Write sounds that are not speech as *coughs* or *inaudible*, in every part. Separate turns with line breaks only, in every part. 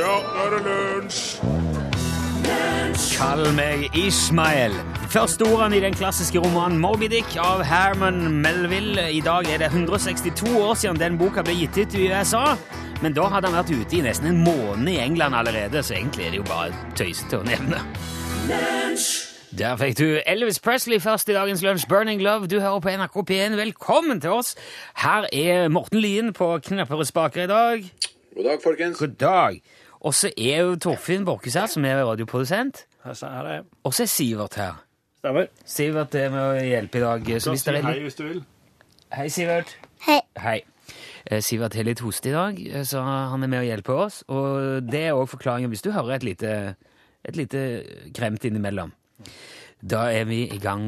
Ja, nå er det lunsj!
Kall meg Ismael. Første ordene i den klassiske romanen Moby Dick av Herman Melville. I dag er det 162 år siden den boka ble gitt ut i USA. Men da hadde han vært ute i nesten en måned i England allerede, så egentlig er det jo bare tøysete å nevne. Der fikk du Elvis Presley først i dagens lunsj. Burning Love, du hører på NRK P1. Velkommen til oss! Her er Morten Lien på knapper og spaker i dag.
God dag, folkens.
God dag. Og så er jo Torfinn Borkhus her, som er radioprodusent. Og så er Sivert her.
Stemmer.
Sivert er med å hjelpe i dag. Så hvis det er litt...
hvis du vil.
Hei, Sivert.
Hei.
Hei. Eh, Sivert er litt hoste i dag, eh, så han er med å hjelpe oss. Og det er òg forklaringen hvis du hører et lite, et lite kremt innimellom. Da er vi i gang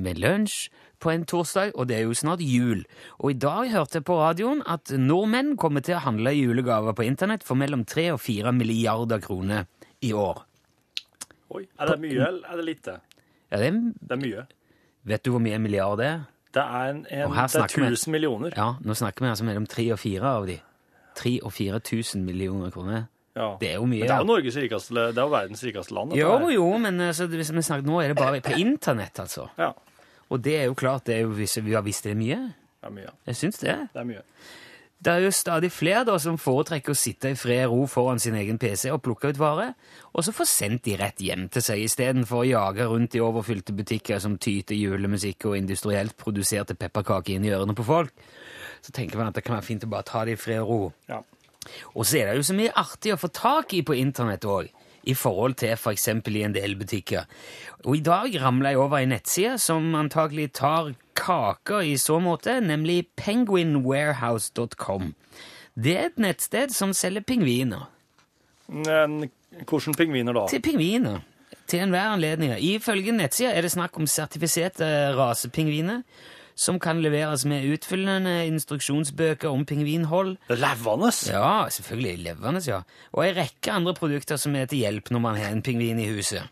med lunsj på en torsdag, og det er jo snart jul. Og i dag hørte jeg på radioen at nordmenn kommer til å handle julegaver på internett for mellom 3 og 4 milliarder kroner i år.
Oi, er det mye eller er det lite?
Ja, det er,
Det er mye.
vet du hvor mye en milliard er?
Det er en, en
Og her
det er
snakker vi.
1000 millioner.
Ja, nå snakker vi altså mellom 3 og 4 av de. 3 og 4 tusen millioner kroner.
Ja.
Det er jo mye.
Men det er
ja.
jo Norges rikeste, det er jo verdens rikeste land. dette
Jo,
her.
jo, men eh, så, det- som vi snakket, nå er det bare på internett, altså.
Ja,
Og det er jo klart, det er jo, hvis vi har visst det er mye.
det er mye.
Jeg syns det.
Det er mye.
Det er jo stadig flere da som foretrekker å sitte i fred og ro foran sin egen PC og plukke ut varer, og så få sendt de rett hjem til seg istedenfor å jage rundt i overfylte butikker som tyter julemusikk og industrielt produserte pepperkaker inn i ørene på folk. Så tenker man at det kan være fint å bare ta det i fred og ro.
Ja.
Og så er det jo så mye artig å få tak i på internett òg, i forhold til f.eks. i en del butikker. Og i dag ramla jeg over ei nettside som antakelig tar kaka i så måte, nemlig penguinwarehouse.com. Det er et nettsted som selger pingviner.
Men hvordan pingviner da?
Til pingviner. Til enhver anledning. Ifølge nettsida er det snakk om sertifiserte rasepingviner. Som kan leveres med utfyllende instruksjonsbøker om pingvinhold.
Det er levende!
Ja, selvfølgelig. Levende, ja. Og ei rekke andre produkter som er til hjelp når man har en pingvin i huset.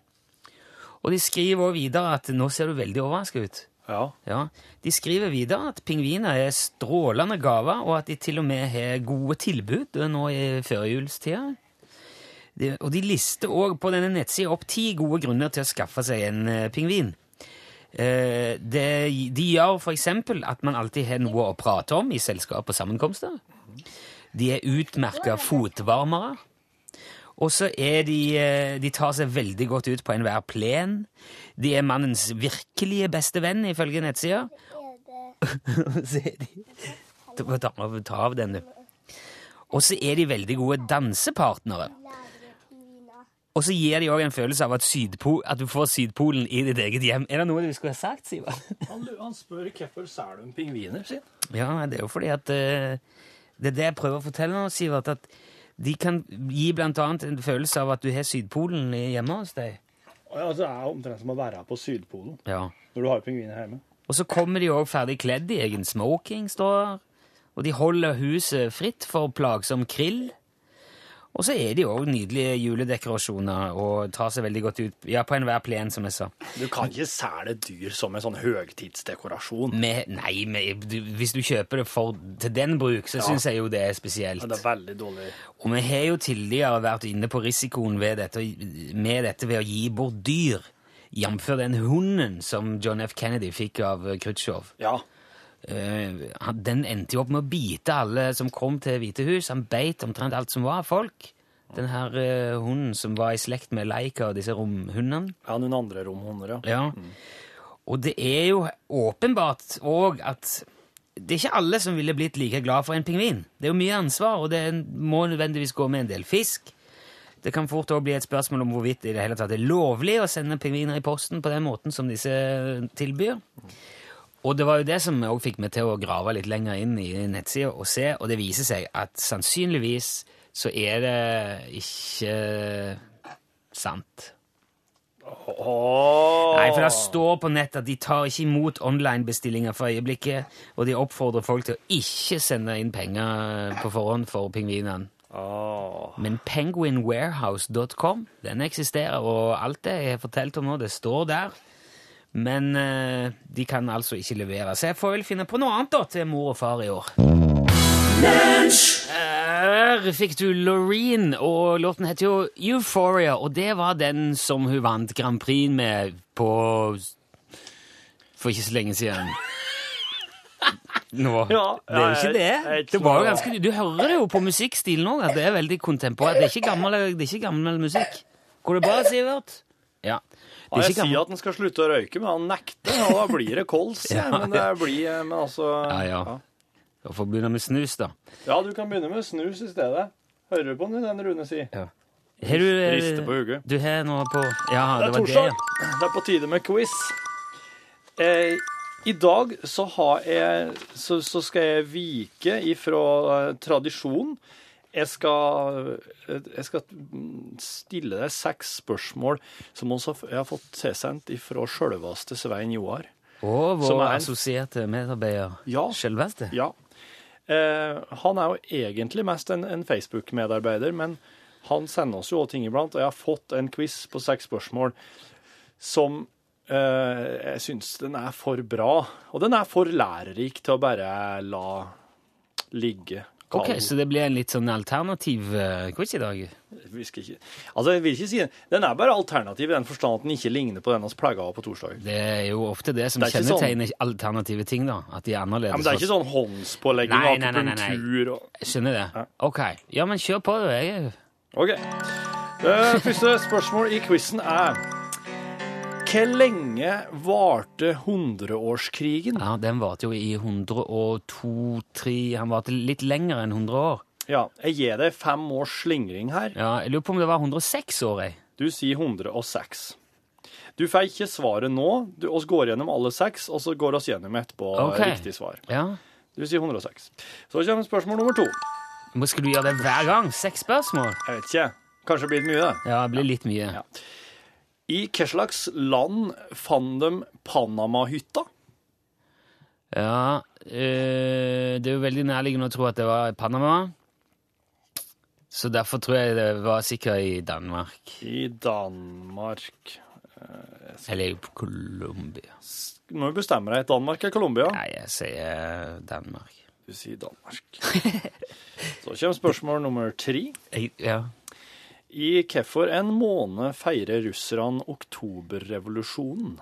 Og de skriver også videre at Nå ser du veldig overraska ut.
Ja.
Ja, De skriver videre at pingviner er strålende gaver, og at de til og med har gode tilbud eh, nå i førjulstida. De- Og de lister òg på denne nettsida opp ti gode grunner til å skaffe seg en eh, pingvin. Eh, det, de gjør f.eks. at man alltid har noe å prate om i selskap og sammenkomster. De er utmerka fotvarmere. Og så er de eh, De tar seg veldig godt ut på enhver plen. De er mannens virkelige beste venn, ifølge nettsida. *laughs* Så er de- Ta ta av, ta av den, du. Og så er de veldig gode dansepartnere. Og så gir de òg en følelse av at, Sydpo, at du får Sydpolen i ditt eget hjem. Er det noe du skulle ha sagt, Sivert?
Han, han spør hvorfor selger de pingviner sin.
Ja, nei, det er jo fordi at eh, Det er det jeg prøver å fortelle nå, Sivert, at de kan gi blant annet en følelse av at du har Sydpolen i- hjemme hos deg.
Ja, altså, det er omtrent som å være på Sydpolen
Ja.
når du har pingviner hjemme.
Og så kommer de òg ferdig kledd i egen smoking, står her. Og de holder huset fritt for plagsom krill. Og så er de òg nydelige juledekorasjoner og tar seg veldig godt ut ja, på enhver plen, som jeg sa.
Du kan ikke selge dyr som en sånn høgtidsdekorasjon.
Med, nei, med, du, hvis du kjøper det for, til den bruk, så synes syns jeg jo det er spesielt.
Men det er veldig dårlig.
Og vi har jo tidligere vært inne på risikoen ved dette, med dette ved å gi bort dyr, jf. den hunden som John F. Kennedy fikk av eh, Khrutsjov.
Ja.
Eh, han- den endte jo opp med å bite alle som kom til Hvite hus. Han beit omtrent alt som var av folk. Den her eh, hunden som var i slekt med Leika og disse romhundene.
Ja, noen andre romhunder, ja.
Ja. Og det er jo åpenbart òg at det er ikke alle som ville blitt like glad for en pingvin. Det er jo mye ansvar, og det må nødvendigvis gå med en del fisk. Det kan fort òg bli et spørsmål om hvorvidt det i det hele tatt er lovlig å sende pingviner i posten på den måten som disse tilbyr. Og det var jo det som òg fikk meg til å grave litt lenger inn i nettsida og se, og det viser seg at sannsynligvis så er det ikke sant.
Åh.
Nei, for altså- det står på nett at de tar ikke imot online-bestillinger for øyeblikket, og de oppfordrer folk til å ikke sende inn penger eh, på forhånd for pingvinene.
Åh.
Men penguinwarehouse.com, den eksisterer, og alt det jeg har fortalt om nå, det står der. Men eh, de kan altså ikke levere, så jeg får vel finne på noe annet da til mor og far i år. Eh, der fikk du Loreen, og låten heter jo Euphoria, og det var den som hun vant Grand Prix med på For ikke så lenge siden. Nå.
Ja,
det er jo ikke
jeg- jeg-
det.
jeg
det var jo
tror-
ganske, du hører det jo på musikkstilen òg, at det er veldig kontemporært. Det, er ikke gammel- det er ikke gammel musikk. Går det bra, Sivert? Ja.
Ja,
Det er
jeg
ikke gammel-
sier at han skal slutte å røyke, men han nekter, og da blir det kols.
*laughs* Ja,
men det blir Men altså
Ja, ja. Jeg får begynne med snus, da.
Ja, du kan begynne med snus i stedet. Hører du på den, den Rune sier?
Har du eh,
Rister på hugget.
Du har noe på Ja, det, var
Det er
det.
torsdag. Det er på tide med quiz. Eh, I dag så, har jeg, så, så skal jeg vike ifra eh, tradisjon. Jeg skal, eh, jeg skal mm, stille deg seks spørsmål som også f- jeg har fått tilsendt ifra sjølveste Svein Joar.
Og
Som
vår
er en-
assosierte medarbeider
Ja.
Selveste.
Ja. Eh, han er jo egentlig mest en, en Facebook-medarbeider, men han sender oss jo også ting iblant, og jeg har fått en quiz på seks spørsmål som eh, jeg syns den er for bra. Og den er for lærerik til å bare la ligge.
Ok, Så det blir en litt sånn alternativ eh, quiz i dag?
Vi skal ikke, altså, jeg vil ikke si Den er bare alternativ i den forstand at den ikke ligner på den vi pleier å ha på torsdag.
Det er jo ofte det som
Det er ikke
kjennetegner alternative ting, da. At de er annerledes.
Ja, men det er ikke sånn håndspålegging
Nei,
og
nei, nei, nei, nei.
akupunktur og
Jeg Skjønner det. Ok. Ja, men kjør på, du. Jeg er
Ok. Eh, første spørsmål i quizen er Hvor lenge varte hundreårskrigen?
Ja, den varte jo i 102-3 Han varte litt lenger enn 100 år.
Ja, jeg gir deg fem års slingring her.
Ja, Jeg lurer på om det var 106 år, jeg.
Du sier 106. Du får ikke svaret nå. Du, oss går gjennom alle seks, og så går oss gjennom etterpå
Ok.
riktig svar.
Ja.
Du sier 106. Så kommer spørsmål nummer to.
Men Skal du gjøre det hver gang? Seks spørsmål?
Jeg vet ikke. Kanskje det blir mye, det.
Ja, det blir litt mye.
Ja. I hva slags land fant de Panamahytta?
Ja, eh, det er jo veldig nærliggende å tro at det var i Panama. Så derfor tror jeg det var sikkert i Danmark.
I Danmark.
Eller i Colombia.
Nå bestemmer jeg. Danmark eller Colombia?
Nei, jeg sier Danmark.
Du sier Danmark. *laughs* Så kommer spørsmål nummer tre.
Jeg, ja. *laughs*
I hvorfor en måned feirer russerne oktoberrevolusjonen?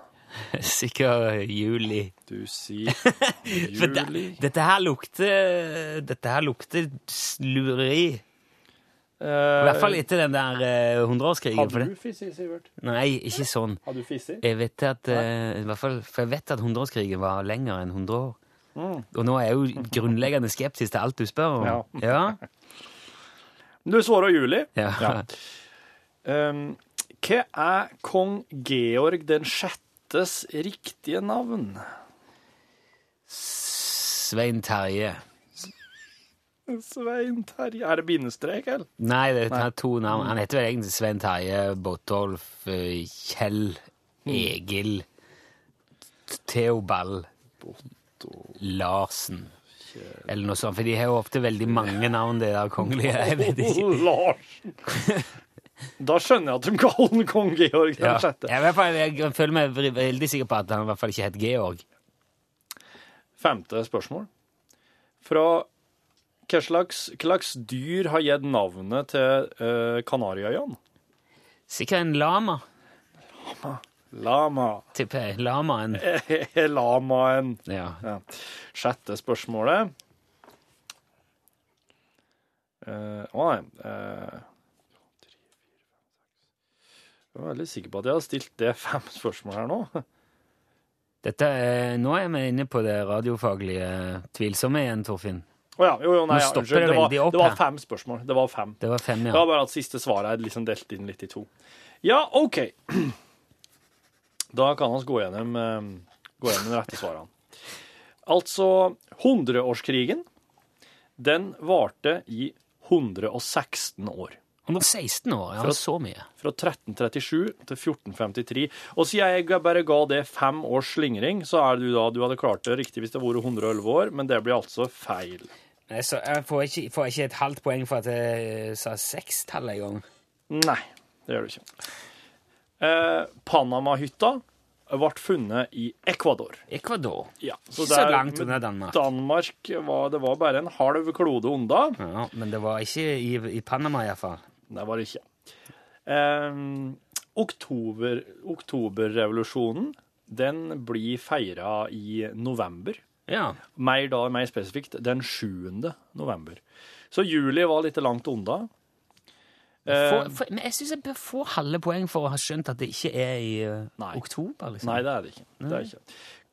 Sikkert juli.
Du sier
*laughs* For det,
juli
dette her lukter Dette her lukter lureri. I hvert fall etter den der eh, hundreårskrigen.
Eh, Hadde
for
du fisset, Sivert?
det- Nei, ikke sånn.
Hadde du fisset?
Jeg vet at, eh, i hvert fall, for jeg vet at hundreårskrigen var lenger enn 100 år. Og nå er jeg jo grunnleggende skeptisk til alt du spør om. Mm. *laughs* Ja.
Du svarer juli.
Ja.
Ja. Um, hva er kong Georg den sjettes riktige navn?
Svein Terje.
Svein Terje. Er det bindestrek, eller?
Nei, det er to navn. Han heter vel egentlig Svein Terje Botolf eh, Kjell Egil Theobald Larsen. Eller noe sånt, for de har jo ofte veldig mange navn, *laughs* det der *laughs* kongelige. Jeg vet ikke. *laughs*
Larsen. Da skjønner jeg at de kaller den kong Georg den
Ja.
sjette.
Jeg, i hvert fall, jeg føler meg vri- veldig sikker på at han i hvert fall ikke het Georg.
Femte spørsmål. Fra hva slags, hva slags dyr har gitt navnet til uh, Kanariøyene?
Sikkert en lama,
Lama. *laughs*
tipper jeg. Lamaen.
Lamaen.
Ja.
Ja. Sjette spørsmålet. Eh, Å nei. eh, jeg var veldig sikker på at jeg har stilt det fem spørsmål her nå. *laughs*
Dette er, nå er vi inne på det radiofaglige tvilsomme igjen, Torfinn.
Å ja, jo, jo, nei,
Nå
ja,
stopper
unnskyld.
det
Det var,
veldig opp
det var
her.
fem spørsmål. Det var fem.
Det var fem,
Det
ja.
var bare at siste svaret er liksom delt inn litt i to. Ja, OK. Da kan vi gå gjennom, eh, gå gjennom de rette svarene. Altså, hundreårskrigen, den varte i 116 år.
116 år, ja,
For-
så mye.
Fra 1337 til 1453. Og siden jeg bare ga det fem års slingring, så er det jo da du hadde klart det riktig hvis det var 111 år, men det blir altså feil.
Nei, så jeg får ikke, får ikke et halvt poeng for at jeg sa sekstall en gang.
Nei, det gjør du ikke. Eh, Panamahytta ble funnet i Ecuador.
Ecuador.
Ja,
Ikke så langt unna Danmark.
Danmark var, det var bare en halv klode unna.
Ja, men det var ikke i, i Panama, iallfall.
Det var det ikke. Ehm, oktober, oktoberrevolusjonen den blir feira i november.
Ja.
Mer da, mer spesifikt, den 7. november. Så juli var litt langt unna.
Få- få- men jeg syns jeg bør få halve poeng for å ha skjønt at det ikke er i eh,
Nei.
oktober. liksom.
Nei, det er det ikke. Det er ikke.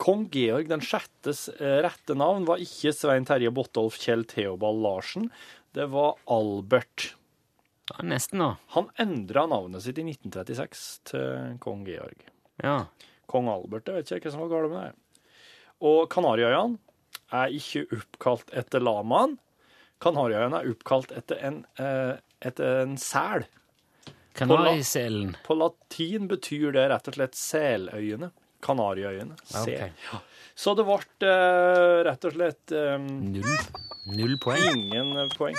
Kong Georg den sjettes eh, rette navn var ikke Svein Terje Bottolf Kjell Theobald Larsen. Det var Albert.
Ja, nesten nå.
Han endra navnet sitt i 1936 til kong Georg.
Ja.
Kong Albert, jeg vet ikke hva som var galt med det. Og Kanariøyene er ikke oppkalt etter lamaen. Kanariøyene er oppkalt etter en, eh, etter en sel.
Kanariselen.
På latin betyr det rett og slett seløyene. Kanariøyene. Sel.
Ok.
Så det ble eh, rett og slett eh,
Null. Null poeng.
ingen poeng.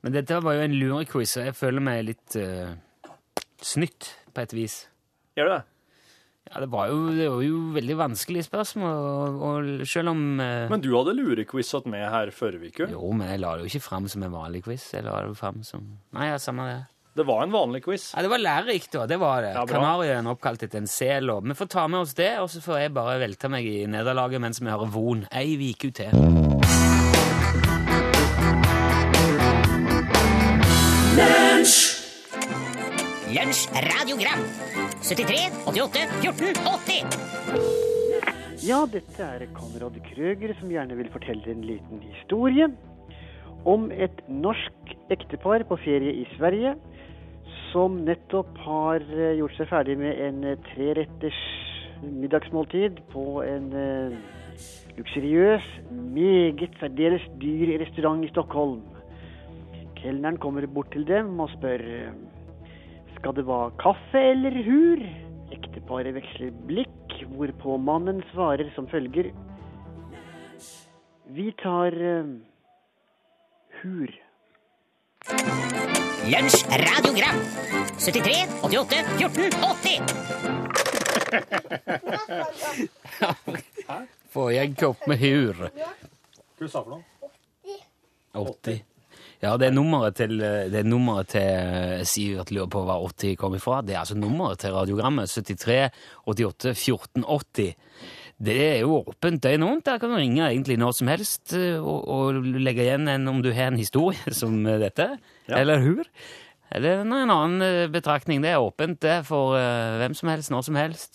Men dette var jo en lurequiz, og jeg føler meg litt eh, snytt på et vis.
Gjør det det?
Ja, det var jo, det var jo veldig vanskelige spørsmål, og, og selv om eh,
Men du hadde lurequizet med her forrige uke.
Jo, men jeg la det jo ikke fram som en vanlig quiz. Jeg la det jo fram som... Nei, ja, samme det.
Det var en vanlig quiz.
Ja, Det var lærerikt, da. Det var det.
Ja, bra.
Kanarien oppkalt etter en sel. og Vi får ta med oss det, og så får jeg bare velte meg i nederlaget mens vi hører Von ei uke til.
Lunsj, radiogram 73, 88, 14, 80
Ja, dette er Konrad Krøger som gjerne vil fortelle en liten historie om et norsk ektepar på ferie i Sverige som nettopp har eh, gjort seg ferdig med en eh, treretters middagsmåltid på en eh, luksuriøs, meget særdeles dyr restaurant i Stockholm. Kelneren kommer bort til dem og spør eh, skal det være kaffe eller hur? Ekteparet veksler blikk, hvorpå mannen svarer som følger. Vi tar eh, hur.
Lunsj, radiogram 73, 88, 14,
*laughs*
80
Får jeg en kopp med hur?
Hva sa du for noe?
80. Ja, det er nummeret til, det er nummeret til eh, Sivert lurer på hva 80 kom ifra. Det er altså nummeret til radiogrammet. 73 88 14 80. Det er jo åpent døgn rundt. Der kan du ringe egentlig når som helst eh, og, og legge igjen en om du har en historie *laughs* som eh, dette. Eller hur? Eller en annen eh, betraktning. Det er åpent det er for eh, hvem som helst, når som helst.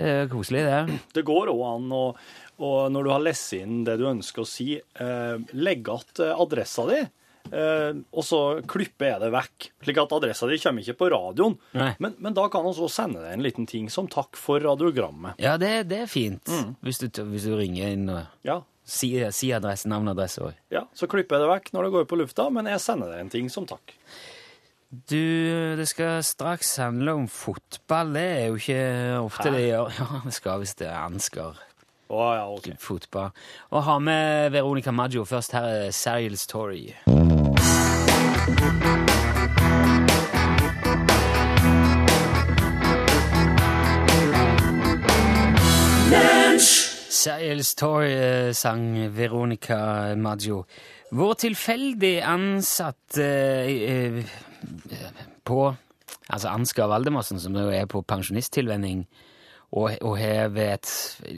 Det er koselig, det.
Det går òg an å og når du har lest inn det du ønsker å si, eh, legge igjen adressa di, eh, og så klipper jeg det vekk. Slik at adressa di kommer ikke på radioen.
Nei.
Men, men da kan vi også sende deg en liten ting som takk for radiogrammet.
Ja, det, det er fint. Hvis, du, hvis du ringer inn og
Ja,
Si, si adresse, navn og adresse òg.
ja, Så klipper jeg det vekk når det går på lufta, men jeg sender deg en ting som takk.
Du, det skal straks handle om fotball. Det er jo ikke ofte det gjør. *laughs* Ja, det skal hvis det er Ansgar
Å ja, ok.
fotball. Og ha med Veronica Maggio først. Her eh, er Serial Story. Serial Story eh, sang Veronica Maggio. Vår tilfeldig ansatt eh, eh, på Altså Ansgar Valdemarsen, som jo er på pensjonisttilvenning, og, og har ved et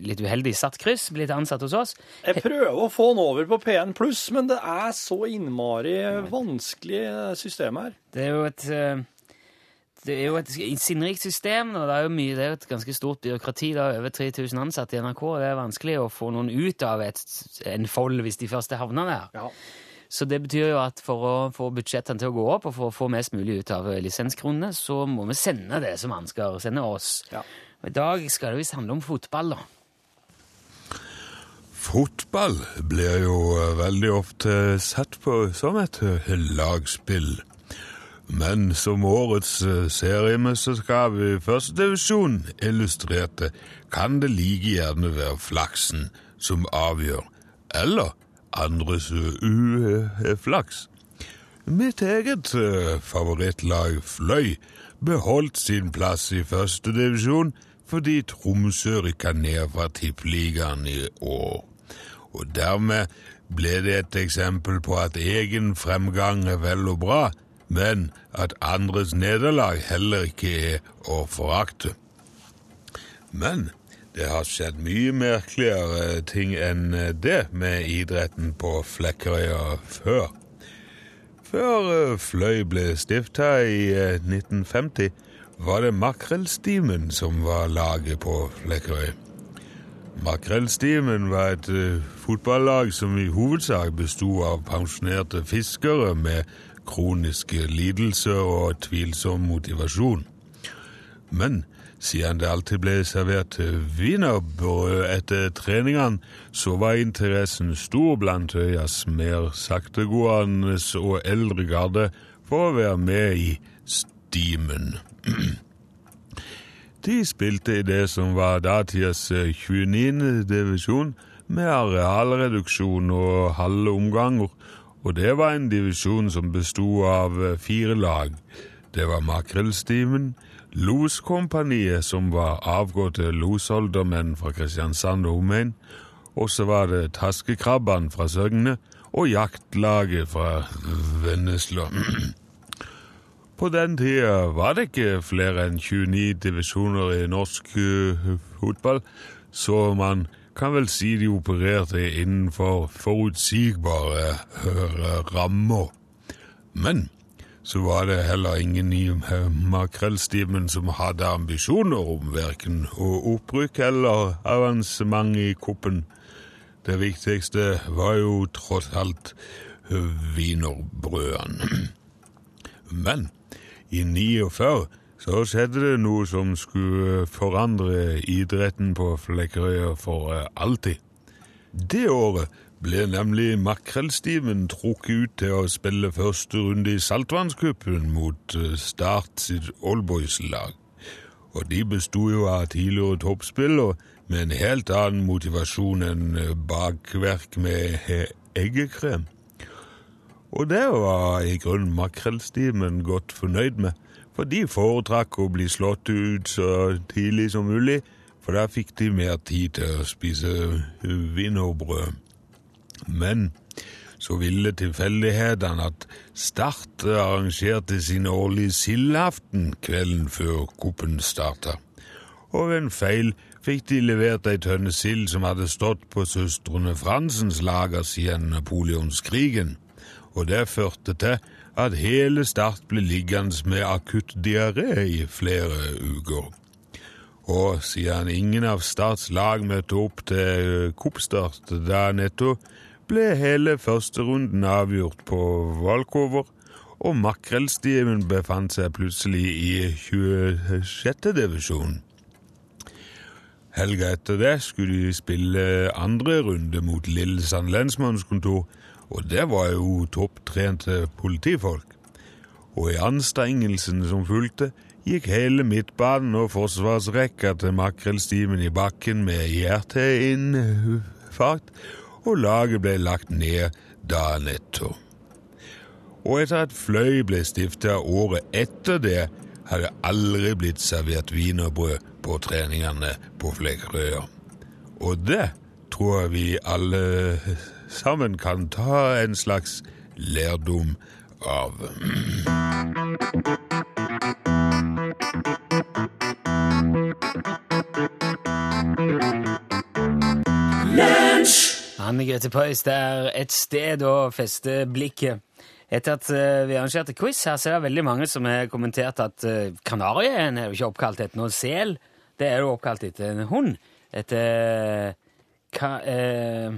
litt uheldig satt kryss blitt ansatt hos oss.
Jeg prøver å få den over på P1 pluss, men det er så innmari vanskelig eh, system her.
Det er jo et eh, det er jo et sinnrikt system, og det er jo mye, det er jo et ganske stort byråkrati. Det er over 3000 ansatte i NRK, og det er vanskelig å få noen ut av et, en fold hvis de først havner der.
Ja.
Så det betyr jo at for å få budsjettene til å gå opp, og for å få mest mulig ut av lisenskronene, så må vi sende det som han skal sende oss.
Ja.
Og I dag skal det visst handle om fotball, da.
Fotball blir jo eh, veldig ofte sett på som et eh, lagspill. Men som årets eh, seriemesterskap i førstedivisjon illustrerte, kan det like gjerne være flaksen som avgjør, eller andres eh, uflaks. Mitt eget eh, favorittlag Fløy beholdt sin plass i førstedivisjon fordi Tromsø rykka ned fra Tippeligaen i år. Og dermed ble det et eksempel på at egen fremgang er vel og bra, men at andres nederlag heller ikke er å forakte. Men det har skjedd mye merkeligere ting enn eh, det med idretten på Flekkerøya før. Før eh, Fløy ble stifta i eh, 1950, var det Makrellstimen som var laget på Flekkerøy. Makrellstimen var et eh, fotballag som i hovedsak bestod av pensjonerte fiskere med kroniske lidelser og tvilsom motivasjon. Men siden det alltid ble servert wienerbrød etter treningene, så var interessen stor blant Øyas mer saktegående og eldre garde for å være med i stimen. De spilte i det som var datidas 29. divisjon, med arealreduksjon og halve omganger, og det var en divisjon som bestod av eh, fire lag. Det var Makrellstimen, Loskompaniet, som var avgåtte losholdermenn fra Kristiansand og omegn, og så var det Taskekrabban fra Søgne og Jaktlaget fra Vennesla. *clears throat* På den tida var det ikke flere enn 29 divisjoner i norsk eh, fotball, så man kan vel si de opererte innenfor forutsigbare eh, rammer. Men så var det heller ingen i eh, makrellstimen som hadde ambisjoner om verken opprykk eller avansement i kuppen. Det viktigste var jo tross alt eh, wienerbrødene. Men i 49 så skjedde det noe som skulle forandre idretten på Flekkerøya for eh, alltid. Det året ble nemlig Makrellstimen trukket ut til å spille første runde i Saltvannscupen mot eh, Start sitt Allboys-lag. Og de bestod jo av tidligere toppspillere med en helt annen motivasjon enn eh, bakverk med eh, eggekrem. Og det var i grunnen makrellstimen godt fornøyd med, for de foretrakk å bli slått ut så tidlig som mulig, for da fikk de mer tid til å spise wienerbrød. Men så ville tilfeldighetene at Start arrangerte sin årlige sildaften kvelden før kuppen starta. Og ved en feil fikk de levert ei tønne sild som hadde stått på søstrene Fransens lager siden Napoleonskrigen og det førte til at hele Start ble liggende med akutt diaré i flere uker. Og siden ingen av Starts lag møtte opp til eh, Coop-start dagen etter, ble hele førsterunden avgjort på Valkover, og Makrellstimen befant seg plutselig i 26. divisjon. Helga etter det skulle de spille andre runde mot Lillesand lensmannskontor, og det var jo topptrente politifolk. Og i anstrengelsen som fulgte, gikk hele midtbanen og forsvarsrekka til makrellstimen i bakken med hjerteinfarkt, og laget ble lagt ned dagen etter. Og etter at Fløy ble stifta året etter det, hadde aldri blitt servert wienerbrød på treningene på Flekkerøya. Og det tror jeg vi alle sammen kan ta en slags lærdom av.
Anne Grete Preus, det er et sted å feste blikket. Etter at eh, vi arrangerte quiz her, så er det veldig mange som har kommentert at uh, Kanariøyen er jo ikke oppkalt etter noen sel, det er jo oppkalt etter en hund. Etter ka, eh,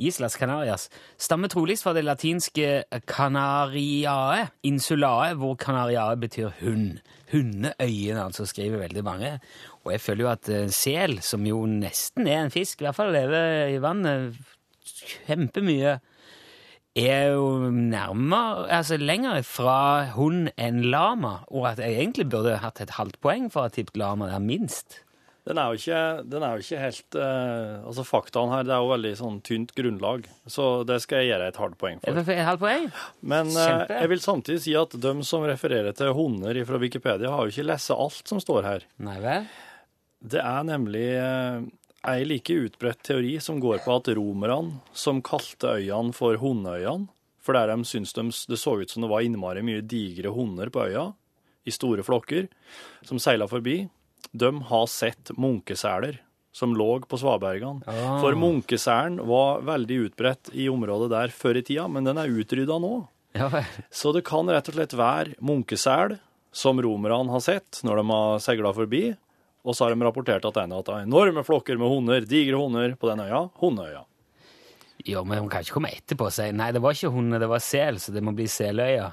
Islas Canarias stammer troligst fra det latinske canariae, insulae, hvor canariae betyr hund. Hundeøyen, altså, skriver veldig mange. Og jeg føler jo at eh, sel, som jo nesten er en fisk, i hvert fall lever i vannet kjempemye, er jo nærmere, altså lenger fra hund enn lama, og at jeg egentlig burde hatt et halvt poeng for å ha tippet lama der minst.
Den er jo ikke, den er jo ikke helt eh, Altså, faktaene her, det er jo veldig sånn tynt grunnlag, så det skal jeg gi deg et hardt poeng
Er
for.
det Et halvt poeng?
Men eh,
Kjempe.
jeg vil samtidig si at de som refererer til hunder fra Wikipedia, har jo ikke lest alt som står her.
Nei vel?
Det er nemlig eh, ei like utbredt teori som går på at romerne, som kalte øyene for hundeøyene, for der de syntes de, det så ut som det var innmari mye digre hunder på øya, i store flokker, som seila forbi, de har sett munkeseler som lå på svabergene.
Ah.
For munkeselen var veldig utbredt i området der før i tida, men den er utrydda nå.
Ja, vel.
Så det kan rett og slett være munkesel som romerne har sett når de har seila forbi, og så har de rapportert at det er noe- enorme flokker med hunder, digre hunder, på den øya, Hundeøya.
jo, men hun kan ikke komme etterpå og si nei, det var ikke hun, det var sel, så det må bli seløya.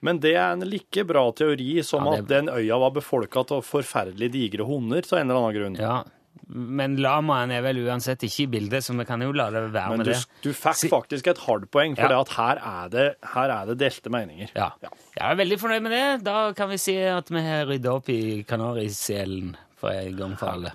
Men det er en like bra teori som
Ja, det-
at den øya var befolka av forferdelig digre hunder av en eller annen grunn.
Ja. Men lamaen er vel uansett ikke i bildet, så vi kan jo la det være
Men
med
du,
det.
du
Si-
fikk faktisk et hardpoeng, for
Ja.
det at her er det, her er det delte meninger.
Ja. Jeg er veldig fornøyd med det. Da kan vi si at vi har rydda opp i kanariselen for en gang for alle.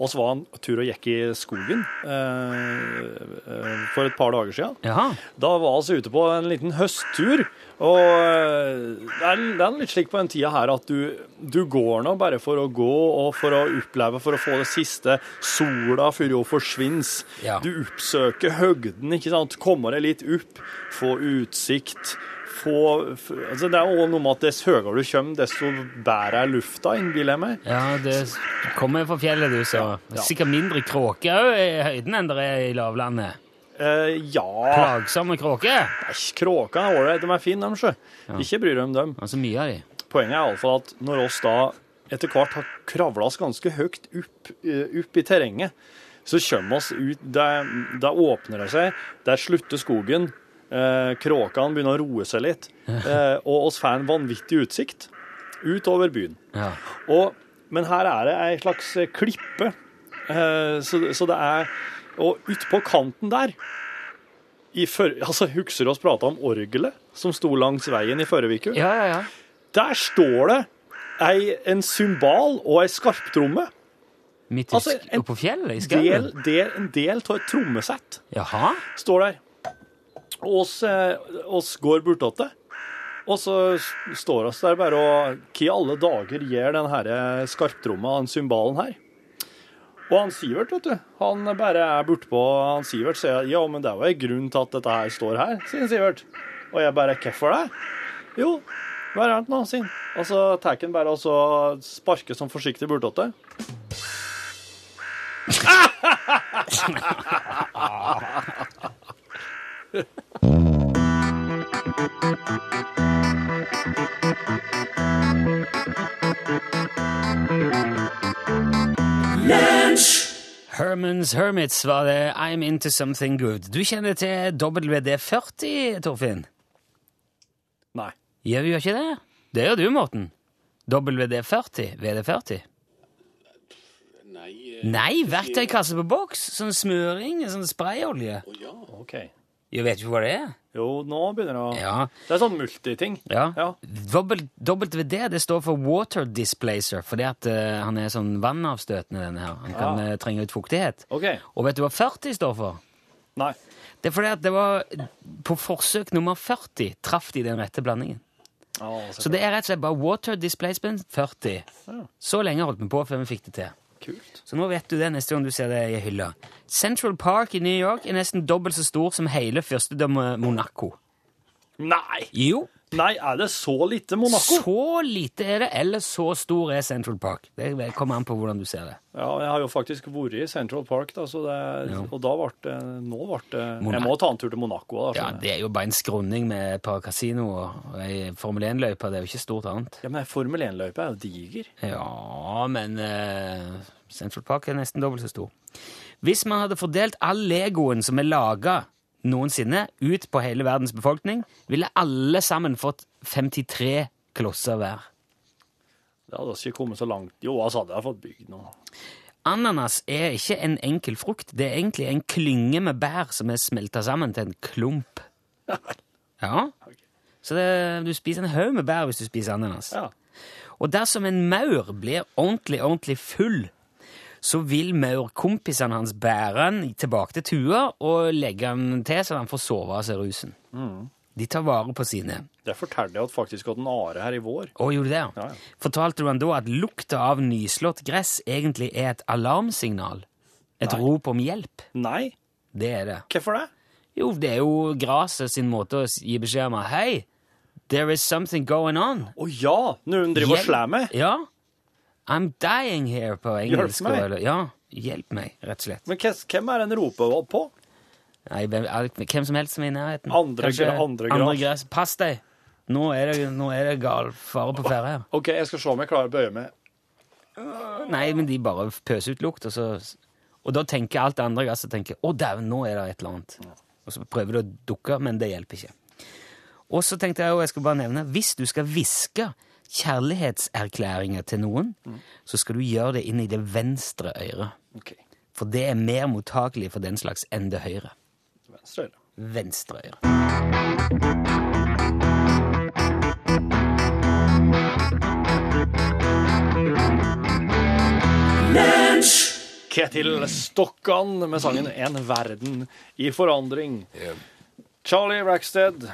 Og så var han tur og gikk i skogen eh, eh, for et par dager siden.
Jaha.
Da var vi altså ute på en liten høsttur, og eh, det er, det er litt slik på den tida her at du, du går nå bare for å gå og for å oppleve, for å få det siste. Sola før hun forsvinner.
Ja.
Du oppsøker høgden, ikke sant. Kommer deg litt opp, få utsikt. Få, f- altså det er også noe med at dess høyere du kommer, desto bedre er lufta, innbiller jeg meg.
Ja, det kommer fra fjellet, du, så.
ja.
Sikkert mindre kråker òg i høyden enn det er i lavlandet.
Eh, ja
Plagsomme kråker.
Æsj, kråkene er ålreit. De er fine, de, sjø. Ikke bry deg om dem.
Altså mye av de.
Poenget er iallfall at når oss da etter hvert har kravla oss ganske høyt opp, eh, opp i terrenget, så kommer oss ut der, der åpner det seg. Der slutter skogen. Eh, kråkene begynner å roe seg litt. Eh, og oss får en vanvittig utsikt utover byen.
Ja.
Og, men her er det ei slags eh, klippe. Eh, så, så det er Og utpå kanten der i før, altså, Husker oss prata om orgelet som sto langs veien i forrige uke?
Ja, ja, ja.
Der står det ei, en symbal og ei skarptromme.
Midt
Altså,
altså,
en
på fjellet i
Del,
skauen?
del, en del av et trommesett
Jaha.
står der. Og oss, eh, oss går bortåt det. Og så s- står oss der bare og Hva i alle dager gjør den her eh, skarptromma og den symbalen her? Og han Sivert, vet du, han bare er bortpå. Han Sivert sier ja, men det er jo en grunn til at dette her står her, sier Sivert. Og jeg bare hvorfor det? Jo, hva er det nå, sier han. Og så tar han bare og så sparker sånn forsiktig bortåt det.
Hermans Hermits var det I'm Into Something Good. Du kjenner til WD-40, Torfinn?
Nei.
Gjør vi jo ikke det? Det gjør du, Morten. WD-40? VD-40? Nei
eh,
Nei, verktøykasse på boks. Sånn smøring, sånn sprayolje.
OK.
Jeg vet ikke hva det er.
Jo, nå begynner det å
Ja,
Det er sånn multiting.
ja.
Ja.
Dobbel- WD det står for water displacer, fordi at eh, han er sånn vannavstøtende, denne her. Han kan
Ja.
eh, trenge ut fuktighet.
OK.
Og vet du hva 40 står for?
Nei.
Det er fordi at det var på forsøk nummer 40 traff de den rette blandingen. Så det er rett og slett bare water displacement 40. Så lenge holdt vi på før vi fikk det til.
Kult.
Så nå vet du det neste gang du ser det i hylla. Central Park i New York er nesten dobbelt så stor som hele førstedømmet Monaco.
Nei!
Jo,
Nei, er det så lite Monaco?
så lite er det, eller så stor er Central Park. Det kommer an på hvordan du ser det.
Ja, jeg har jo faktisk vært i Central Park, da, så det, og da ble det Nå ble det Jeg
Monaco.
må ta en tur til Monaco.
Ja,
da. skjønner jeg.
Det er jo bare en skråning med et par kasinoer og ei Formel 1-løype. Det er jo ikke stort annet.
ja, Men Formel 1-løypa er jo diger.
Ja, men eh, Central Park er nesten dobbelt så stor. Hvis man hadde fordelt all legoen som er laga noensinne, ut på hele verdens befolkning, ville alle sammen fått 53 klosser hver.
Det hadde ikke kommet så langt. Jo, altså hadde jeg fått bygd noe.
Ananas er ikke en enkel frukt. Det er egentlig en klynge med bær som er smelta sammen til en klump. Ja. Så det, du spiser en haug med bær hvis du spiser ananas.
Ja.
Og dersom en maur blir ordentlig, ordentlig full, så vil maurkompisene hans bære han tilbake til tua og legge han til så han får sove av seg rusen. De tar vare på sine.
Det fortalte jeg at faktisk hadde en are her i vår.
Å, gjorde du det?
Ja, ja.
Fortalte du han da at lukta av nyslått gress egentlig er et alarmsignal? Et
Nei.
rop om hjelp?
Nei,
Det er det.
hvorfor det?
Jo, det er jo graset sin måte å s- gi beskjed om at hei, there is something going on.
Å ja, når hun driver og
Hjelp-
slår meg.
Ja. I'm dying here på engelsk.
meg.
eller- Ja, hjelp meg, rett og slett.
Men hvem hvem er det hun roper på?
Nei, hvem, al- hvem som helst som er i nærheten.
Andre gra- andre gras.
gras. Pass deg! Nå er det, nå er det gal fare på ferde her.
OK, jeg skal se om jeg klarer å bøye meg.
Nei, men de bare pøser ut lukt, og så Og da tenker alt det andre gasset tenker, Å, dæven, nå er det et eller annet. Og så prøver du å dukke, men det hjelper ikke. Og så tenkte jeg, og jeg skal bare nevne, hvis du skal hviske kjærlighetserklæringer til noen, så skal du gjøre det inn i det venstre øret.
OK.
For det er mer mottakelig for den slags enn det høyre.
Venstre øre.
Venstre øre.
Ketil Stokkan med sangen 'En verden i forandring'. Charlie Rackstead,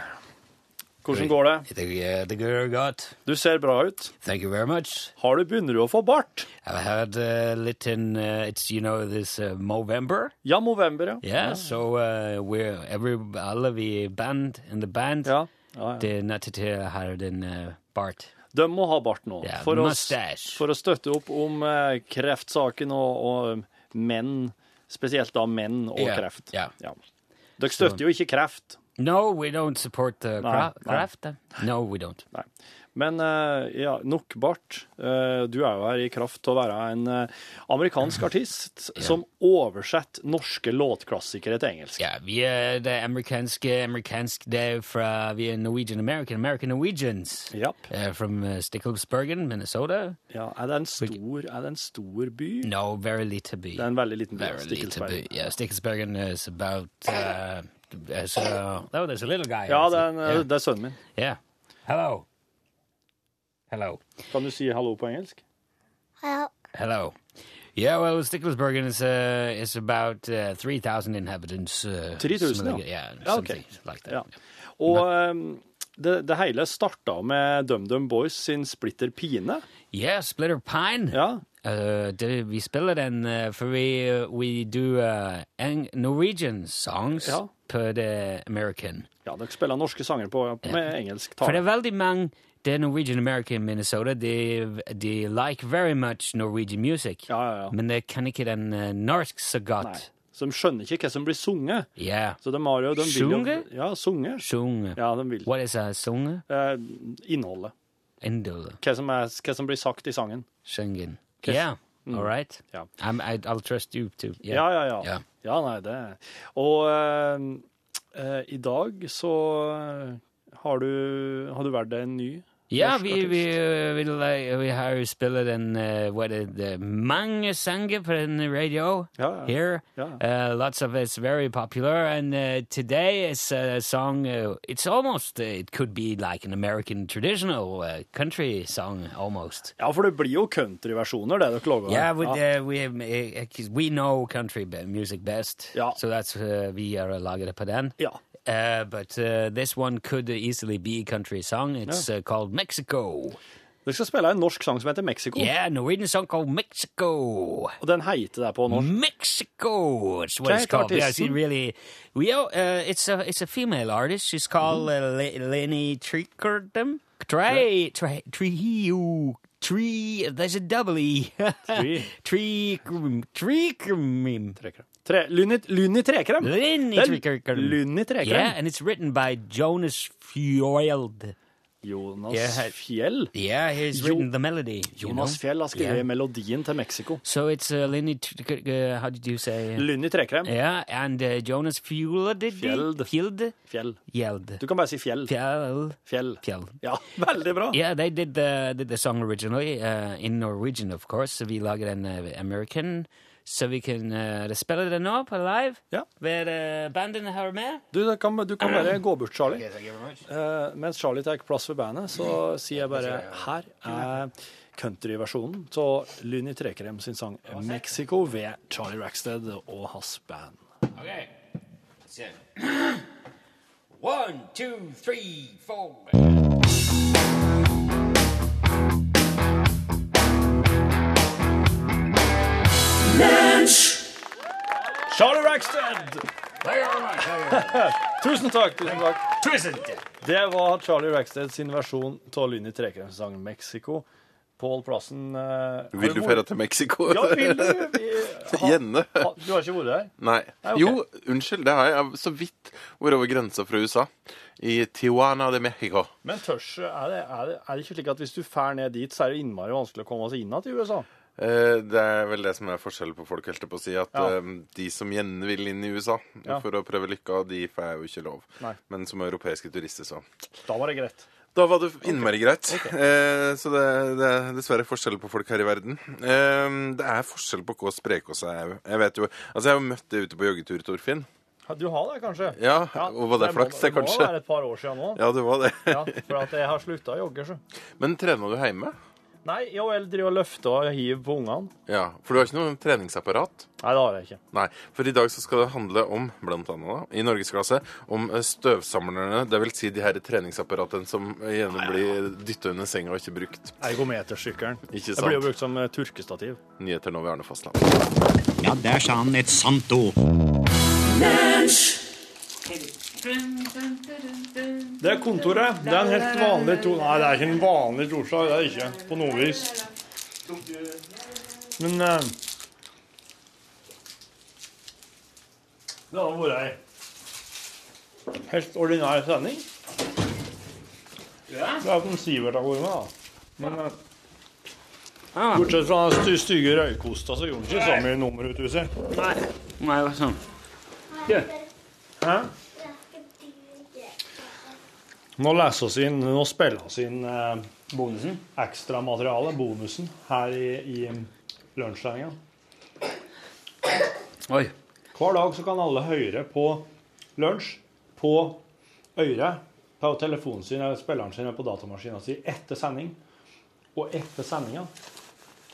hvordan går det?
Det, det går godt.
Du ser bra ut.
Thank you very much.
Har du Begynner du å få bart?
I've had a little, uh, it's, you know, this uh, Movember.
Ja, november, ja.
Yeah, so uh, we're every alle vi band in the band.
Ja, ja, ja.
Det er nødt til å ha den uh, Bart.
De må ha bart nå.
Ja,
for, å,
mustache.
for å støtte opp om eh, kreftsaken og, og menn, spesielt da menn og
Ja,
kreft.
ja.
Dere støtter jo ikke kreft.
No, we don't support the cra
nei.
craft. No, we don't.
Nei. Men eh, ja, nok bart. Eh, du er jo her i kraft til å være en eh, amerikansk
*clears throat*
artist som oversetter norske låtklassikere til engelsk.
Ja, vi er det amerikanske, amerikansk, det er fra, vi er Norwegian American, American Norwegians.
Japp.
Uh, from uh, Stickelsbergen, Minnesota.
Ja, er, det en stor, er det en stor by?
No, very little bit.
Det er en veldig liten by.
Very little
Stikkelsberg.
bit. Yeah, Stickelsbergen is about, uh, is, uh, oh, there's a little guy.
Ja,
that's
det er,
it.
en, eh, det er sønnen min.
Yeah. yeah. Hello. Hello.
Kan du si hallo på engelsk?
Hello. Yeah, well, Sticklesbergen is uh, is about uh, three thousand inhabitants. Uh,
3000,
something like-
ja.
yeah,
Ja,
something
ok.
like that.
Ja. Og ehm, det, det hele starta med DumDum Boys sin Splitter Pine.
Yeah, Splitter Pine.
Ja.
Uh, det, vi spiller den uh, for vi uh, we do uh, ang- Norwegian songs
Ja.
på det American.
ja, dere spiller norske sanger på, med engelsk
For det
tale.
er veldig mange det er Norwegian American i Minnesota. De, de like very much Norwegian music.
Ja, ja, ja.
Men de kan ikke den uh, norsk så
Nei,
godt.
Så de skjønner ikke hva som blir sunget.
Yeah.
Så de har jo de vil jo-
Sunge?
Ja, sunge.
Sjung.
Ja, de vil.
What is a song?
Eh, innholdet.
Endel.
Hva som, er, hva som blir sagt i sangen.
Schengen. Yeah. All right.
Ja.
I'm, I, I'll trust you too. Mm. Yeah.
Ja, ja, ja.
Ja.
Ja, nei, det Og ehm, eh, i dag så eh, har du, har du vært en ny
Ja,
norsk
vi,
artist.
vi, eh, vi, la- vi har jo spilt en eh, hva er det, det, mange sanger på den radio
Ja, ja.
here.
Ja,
Uh, lots of it's very popular, and uh, today is a song. Uh, it's almost uh, it could be like an American traditional uh, country song almost.
Ja, for det blir jo countryversjoner, det dere lager.
Yeah, we, uh, we, uh, 'cause we know country be- music best,
Ja.
so that's uh, vi are laget på den.
ja.
Uh, but uh, this one could easily be a country song. It's uh, called Mexico.
Dere skal spille en norsk sang som heter Mexico.
Yeah, Norwegian song called Mexico.
Og den heter det på
Mm.
norsk.
Mexico. It's what
Can I
it's called.
call this-
Yeah, she really. We all- uh, it's a it's a female artist. She's called uh, Le- Lenny Tricordum. Tre tre Trujillo. Tree. There's a double E. *laughs* um,
Tree.
Tree. Tree.
Trekrem. Tre, lyn, i- lyn i trekrem!
um, Lenny
Det er
Tricordum.
Lynn i trekrem.
Yeah, and it's written by Jonas Fjeld.
Jonas
Ja, her-
Fjell.
Yeah, he's
Jo-
written the melody. you
Jonas
know?
Fjell har skrevet
Yeah.
melodien til Mexico.
So it's uh, Lenny. Tric- Uh, how did you say?
Lynn i trekrem.
Yeah, and uh, Jonas Fjeld.
Fjeld.
Fjeld.
Fjell.
Yelled.
Du kan bare si fjell.
Fjell.
Fjell.
Fjell.
Ja, veldig bra.
Yeah, they did the did the song originally uh, in Norwegian, of course. So we lager den uh, American. Så vi kan uh, spille den nå på live.
Ja.
Ved uh, bandet her med.
Du, du kan, du kan bare gå bort, Charlie. Eh, mens Charlie tar plass ved bandet, så sier jeg bare her er countryversjonen av Lynn i trekrem sin sang 'Mexico' ved Charlie Rackstead og hans band.
Okay.
One, two, three, four.
Charlie Rackstead! *laughs* Tusen takk. tusen takk.
Tusen
Det var Charlie Rackstead sin versjon av Lyn i trekantssangen 'Mexico'. Pål Plassen eh, har
Vil du
jo
føre
vært-
til Mexico?
Ja, vil du? Vi- ha-
Gjerne.
ha- Du har ikke vært der?
*laughs* Nei.
ok.
Jo, unnskyld, det har jeg. jeg. Så vidt vært over grensa fra USA. I Tijuana de Mexico.
Men tørs, er det, er, det, er det ikke slik at hvis du fær ned dit, så er det jo innmari vanskelig å komme seg inn igjen til USA?
Eh, Det er vel det som er forskjellen på folk, holdt jeg på å si. At
Ja.
eh, de som gjerne vil inn i USA
Ja.
for å prøve lykka, de får jo ikke lov.
Nei.
Men som europeiske turister, så
Da var det greit.
Da var det innmari greit. Eh, så det, det er dessverre forskjell på folk her i verden. Eh, det er forskjell på hvor spreke vi er. Jeg vet jo, altså jeg har jo møtt det ute på joggetur, Torfinn.
Ja, Du har det, kanskje?
Ja, og var det
men
flaks,
Det
det,
må
kanskje?
være et par år siden nå.
Ja, det var det.
Ja, for at jeg har slutta å jogge, så.
*laughs* Men trener du hjemme?
Nei, jo, jeg driver og løfter og hiver på ungene.
Ja, for du har ikke noe treningsapparat?
Nei, det har jeg ikke.
Nei, for i dag så skal det handle om, blant annet da, i norgesklasse, om eh, støvsamlerne, det vil si de her treningsapparatene som gjerne blir dyttet under senga og ikke brukt.
Ergometersykkelen.
Ikke
Jeg blir jo
sant.
brukt som eh, tyrkestativ.
Nyheter nå ved Arne Fastland.
Ja, der sa han et sant ord.
Det er kontoret. Det er en helt vanlig to... Nei, det er ikke en vanlig torsdag. Det er det ikke på noe vis. Men eh, Det hadde vært ei helt ordinær sending. Det er jo som Sivert har vært med, da. Men eh,
Ah.
bortsett fra den sty- stygge røykosta, så gjorde han ikke så mye nummer ut huset.
Nei, nei, det var sånn.
Hæ? Nå leser oss inn, nå spiller oss inn eh,
Bonusen?
ekstramaterialet, bonusen, her i, i lunsjsendinga.
Oi.
Hver dag så kan alle høre på lunsj på øret, på telefonen sin eller spilleren sin eller på datamaskinen sin etter sending. Og etter sendinga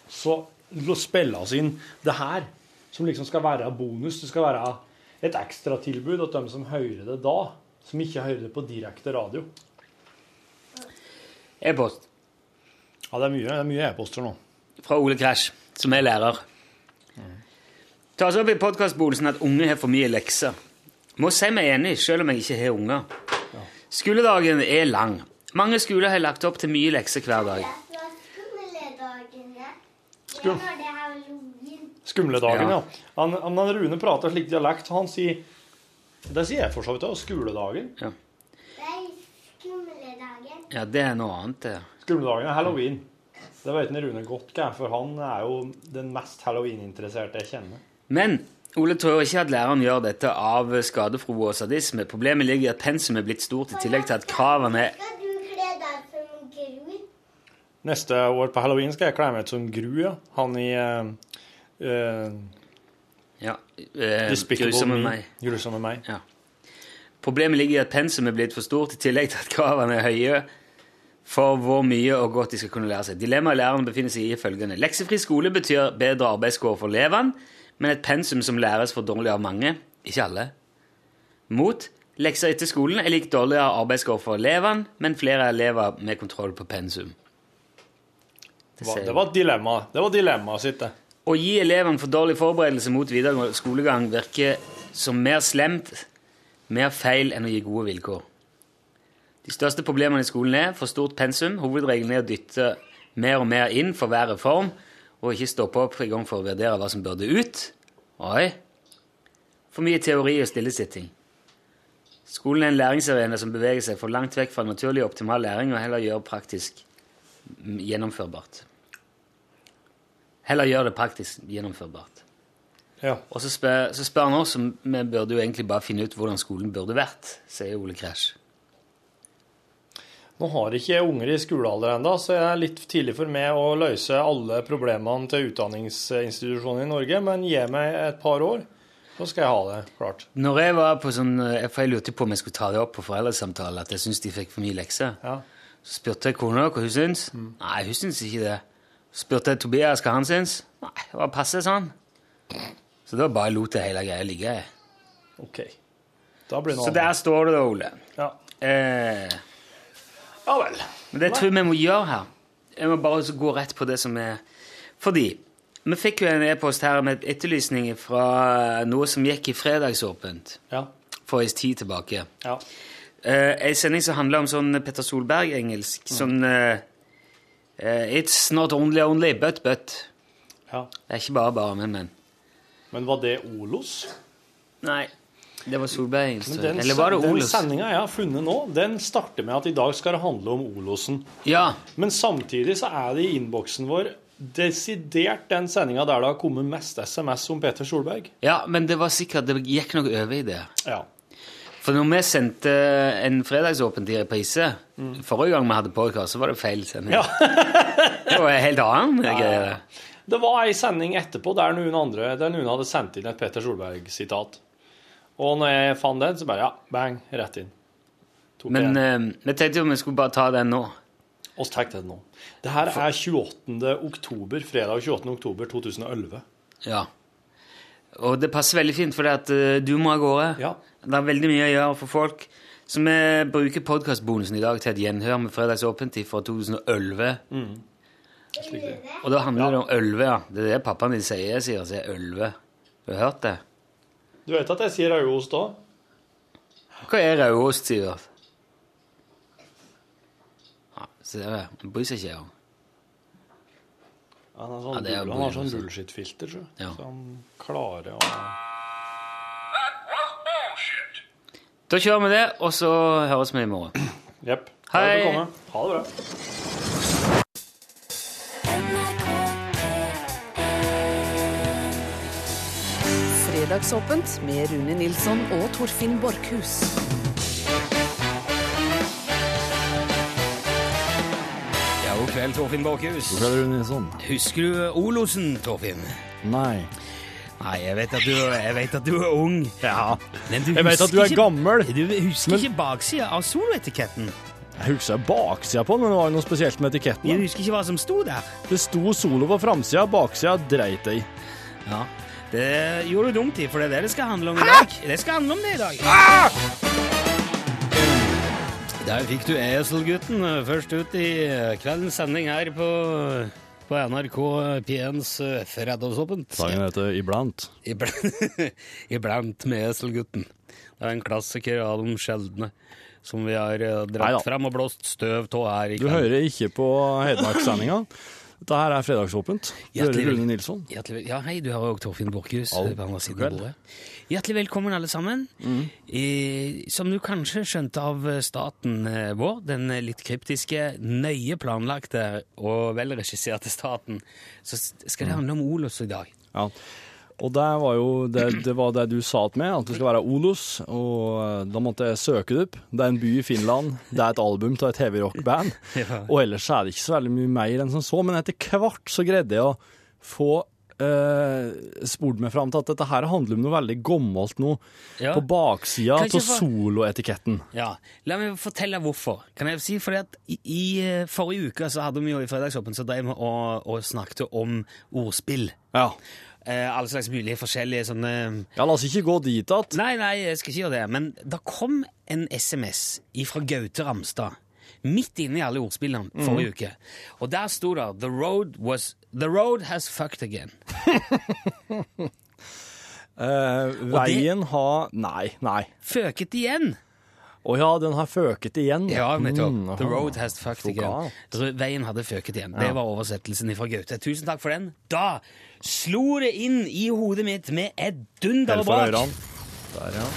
så lo- spiller oss inn det her, som liksom skal være bonus. Det skal være et ekstratilbud til dem som hører det da, som ikke hører det på direkte radio.
E-post
Ja, det er mye det er mye e-poster nå.
fra Ole Crash, som er lærer. Tas opp i podkastbonusen at unge har for mye lekser. Må si meg enig, selv om jeg ikke har unger. Skoledagen er lang. Mange skoler har lagt opp til mye lekser hver dag.
Skum- Skumledagen, ja.
Ja.
Han, han, han Rune prater slik dialekt. Han sier Det sier jeg for så vidt òg. Skuledagen.
Ja. ja, det er noe annet, det.
Skumledagen er halloween. Det vet en Rune godt, hva, for han er jo den mest halloween-interesserte jeg kjenner.
Men Ole tror ikke at læreren gjør dette av skadefro og sadisme. Problemet ligger i at pensum er blitt stort, i tillegg til at kravene er
Skal du kle deg som en gru?
Neste år på halloween skal jeg kle meg ut som Gru, ja. Han i eh, eh,
ja, eh,
Despicable
grusomme
Me.
meg.
Grusomme meg.
Problemet ligger i at pensum er blitt for stort, i tillegg til at kravene er høye for hvor mye og godt de skal kunne lære seg. Dilemmaet læreren befinner seg i er følgende. Leksefri skole betyr bedre arbeidskår for elevene, men et pensum som læres for dårlig av mange, ikke alle, mot lekser etter skolen er lik dårligere arbeidskår for elevene, men flere elever med kontroll på pensum. Det
Hva-
sier-
Det var dilemmaet. Det var dilemmaet sitt, det.
Å gi elevene for dårlig forberedelse mot videregående skolegang virker som mer slemt, mer feil enn å gi gode vilkår. De største problemene i skolen er for stort pensum, hovedregelen er å dytte mer og mer inn for hver reform, og ikke stoppe opp i gang for å vurdere hva som burde ut. Oi. For mye teori og stillesitting. Skolen er en læringsarena som beveger seg for langt vekk fra naturlig og optimal læring, og heller gjør praktisk mm, gjennomførbart. Heller gjør det praktisk gjennomførbart.
Ja.
Og så spør, så spør han oss om vi burde jo egentlig bare finne ut hvordan skolen burde vært, sier Ole Crash.
Nå har ikke jeg unger i skolealder ennå, så det er litt tidlig for meg å løse alle problemene til utdanningsinstitusjonene i Norge, men gi meg et par år, så skal jeg ha det klart.
Når jeg var på sånn, eh, for jeg lurte på om jeg skulle ta det opp på foreldresamtale, at jeg syntes de fikk for mye lekser,
Ja.
så spurte jeg kona hva hun syntes. Nei, hun syntes ikke det. Så spurte jeg Tobias hva han syntes. Nei, det var passe sånn. Så da bare lot jeg hele greia ligge. jeg.
OK.
Da blir det noe
Så der står det da, Ole.
Ja.
Eh,
Ja vel.
men det tror jeg vi må gjøre her. Jeg må bare så gå rett på det som er Fordi vi fikk jo en e-post her med etterlysning fra noe som gikk i fredagsåpent
Ja.
for en tid tilbake.
ja.
Eh, en sending som handla om sånn Petter Solberg-engelsk.
Mm.
Sånn eh, eh, It's not only only, but but.
ja.
Det er ikke bare bare, men, men.
Men var det Olos?
Nei. Det var Solberg-engelsk.
Men
tror jeg.
den,
Eller var det
den
Olos?
sendinga jeg har funnet nå, den starter med at i dag skal det handle om Olosen.
Ja.
Men samtidig så er det i innboksen vår desidert den sendinga der det har kommet mest SMS om Peter Solberg.
ja, men det var sikkert Det gikk noe over i det.
Ja.
For når vi sendte en fredagsåpen i reprise forrige gang vi hadde podkast, så var det feil sending.
Ja.
*laughs* det var en helt annen greie.
Det var ei sending etterpå der noen, andre, der noen hadde sendt inn et Peter Solberg-sitat. Og når jeg fant den, så bare ja, bang, rett inn. Tok
Men
jeg den.
eh, vi tenkte jo vi skulle bare ta den nå.
Og så tenkte jeg det nå. Det her er 28. oktober, fredag 28. oktober 2011.
Ja. Og det passer veldig fint, for du må av gårde.
Ja.
Det er veldig mye å gjøre for folk. Så vi bruker podkastbonusen i dag til et gjenhør med Fredagsåpent i fra 2011. Og da handler det om ølve, ja. Det er det pappaen din sier, sier han sier ølve. Du har hørt det?
Du vet at jeg sier rødost òg?
Hva er rødost, Sivert? Ja, ser jeg. Han bryr seg ikke om.
Han har
Ja,
sånn,
det er
bull- han har sånn
bullshit.
bullshit-filter, så.
Ja.
så han klarer å
Da kjører vi det, og så høres vi i morgen.
Jepp.
Hei.
Velbekomme. Ha det bra.
Fredagsåpent med Rune Nilsson og Torfinn Borkhus.
Ja, god kveld, Torfinn Borkhus.
Hva er det, Rune Nilsson?
Husker du Olosen, Torfinn?
Nei.
Nei, jeg vet at du, jeg vet at du er ung.
Ja.
Men du
Jeg vet at du er gammel.
Du husker ikke baksida av soloetiketten.
Jeg husker baksida på den, men det var jo noe spesielt med
Du
etiketten.
husker ikke hva som sto der.
Det sto solo på framsida, baksida dreit jeg i.
Ja, Det gjorde du dumt i, for det er det det skal handle om i dag. Det skal handle om det i dag. Der fikk du Eselgutten eh, først ut i eh, kveldens sending her på, på NRK P1s eh, Fredagsåpent.
Sangen heter Iblant.
*laughs* Iblant, iblant med Eselgutten. Det er en klassiker av de sjeldne som vi har eh, dratt
Neida.
fram og blåst støv av her i
Du hører ikke på Hedmarkssendinga. Dette her er Fredagsåpent. Du
Hjertelig
hører
vel-
Rune Nilsson.
Hjertelig, vel- ja, hei, du hører også Torfinn Borkhus
Au,
eh, på andre siden
god
av
kveld. Mm.
bordet. Hjertelig velkommen, alle sammen. Eh, som du kanskje skjønte av eh, staten eh, vår, den eh, litt kryptiske, nøye planlagte og velregisserte staten, så s- skal det
Mm.
handle om Olos i dag.
Ja. Og det var jo det, det, var det du sa til meg, at det skal være Olos. Og eh, da måtte jeg søke det opp. Det er en by i Finland. Det er et album av et heavy rock-band.
*laughs* Ja.
Og ellers er det ikke så veldig mye mer enn som så. Men etter hvert så greide jeg å få eh, spurt meg fram til at dette her handler om noe veldig gammelt nå.
Ja.
På baksida
Kanskje
av
for-
soloetiketten.
Ja, La meg fortelle hvorfor. Kan jeg si, fordi at I, i eh, forrige uke så hadde vi jo i Fredagsåpen så drev vi og, og snakket om ordspill.
Ja.
Eh, alle slags mulige forskjellige sånne
ja, la oss ikke gå dit at
Nei, nei, jeg skal ikke gjøre det. Men da kom en SMS fra Gaute Ramstad. Midt inne i alle ordspillene
Mhm.
forrige uke. Og der sto det The road, was, the road has fucked again.
*laughs* eh, Veien har Nei, nei.
Føket igjen!
Å ja, den har føket igjen.
Ja, nettopp.
Mm,
The
aha.
road has fucked
Så
again.
galt.
Ru- Veien hadde føket igjen. Det var oversettelsen fra Gaute. Tusen takk for den. Da slo det inn i hodet mitt med et dunder og
Helt
brak.
for ørene. Der, ja.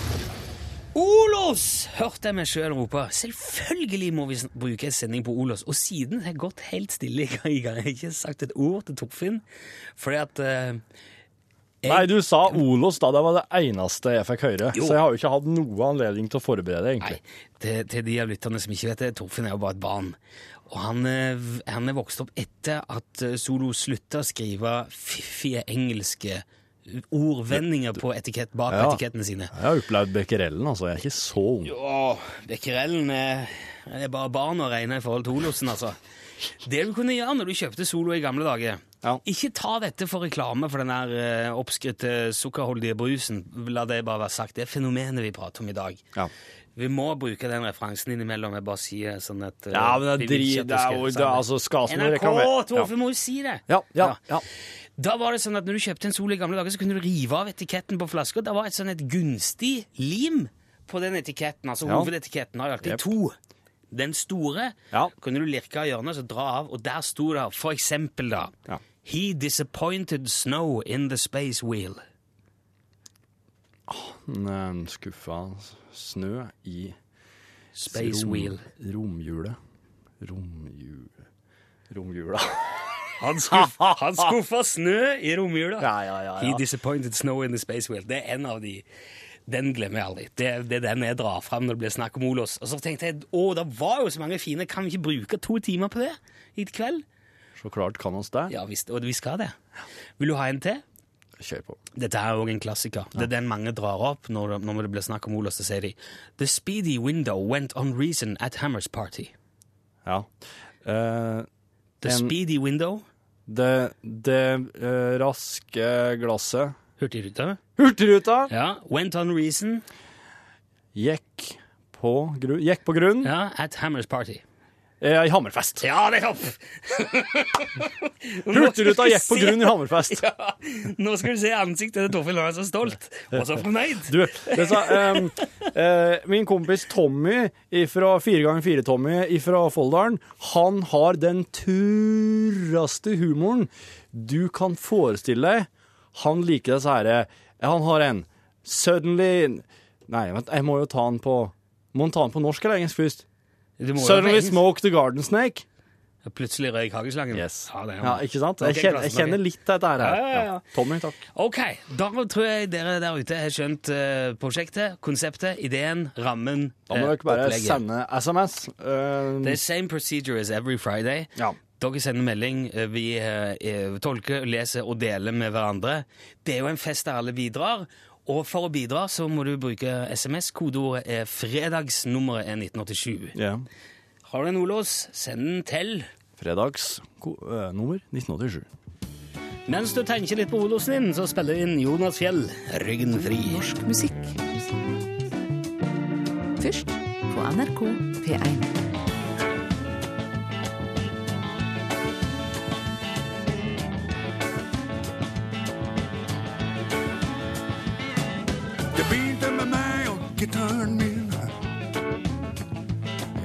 Olos! Hørte jeg meg sjøl rope. Selvfølgelig må vi sn- bruke en sending på Olos. Og siden har jeg gått helt stille i gang. i gang. Jeg har ikke sagt et ord til Torfinn. Fordi at eh,
Nei, du sa Olos da. Det var det eneste jeg fikk høre.
Jo.
Så jeg har jo ikke hatt noe anledning til å forberede,
Nei,
egentlig.
til, til de av lytterne som ikke vet det, Torfinn er jo bare et barn. Og han, eh, v- han er vokst opp etter at eh, Solo slutta å skrive fiffige engelske ordvendinger på etikett, bak
Ja.
etikettene sine.
Jeg har opplevd Becquerelen, altså. Jeg er ikke så ung.
Åh, Becquerelen er, er bare barn å regne i forhold til Olosen, altså. Det du kunne gjøre når du kjøpte Solo i gamle dager Ikke ta dette for reklame for den der eh, oppskrytte sukkerholdige brusen. La det bare være sagt. Det er fenomenet vi prater om i dag. Vi må bruke den referansen innimellom. Jeg bare sier sånn at eh,
Ja, men
vi
det
vil
dri-
ikke at
det er
skal
jo- det er
sammen.
altså skasen med
NRK,
reklame.
Torfinn
Ja.
må jo si det! Da var det sånn at når du kjøpte en Solo i gamle dager, så kunne du rive av etiketten på flaska. Da var et sånn et gunstig lim på den etiketten. Altså
Ja.
hovedetiketten har jo alltid
Jep.
to. Den store kunne du lirke av hjørnet og dra av, og der sto det for eksempel da He disappointed snow in the space wheel.
En skuffa snø i
Space wheel.
Romhjulet. Romhjul... *laughs* Romjula.
Han skuffa, han skuffa snø i romjula.
Ah. ja.
He disappointed snow in the space wheel. Det er en av de. Den glemmer jeg aldri. Det, det er den jeg drar fram når det blir snakk om Olos. Og så tenkte jeg å, det var jo så mange fine, kan vi ikke bruke to timer på det i kveld?
Så klart kan oss det.
Ja visst, og vi skal det. Vil du ha en til?
Kjør på.
Dette er òg en klassiker. Det er den mange drar opp når, når det blir snakk om Olos. Så sier de The speedy window went on reason at Hammers party.
Ja. Eh,
The
en-
speedy window
Det, det eh, raske glasset
Hurtigruta.
Hurtigruta
Ja, went on reason
gikk på, gru, gikk på grunn
ja, at Hammers party.
eh, i Hammerfest.
Ja, nettopp!
Hurtigruta gikk
*laughs*
på grunn i Hammerfest.
Ja, nå skal du se ansiktet til Torfinn. Han er så stolt og så fornøyd.
Du, det sa, ehm, eh, min kompis Tommy fra 4x4-Tommy fra Folldalen, han har den turraste humoren du kan forestille deg. Han liker disse herre Han har en Suddenly Nei, vent, jeg må jo ta den på Må den ta den på norsk eller engelsk først?
Du må jo på
Suddenly
engelsk.
smoke the garden snake.
Plutselig røyk hageslangen. Ja, det er
Ja, ikke sant? Jeg
Ok,
kjenner, jeg kjenner litt dette her.
Ja, ja, ja.
Tommy, takk.
Ok, da tror jeg dere der ute har skjønt eh, prosjektet, konseptet, ideen, rammen,
Da må
eh,
dere bare
opplegget.
sende SMS. ehm,
The same procedure as every Friday. Dere sender melding, eh, vi eh, eh, tolker, leser og deler med hverandre. Det er jo en fest der alle bidrar, og for å bidra så må du bruke SMS. Kodeordet er fredagsnummeret er 1987.
ja.
Har du en ordlås, send den til.
Fredags ko- eh, nummer 1987.
Mens du tenker litt på ordlåsen din, så spiller vi inn Jonas Fjell, Ryggen fri. Norsk musikk.
Først på NRK P1.
Jeg begynte med meg og gitaren min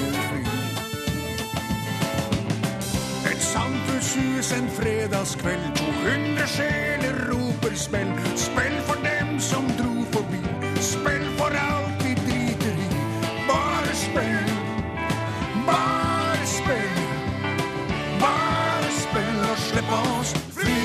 fri. Et samfunnshus en fredagskveld. 200 sjeler roper spill. Spill for dem som dro forbi. Spill for alt vi driter i. Bare spill. Bare spill. Bare spill og slipp oss fri.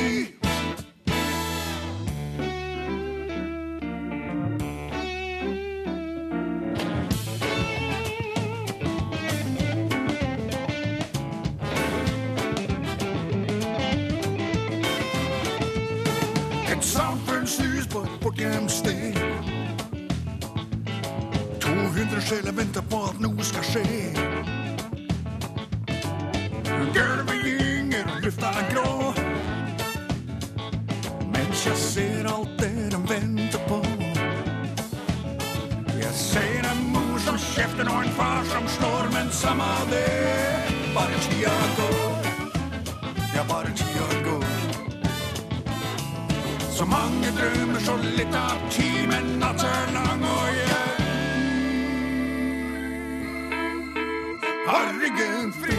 Et samfunnshus på et bortgjemsted. 200 sjeler venter på at noe skal skje. Gulvet gynger, og lufta er grå. Mens jeg ser alt det de venter på. Jeg ser en mor som kjefter og en far som slår, men samme det, bare tida går. Ja, bare tida går. Så
mange drømmer, så litt av timen natt er lang, og jeg har ryggen fri.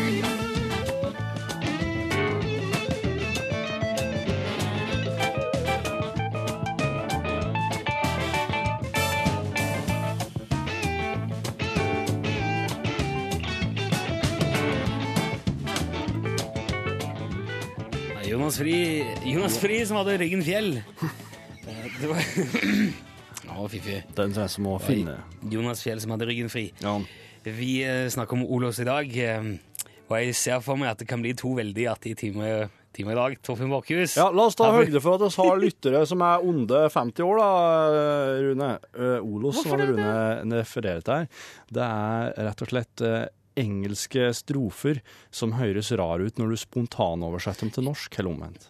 Ja, Jonas Fri, Jonas Fri som hadde ryggen fjell. Eh, Det var *clears throat* Å, fy fy.
Den som er som å finne.
Jonas Fjell som hadde ryggen fri. Vi eh, snakker om Olås i dag, eh, og jeg ser for meg at det kan bli to veldig artige timer timer i dag. Torfinn Borchhus.
Ja, la oss ta
Har vi-
høyde for at vi har lyttere som er onde 50 år, da, Rune. Eh, Olos, som
Hvorfor det,
Rune refererer til her, det er rett og slett eh, engelske strofer som høres rar ut når du spontanoversetter dem til norsk, eller omvendt.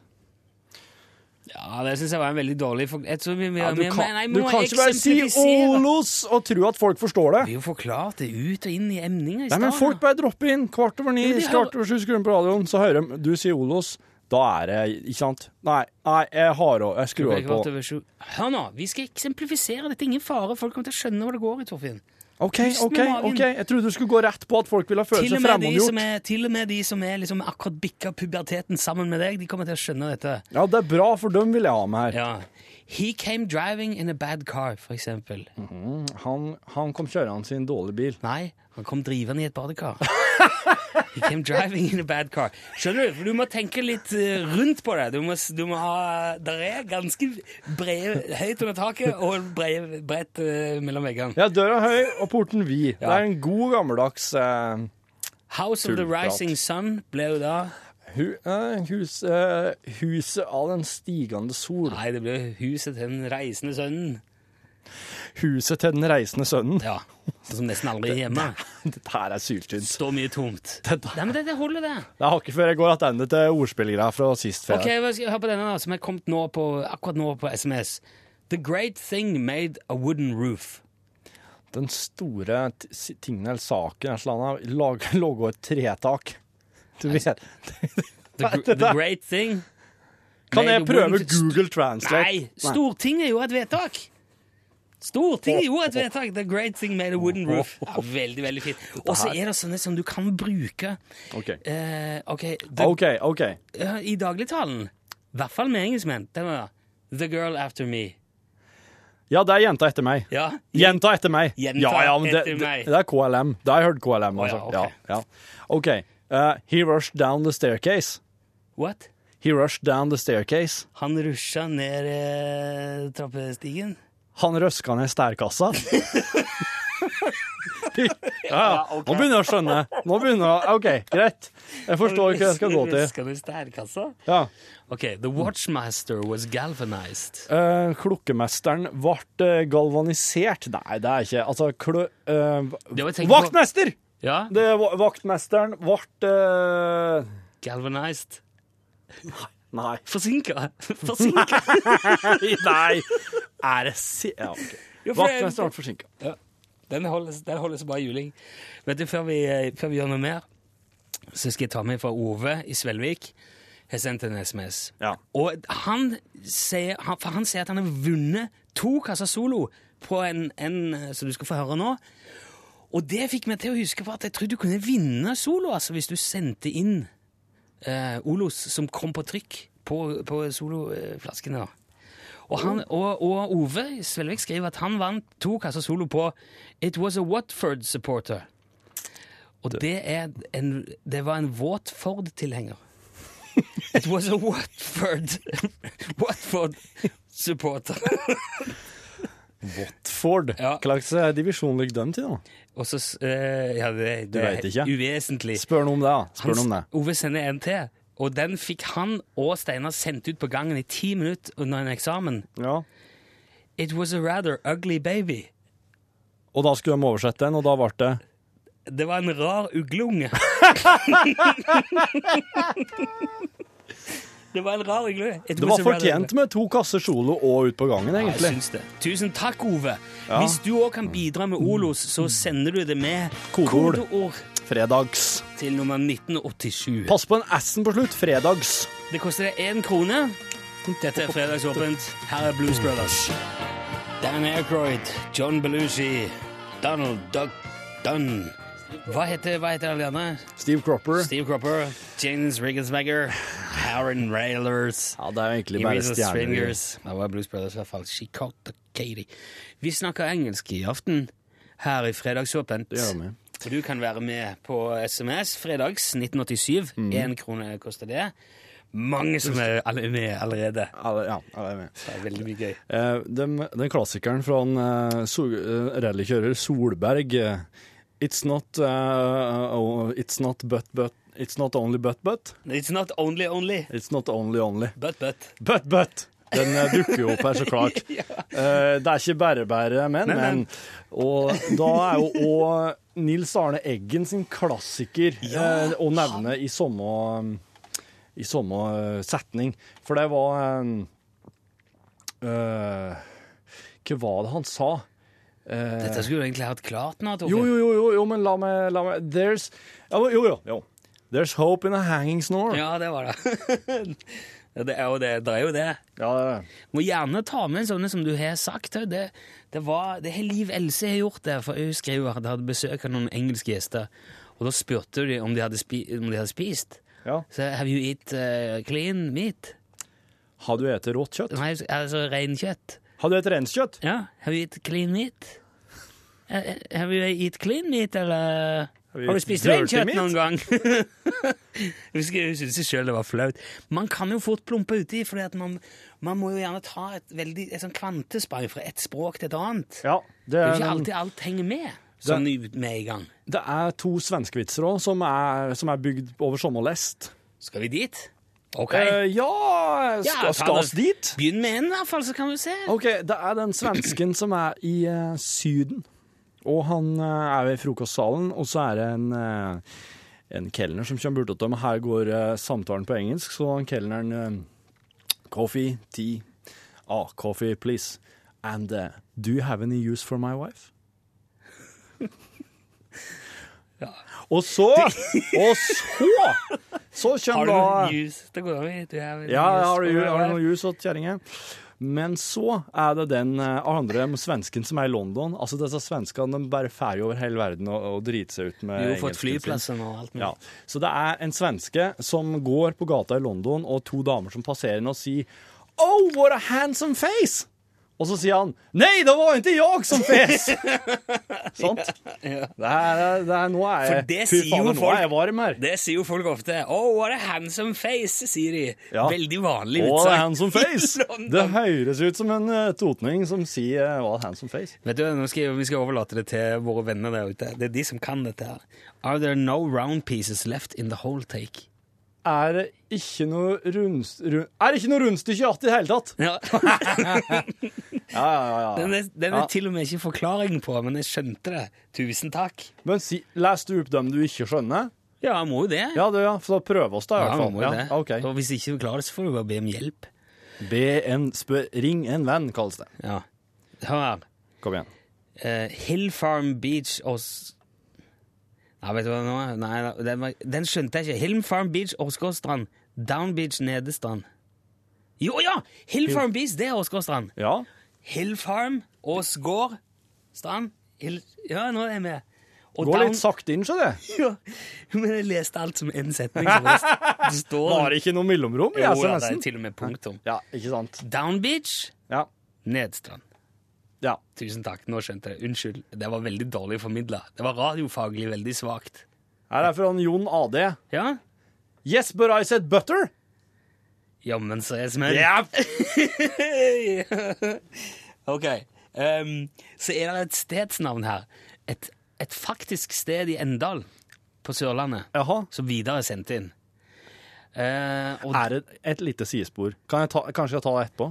Ja, det syns jeg var en veldig dårlig for... Jeg tror vi, vi,
Ja, du
vi-
kan,
nei, vi
du
må
kan ikke bare si
eksemplifisere.
Olos og tro at folk forstår det.
Vi har jo forklart det ut og inn i emninga i
Nei, men folk bare dropper inn. Kvart over ni,
Jo, de har-
kvart over sju skrur de på radioen, så hører de du sier Olos. Da er det Ikke sant? Nei, nei jeg har òg Jeg skrur
Klokka er
på.
kvart over sju. Hør nå, vi skal eksemplifisere dette. Ingen fare, folk kommer til å skjønne hva det går i, Torfinn.
OK,
Pust med
OK.
magen.
ok Jeg trodde du skulle gå rett på at folk ville føle
Til og
seg
med de som
fremmedgjort.
er, til og med de som er liksom akkurat bikka puberteten sammen med deg, de kommer til å skjønne dette.
Ja, det er bra, for dem vil jeg ha med her.
He came driving in a bad car, for eksempel.
han, han kom kjørende i en dårlig bil.
Nei, han kom drivende i et badekar. He came driving in a bad car. Skjønner du? For du må tenke litt eh, rundt på det. Du må, s- du må ha Der er ganske brede, høyt under taket og brede, bredt eh, mellom veggene.
Ja, døra høy og porten vid. Det er en god, gammeldags eh,
House of the
Tullprat.
Rising Sun ble jo da
hu, eh, hus, eh, Huset av den stigende sol.
Nei, det ble Huset til den reisende sønnen.
Huset til den reisende sønnen. *laughs*
Ja, sånn Som nesten aldri er hjemme.
Dette her er syltynt.
Står mye tomt.
Dette-
Nei, men dette holder, det.
Det er hakket før jeg går tilbake til ordspillgreier fra sist
Ok,
fredag.
hva skal jeg høre på denne da, som er kommet nå på, akkurat nå på SMS. The great thing made a wooden roof.
Den store t- si- tingen eller saken eller noe annet lag- *laughs* lå et tretak. Du vet
The, gr- the great thing
Kan
made
jeg
a
prøve
wooden-
Google Translate?
Nei, Stortinget gjorde et vedtak. Stortinget gjorde et vedtak. The great thing made a wooden roof. Ja, veldig, veldig fint. Og så er det sånne som du kan bruke.
OK. Ah,
Eh, ok, the,
OK. ok.
Ja, I dagligtalen, i hvert fall med engelskmenn, det var The girl after me.
Ja, det er jenta etter meg.
Ja.
Jenta etter meg.
Jenta
ja, ja, men det,
etter meg.
det, det er KLM. Da har jeg hørt KLM.
Å,
Altså.
ja, ok.
ja, ja. OK. Eh, he rushed down the staircase.
What?
He rushed down the staircase.
Han rusja ned eh, trappestigen.
Han røska ned stærkassa. *laughs* ja, ja. Nå begynner jeg å skjønne. Nå begynner jeg, OK, greit. Jeg forstår hva jeg skal gå til.
Ruska ned stærkassa?
Ja.
Ok, The Watchmaster was galvanized.
Eh, klokkemesteren ble eh, galvanisert. Nei, det er ikke Altså, klø... eh,
Det var jeg tenkte på.
vaktmester!
Ja,
Det var, vaktmesteren ble eh,
galvanized.
Nei. *laughs*
*laughs* Forsinka! Forsinka!
Nei, nei. Er det si... Ja, OK.
Jo, for jeg-
Vaktmesteren ble forsinka.
Ja, den holdes, den holdes bare juling. Vet du, før vi, eh, før vi gjør noe mer, så skal jeg ta med fra Ove i Svelvik. Jeg har sendt en SMS. Og han sier, han, for han sier at han har vunnet to kasser solo på en, en eh, som du skal få høre nå. Og det fikk meg til å huske på at jeg trodde du kunne vinne solo, altså, hvis du sendte inn eh, Olos som kom på trykk på, på soloflaskene. da. Og, han, og, og Ove Svelvik skriver at han vant to kasser solo på It Was a Watford Supporter. Og det, er en, det var en Watford-tilhenger. It was a Watford *laughs* Watford supporter.
Watford. Hva slags eh, divisjon ligger de til, da?
Og så s- eh, Ja, det,
Du
det
vet ikke.
er uvesentlig.
Spør noe om det, da. Spør
Han-
noe om det.
Ove sender en til, og den fikk han og Steinar sendt ut på gangen i ti minutter under en eksamen. It was a rather ugly baby.
Og da skulle de oversette den, og da ble det
Det var en rar uglunge. det var en rar uglunge. It
Det
was
var
a rather-
fortjent med to kasser solo og ut på gangen,
Ja, jeg
egentlig.
syns det. Tusen takk, Ove.
Ja.
Hvis du òg kan bidra med Olos, så sender du det med
Kodeord.
kodeord
Fredags.
til nummer 1987.
Pass på en S-en på slutt. Fredags.
Det koster deg én krone. Dette er Fredagsåpent. Her er Blues Brothers. Dan Aykroyd, John Belushi, Donald Duck Dunn. Hva heter, hva heter alle de andre?
Steve Cropper.
Steve Cropper, James Riggensmagger, Aaron Railers
Ja, det er jo egentlig bare
Ebenezer
stjerner.
Stringers. Det var Blues Brothers i hvert fall. She caught the Katie. Vi snakker engelsk i aften her i Fredagsåpent.
Det gjør vi.
Og du kan være med på SMS fredags 1987.
Mm.
Én krone koster det. Mange som er alle med allerede.
ja, alle er med.
Det er veldig mye gøy.
Eh, den, den klassikeren fra en eh, sol, eh, rallykjører Solberg eh, It's not eh, oh, It's not but but It's not only but but
It's not only only
It's not only only
But but
But but Den eh, dukker jo opp her så *laughs* klart Eh, Det er ikke bare bare men,
Nei, nei.
men Og da er jo også Nils Arne Eggen sin klassiker eh, Å nevne i samme I samme eh, setning For det var eh, eh, Hva var det han sa? Eh,
Dette skulle du egentlig hatt klart nå, Torfinn.
jo, jo, jo, jo, jo, men la meg, la meg There's Jo, jo, jo, jo. There's hope in a hanging snore.
Ja, det *laughs* var det. Ja, det er jo det. Det er jo det. Må gjerne ta med sånne som du har sagt. Det, det, var, det har Liv Else har gjort det, for hun skrev at hun hadde besøk av noen engelske gjester, og da spurte de om de hadde, spi, om de hadde spist. Så have you eat eh, clean meat?
Har du spist rått kjøtt?
Nei, altså reinkjøtt.
Har du spist renskjøtt?
Ja. Have you eat clean meat? Eh, eh, Have you eat clean meat, eller
you
Har du
eat
spist
dirty
reinkjøtt
meat?
noen gang? *laughs* Hun syntes sjøl det var flaut. Man kan jo fort plumpe uti, for man, man må jo gjerne ta et, veldig, et sånn kvantesprang fra et språk til et annet. det, er jo ikke alltid alt henger med sånn i- med en gang.
Det er to svenskevitser òg, som, er- som er bygd over samme lest.
Skal vi dit? Ok.
Eh, ja Skal
Ja, ta
skal oss
det.
dit?
Begynn med en, i hvert fall, så kan vi se.
OK, det er den svensken som er i eh, Syden. Og han eh, er ved frokostsalen, og så er det en, uh, en kelner som kommer bort til dem. Her går eh, samtalen på engelsk, så han kelneren eh, Coffee, tea. Ah, coffee, please. And eh, do you have any use for my wife? Og
*laughs*
så Og så! Så
Har
kommer
du
da
noen juice? Det går an. du har vel
ja,
juice
har
på
du, har
deg?
du noe jus åt kjerringa? Men så er det den eh, andre svensken som er i London. Altså disse svenskene de bare ferdig over hele verden og, og driter seg ut med
Vi har jo fått
engelsken sin.
flyplassen og alt mulig.
Ja. Så det er en svenske som går på gata i London, og to damer som passerer henne og sier Oh, what a handsome face! Og så sier han Nei, det var ikke jeg som
*laughs*
fes! Sant? Det er, det er, nå er
For
jeg
det
Fy
sier
faen,
jo
nå er jeg
folk Det sier jo folk ofte. Oh, what a handsome face, sier de. Veldig vanlig
Å,
utsagn. *laughs*
handsome face! Det høres ut som en eh, totning som sier eh, hva handsome face.
Vet du, nå skal, Vi skal overlate det til våre venner der ute. Det er de som kan dette. her. Are there no round pieces left in the whole take?
Er det ikke noe rundst... Rund, er det ikke noe rundstykke igjen i det hele tatt?
Ja. *laughs*
ja, ja, ja.
Den er, den er
Ja.
til og med ikke forklaring på, men jeg skjønte det. Tusen takk.
*laughs* Men si, les du opp dem du ikke skjønner?
Ja, jeg må jo det.
Ja, det, ja. For da prøver oss da, i
Ja,
hvert
man
fall.
må jo det.
ja, ok.
Og hvis ikke du klarer det, så får du bare be om hjelp.
Be en, spør, ring en venn, kalles det.
Ja. Hør her.
Kom igjen.
Eh, Hill Farm Beach Os... Nei, vet du hva nå? er? Nei, nei, den, var, den skjønte jeg ikke. Hill Farm Beach Åsgårdstrand. Down Beach Nedestrand. Jo, ja! Hill Farm Beach, det er Åsgårdstrand.
Ja.
Hill Farm, Åsgård, strand. Hill, ja, nå er jeg med. Og
Gå
down- *laughs*
litt sånn. sakte inn, så det.
Ja, men jeg leste alt som en setning. Så det
*laughs*
st- står
Var det ikke noe mellomrom i sånn,
Jo, da, det
SMS-en?
er til og med punktum.
Ja, ikke sant.
Down Beach,
Ja.
Nedstrand.
Ja.
Tusen takk, nå skjønte jeg. Unnskyld, det var veldig dårlig formidla. Det var radiofaglig veldig svakt.
Her er fra en Jon AD.
Ja?
Yes, but I said butter.
Jammen så jeg smell. *laughs* ok. ehm, så er det et stedsnavn her. Et, et faktisk sted i Endal på Sørlandet som videre er sendt inn. Eh,
er det et lite sidespor? Kan jeg ta, kanskje jeg tar det etterpå?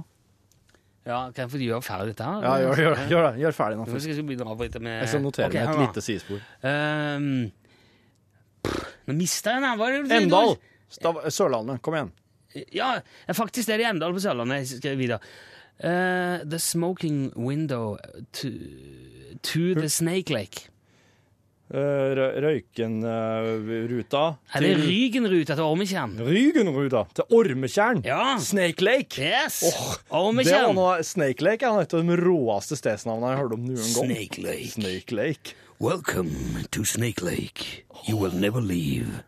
Ja, Kan jeg få gjøre ferdig dette? her?
Ja, gjør, gjør, gjør det. Gjør ferdig nå
Nå skal
først.
jeg begynne å avbryte med
Jeg skal notere
Ok,
meg
hør
et
nå.
lite sidespor.
Ehm, pff, nå mista jeg den. her. Hva er det du-
Endal! Stav Sørlandet, kom igjen.
Ja, faktisk det er i Endal på Sørlandet. Jeg skal videre. Eh, the smoking window to, to the snake lake.
eh, Rø- eh, Røyken-ruta
Er det Rygenruta til Ormetjern?
Rygenruta til Ormetjern. Snake Lake.
Yes.
det var
Ormetjern.
noe, Snake Lake er et av de råeste stedsnavnene jeg har hørt om noen gang.
Snake Lake.
Snake Lake.
Welcome to Snake Lake. You will never leave.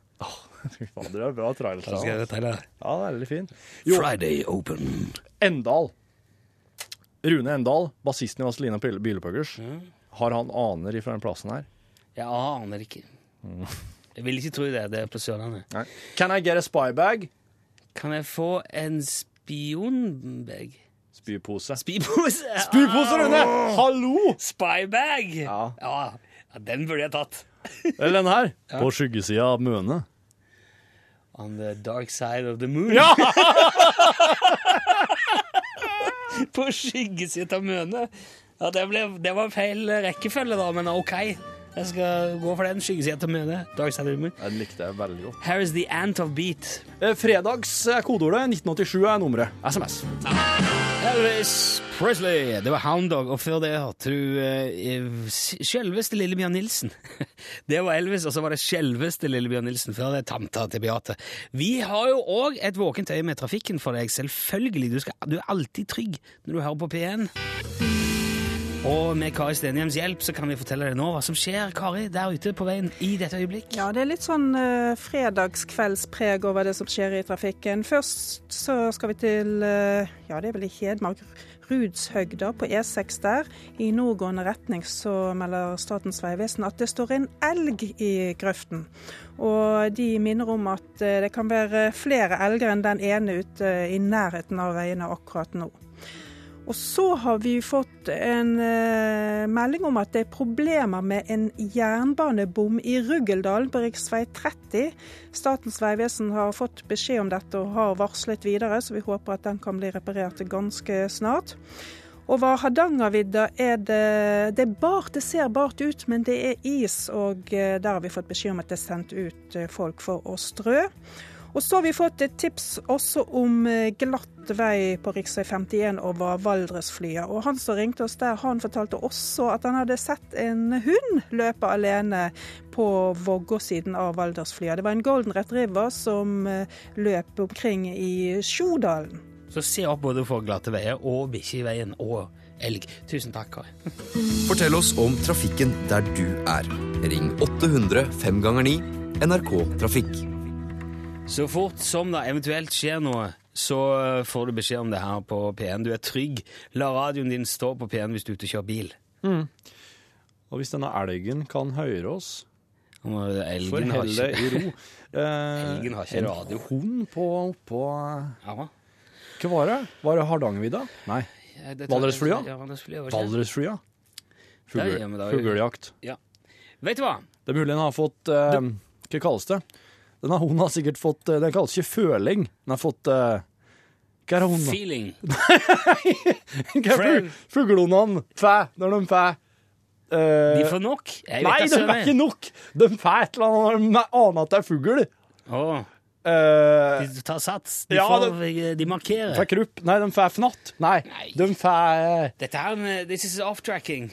Fy fader, det er bra trailer. altså.
Ja, det er bra trailer.
Ja, det er veldig fin.
Friday open.
Endal. Rune Endal, bassisten i Vazelina Bilepuggers. Har han aner ifra den plassen her?
Jeg aner ikke. Jeg vil ikke tro det. Det er på Sørlandet.
Can I get a spy bag?
Kan jeg få en spionbag?
Spypose.
Spypose,
Spypose, Rune! Hallo!
Spybag! Ja. ja. Den burde jeg tatt.
Eller den her?
Ja.
På skyggesida av Møne.
On the dark side of the moon.
Ja!
*laughs* På skyggesiden av Møne. Ja, det, ble, det var feil rekkefølge, da, men OK. Jeg skal gå for den. Skyggesiden av Møne. Dark side of the moon.
Den likte jeg veldig godt.
Here is the ant of beat.
Eh, Fredags eh, kodeordet 1987 er nummeret. SMS.
Elvis Presley, det var Hound Dog, og før det hørte du eh, s- selveste Lillebjørn Nilsen. *laughs* Det var Elvis, og så var det selveste Lillebjørn Nilsen, før det tanta til Beate. Vi har jo òg et våkent øye med trafikken for deg, selvfølgelig. Du, skal, du er alltid trygg når du hører på P1. Og med Kari Stenhjems hjelp så kan vi fortelle deg nå hva som skjer, Kari, der ute på veien i dette øyeblikk.
Ja, det er litt sånn eh, fredagskveldspreg over det som skjer i trafikken. Først så skal vi til, eh, ja det er vel i Hedmark, Rudshøgda på E6 der. I nordgående retning så melder Statens vegvesen at det står en elg i grøften. Og de minner om at eh, det kan være flere elger enn den ene ute eh, i nærheten av veiene akkurat nå. Og så har vi fått en eh, melding om at det er problemer med en jernbanebom i Ruggeldal på rv. 30. Statens vegvesen har fått beskjed om dette og har varslet videre, så vi håper at den kan bli reparert ganske snart. Over Hardangervidda er det, det er bart, det ser bart ut, men det er is. Og eh, der har vi fått beskjed om at det er sendt ut eh, folk for å strø. Og så har vi fått et tips også om eh, glatt vei på rv. 51 over Valdresflya. Og han som ringte oss der, han fortalte også at han hadde sett en hund løpe alene på Vågå-siden av Valdresflya. Det var en golden retriever som eh, løp omkring i Sjodalen.
Så se opp både for glatte veier og bikkje i veien og elg. Tusen takk, Kari.
Fortell oss om trafikken der du er. Ring 800 5 ganger 9 NRK Trafikk.
Så fort som det eventuelt skjer noe, så eh, får du beskjed om det her på P1. Du er trygg. La radioen din stå på P1 hvis du er ute og kjører bil.
Mm. Og hvis denne elgen kan høre oss
elgen
For
har
helle
ikke-
i ro. Eh,
*laughs* Elgen har ikke
en
radio.
Hund på, på eh,
Ja.
Hva var det? Var det Hardangervidda? Nei.
Ja, det tror jeg-
Valdresflya?
ja, Valdresflya var det.
Valdresflya.
Der, ja, men da-
Fugle- Fuglejakt.
Ja. Vet du hva?
Det er mulig den har fått eh, Hva kalles det? Denne hunden har sikkert fått eh, Den kalles ikke føling. Den har fått eh, Hva er hunden?
Feeling.
*laughs* Hva er fu- fuglehundene? Fæ, når de fæ. Eh,
De får nok? Jeg vet
Nei,
da
de
søren.
er ikke nok! De fæ et eller annet når de aner at det er fugl.
de tar sats. De,
ja,
får, eh, de markerer.
Fæ krupp. Nei, de fæ fnatt. Nei, de fæ
Dette her, eh, This is off-tracking.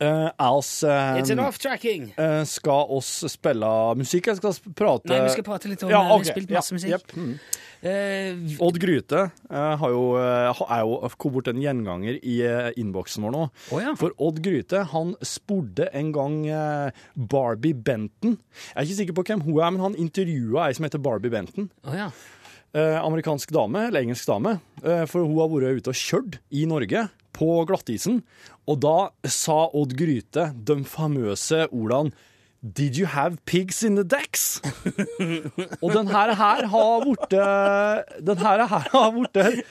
eh, oss, eh,
It's an off-tracking.
eh, Skal oss spille musikk? Jeg skal s- prate
Nei, vi skal prate litt om
ja,
eh, Vi har
ok,
spilt
ja,
masse musikk.
jepp. Mm.
Eh,
Odd Gryte eh, har jo, eh, ha- er jo kom bort en gjenganger i eh, innboksen vår nå. For Odd Gryte han spurte en gang eh, Barbie Benton. Jeg er ikke sikker på hvem hun er, men han intervjua ei som heter Barbie Benton. Eh, amerikansk dame, eller engelsk dame. Eh, for hun har vært ute og kjørt i Norge på glattisen. Og da sa Odd Gryte de famøse ordene Did you have pigs in the
*laughs*
decks? og den her, her har blitt Den her, her har blitt
det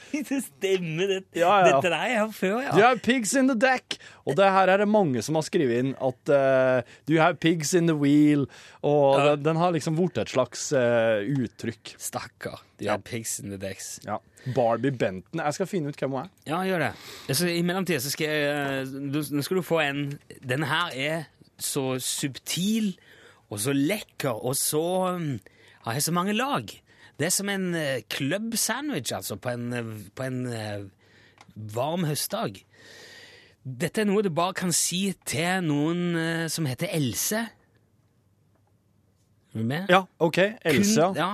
stemmer, det.
ja.
Dette der jeg har før, ja.
Do you have pigs in the deck? Og det her er det mange som har skrevet inn at eh, Do you have pigs in the wheel? Og den, den har liksom blitt et slags eh, uttrykk.
Stakkar. De har pigs in the decks.
Ja. Barbie Benton. Jeg skal finne ut hvem hun er.
Ja, gjør det. Altså, I mellomtida så skal jeg eh, du, Nå skal du få en Den her er så subtil og så lekker og så um, ja, Har så mange lag. Det er som en eh, club sandwich, altså, på en, eh, på en eh, varm høstdag. Dette er noe du bare kan si til noen eh, som heter Else. Er du med?
Ja, OK. Else,
kun, ja.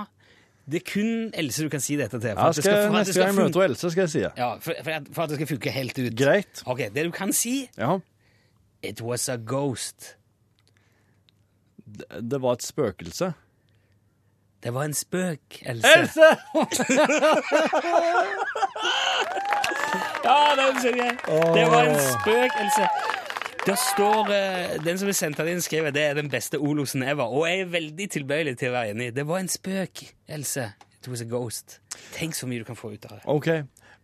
Det er kun Else du kan si dette til.
Ja,
at det for
skal,
at det
neste gang jeg
fun-
møter Else, skal jeg si det.
Ja, for, for, at, for at det skal funke helt ut.
Greit.
Ok, Det du kan si
Ja.
It was a ghost.
Det, det var et spøkelse.
Det var en spøk, Else. *laughs*
Else!
ja, det var så gøy. Det var en spøk, Else. Der står, eh, Den som er sendt av din, skriver det er den beste Olosen ever. Og jeg er veldig tilbøyelig til å være enig. Det var en spøk, Else. It was a ghost. Tenk så mye du kan få ut av det.
OK.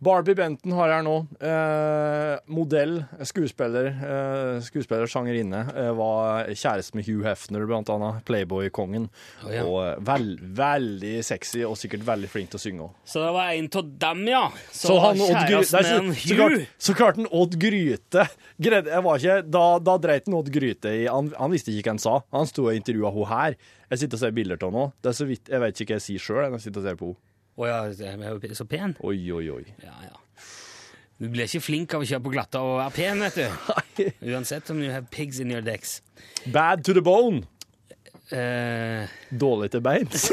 Barbie Benton har jeg her nå. Eh, modell, skuespiller, eh, skuespiller, sangerinne. Eh, var kjæreste med Hugh Hefner, blant annet. Playboy-kongen.
Å, ja.
Og eh, vel, veldig sexy, og sikkert veldig flink til å synge òg.
Så det var en av dem, ja. Så,
Så han Odd Gry-
kjæresten
Nei,
er en
så, så,
Hugh.
klart, så klart han Odd Gryte greide, jeg var ikke, da, da dreit han Odd Gryte i han, han visste ikke hva han sa. Han sto og intervjua hun her. Jeg sitter og ser bilder av henne nå. Det er så vidt, Jeg vet ikke hva jeg sier sjøl når jeg sitter og ser på henne.
Å ja, jeg er jo så pen.
Oi, oi, oi.
Ja, ja. Du blir ikke flink av å kjøre på glatta og være pen, vet *laughs* du. Uansett om du har pigs in your decks.
Bad to the bone.
Eh,
Dårlig til beins.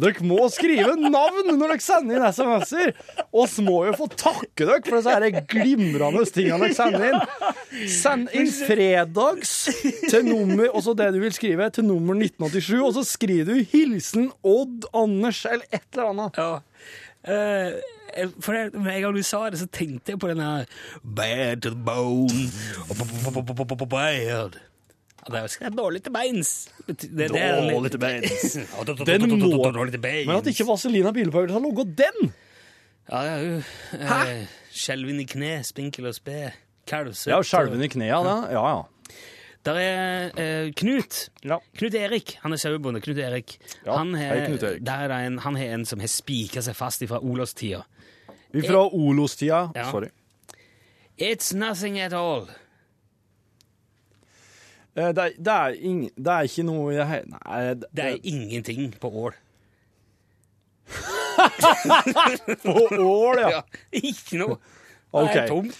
dere må skrive navn når dere sender inn SMS-er! Oss må jo få takke dere for disse her glimrende tingene dere sender inn. Send inn fredags til nummer, og så det du vil skrive, til nummer 1987, og så skriver du 'Hilsen Odd Anders' eller et eller annet.
eh, for det, Med en gang du sa det, så tenkte jeg på den her Bad to the bone og b- b- b- b- b- Bad Ja, Det er jo skrevet dårlig til beins. Det- det- det er-
Dårlig til
*laughs*
beins.
Ja, d- d- d-
Den
d- d-
må
Dårlig til beins.
Men at ikke Vaselina Bilpauler har logget den!
Ja, det er jo eh, Skjelven i kne, spinkel og sped. Kalv,
Det er jo skjelven i knærne, det. Ja, ja.
Der er eh, Knut. Knut Erik. Han er sauebonde. Knut Erik. han har-
hei, Knut Erik.
Der er det en, han har en som har spika seg fast ifra Olavstida.
Fra Olostida.
Ja.
Sorry.
It's nothing at all.
Eh, Det er, det er, ing, det er ikke noe i det hele Nei. Det,
Det er ingenting på ål.
på ål, ja.
*laughs* Ikke noe.
OK.
Det er tomt.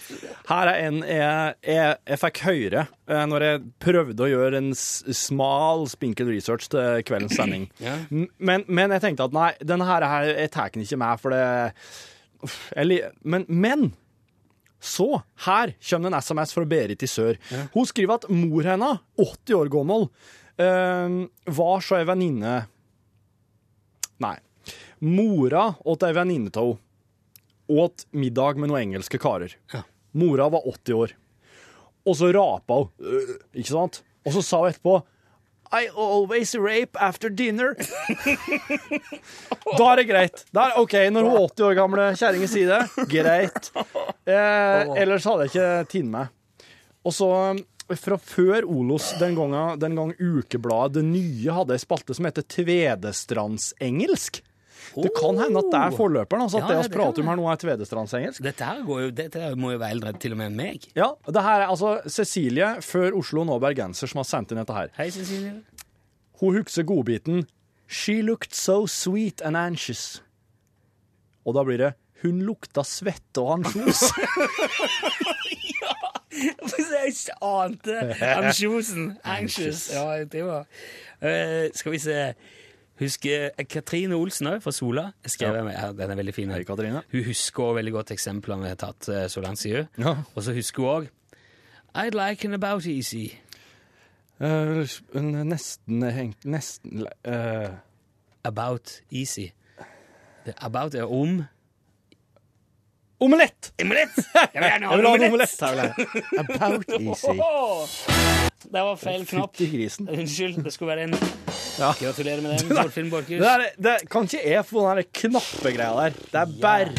Her er en jeg, jeg, jeg fikk høre eh, når jeg prøvde å gjøre en s- smal, spinkel research til kveldens sending.
Ja.
M- Men, men jeg tenkte at nei, denne her, her jeg tar den ikke med, for det Uff, jeg, li- men, men så, her kommer det en SMS fra Berit i sør. Hun skriver at mor henne, 80 år gammel, eh, var så ei venninne Nei. Mora åt ei venninne av henne. Åt middag med noen engelske karer. Mora var 80 år. Og så rapa hun. øh, Ikke sant? Og så sa hun etterpå I always rape after dinner. da er det greit. Da er det OK, når hun 80 år gamle kjerringa sier det. Greit. Eh, ellers hadde jeg ikke tatt med. Og så eh, fra før Olos, den gangen, den gang ukebladet Det Nye hadde ei spalte som heter Tvedestrands-engelsk. Det kan hende at det er forløperen. Altså at
Ja,
det
ja,
vi
det kan
prater om her nå, er Tvedestrands-engelsk.
Dette her går jo, dette her må jo være eldre til og med enn meg.
Ja, det her er altså Cecilie før Oslo, nå bergenser, som har sendt inn dette her.
Hei, Cecilie.
Hun husker godbiten She looked so sweet and anxious. Og da blir det Hun lukta svette og
*laughs*
ansjos.
Jeg ante
*laughs*
ansjosen. Anxious. Ja, det var Eh, Skal vi se Husker eh, Katrine Olsen òg, fra Sola. Jeg skrev med, ja, den er veldig fin. Hun husker også veldig godt eksemplene vi har tatt. eh, så langt siden. Og så husker hun òg I'd like an about easy.
Eh, nesten hengt Nesten eh.
About easy. Det about er om
Omelett! *laughs*
Omelett! Jeg vil gjerne ha
Jeg vil ha en
omelett.
omelett, jeg vil
*laughs*
ha. About easy.
Det var feil knapp.
Fytti grisen.
Unnskyld. Det skulle være en Gratulerer
*laughs*
med den,
Det der-
Torfinn
Det,
Borchhus.
der, det kan ikke jeg få den der knappegreia der. Det er bare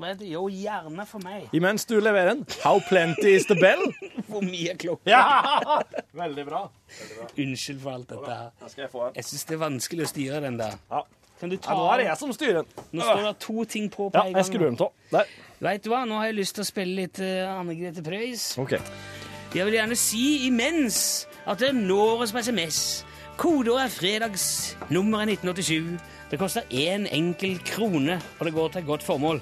Men det er jo gjerne for meg.
Imens du leverer den. How plenty is the bell?
Hvor mye klokka?
Ja! *laughs* Veldig bra.
Unnskyld for alt dette her.
skal jeg få
Jeg syns det er vanskelig å styre den der. Kan du ta
Ja, nå er det jeg som styrer den.
Nå står det to ting på på
Ja,
en gang.
jeg skrur den av. Der.
Vet du hva, nå har jeg lyst til å spille litt eh, Anne Grete Preus.
OK.
Jeg vil gjerne si imens at det når oss på SMS. Kodeordet er fredagsnummeret 1987. Det koster én enkel krone, og det går til et godt formål.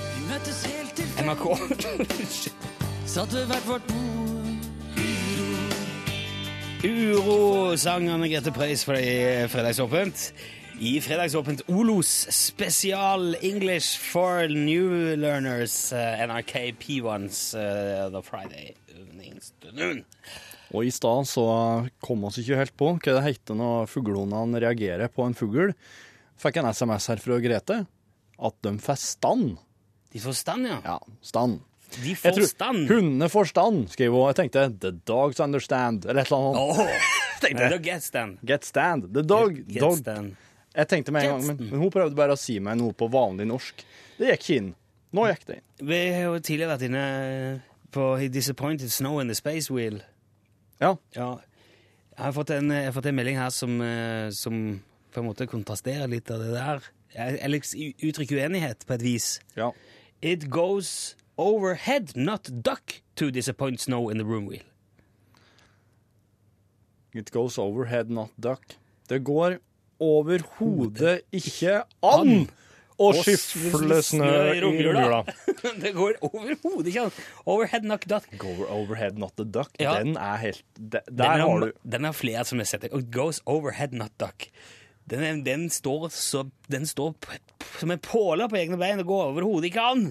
Vi møttes helt
*laughs* NRK. Satt ved hvert vårt bord. Urosang Anne Grete Preus for i Fredagsåpent. I Fredagsåpent Olos spesial English for New Learners eh, NRK P1s eh, The Friday Evenings Afternoon.
Og i stad så kom oss ikke helt på hva det heter når fuglehundene reagerer på en fugl. Fikk en SMS her fra Grete at de får stand.
De får stand, ja?
Ja, stand.
De får
Jeg tror-
stand.
Hundene får stand, skriver hun. Jeg tenkte 'the dogs understand', eller et eller annet.
Åh,
*laughs* tenkte
Men
jeg.
da gets den.
Get stand. The dog.
Get
dog.
stand.
Jeg tenkte med en gang, men, men hun prøvde bare å si meg noe på vanlig norsk. Det gikk ikke inn. Nå gikk det inn.
Vi har jo tidligere vært inne på Disappointed Snow in the Space Wheel.
Ja.
Jeg har fått en, jeg har fått en melding her som, eh, som på en måte kontrasterer litt av det der. Jeg, jeg liks- uttrykker uenighet på et vis. It goes overhead, not duck, to disappoint snow in the room wheel. *laughs*
It goes overhead, not duck. Det går overhodet ikke an å
Og
skifle snø i romjula.
det går overhodet ikke an. Overhead, not duck.
Go overhead, not the duck.
Ja.
Den er helt de, Der
Den
har du
Den har flere som er sett. It goes overhead, not duck. Den, er- den står, så, den står p- p- som en påle på egne bein. Det går overhodet ikke an.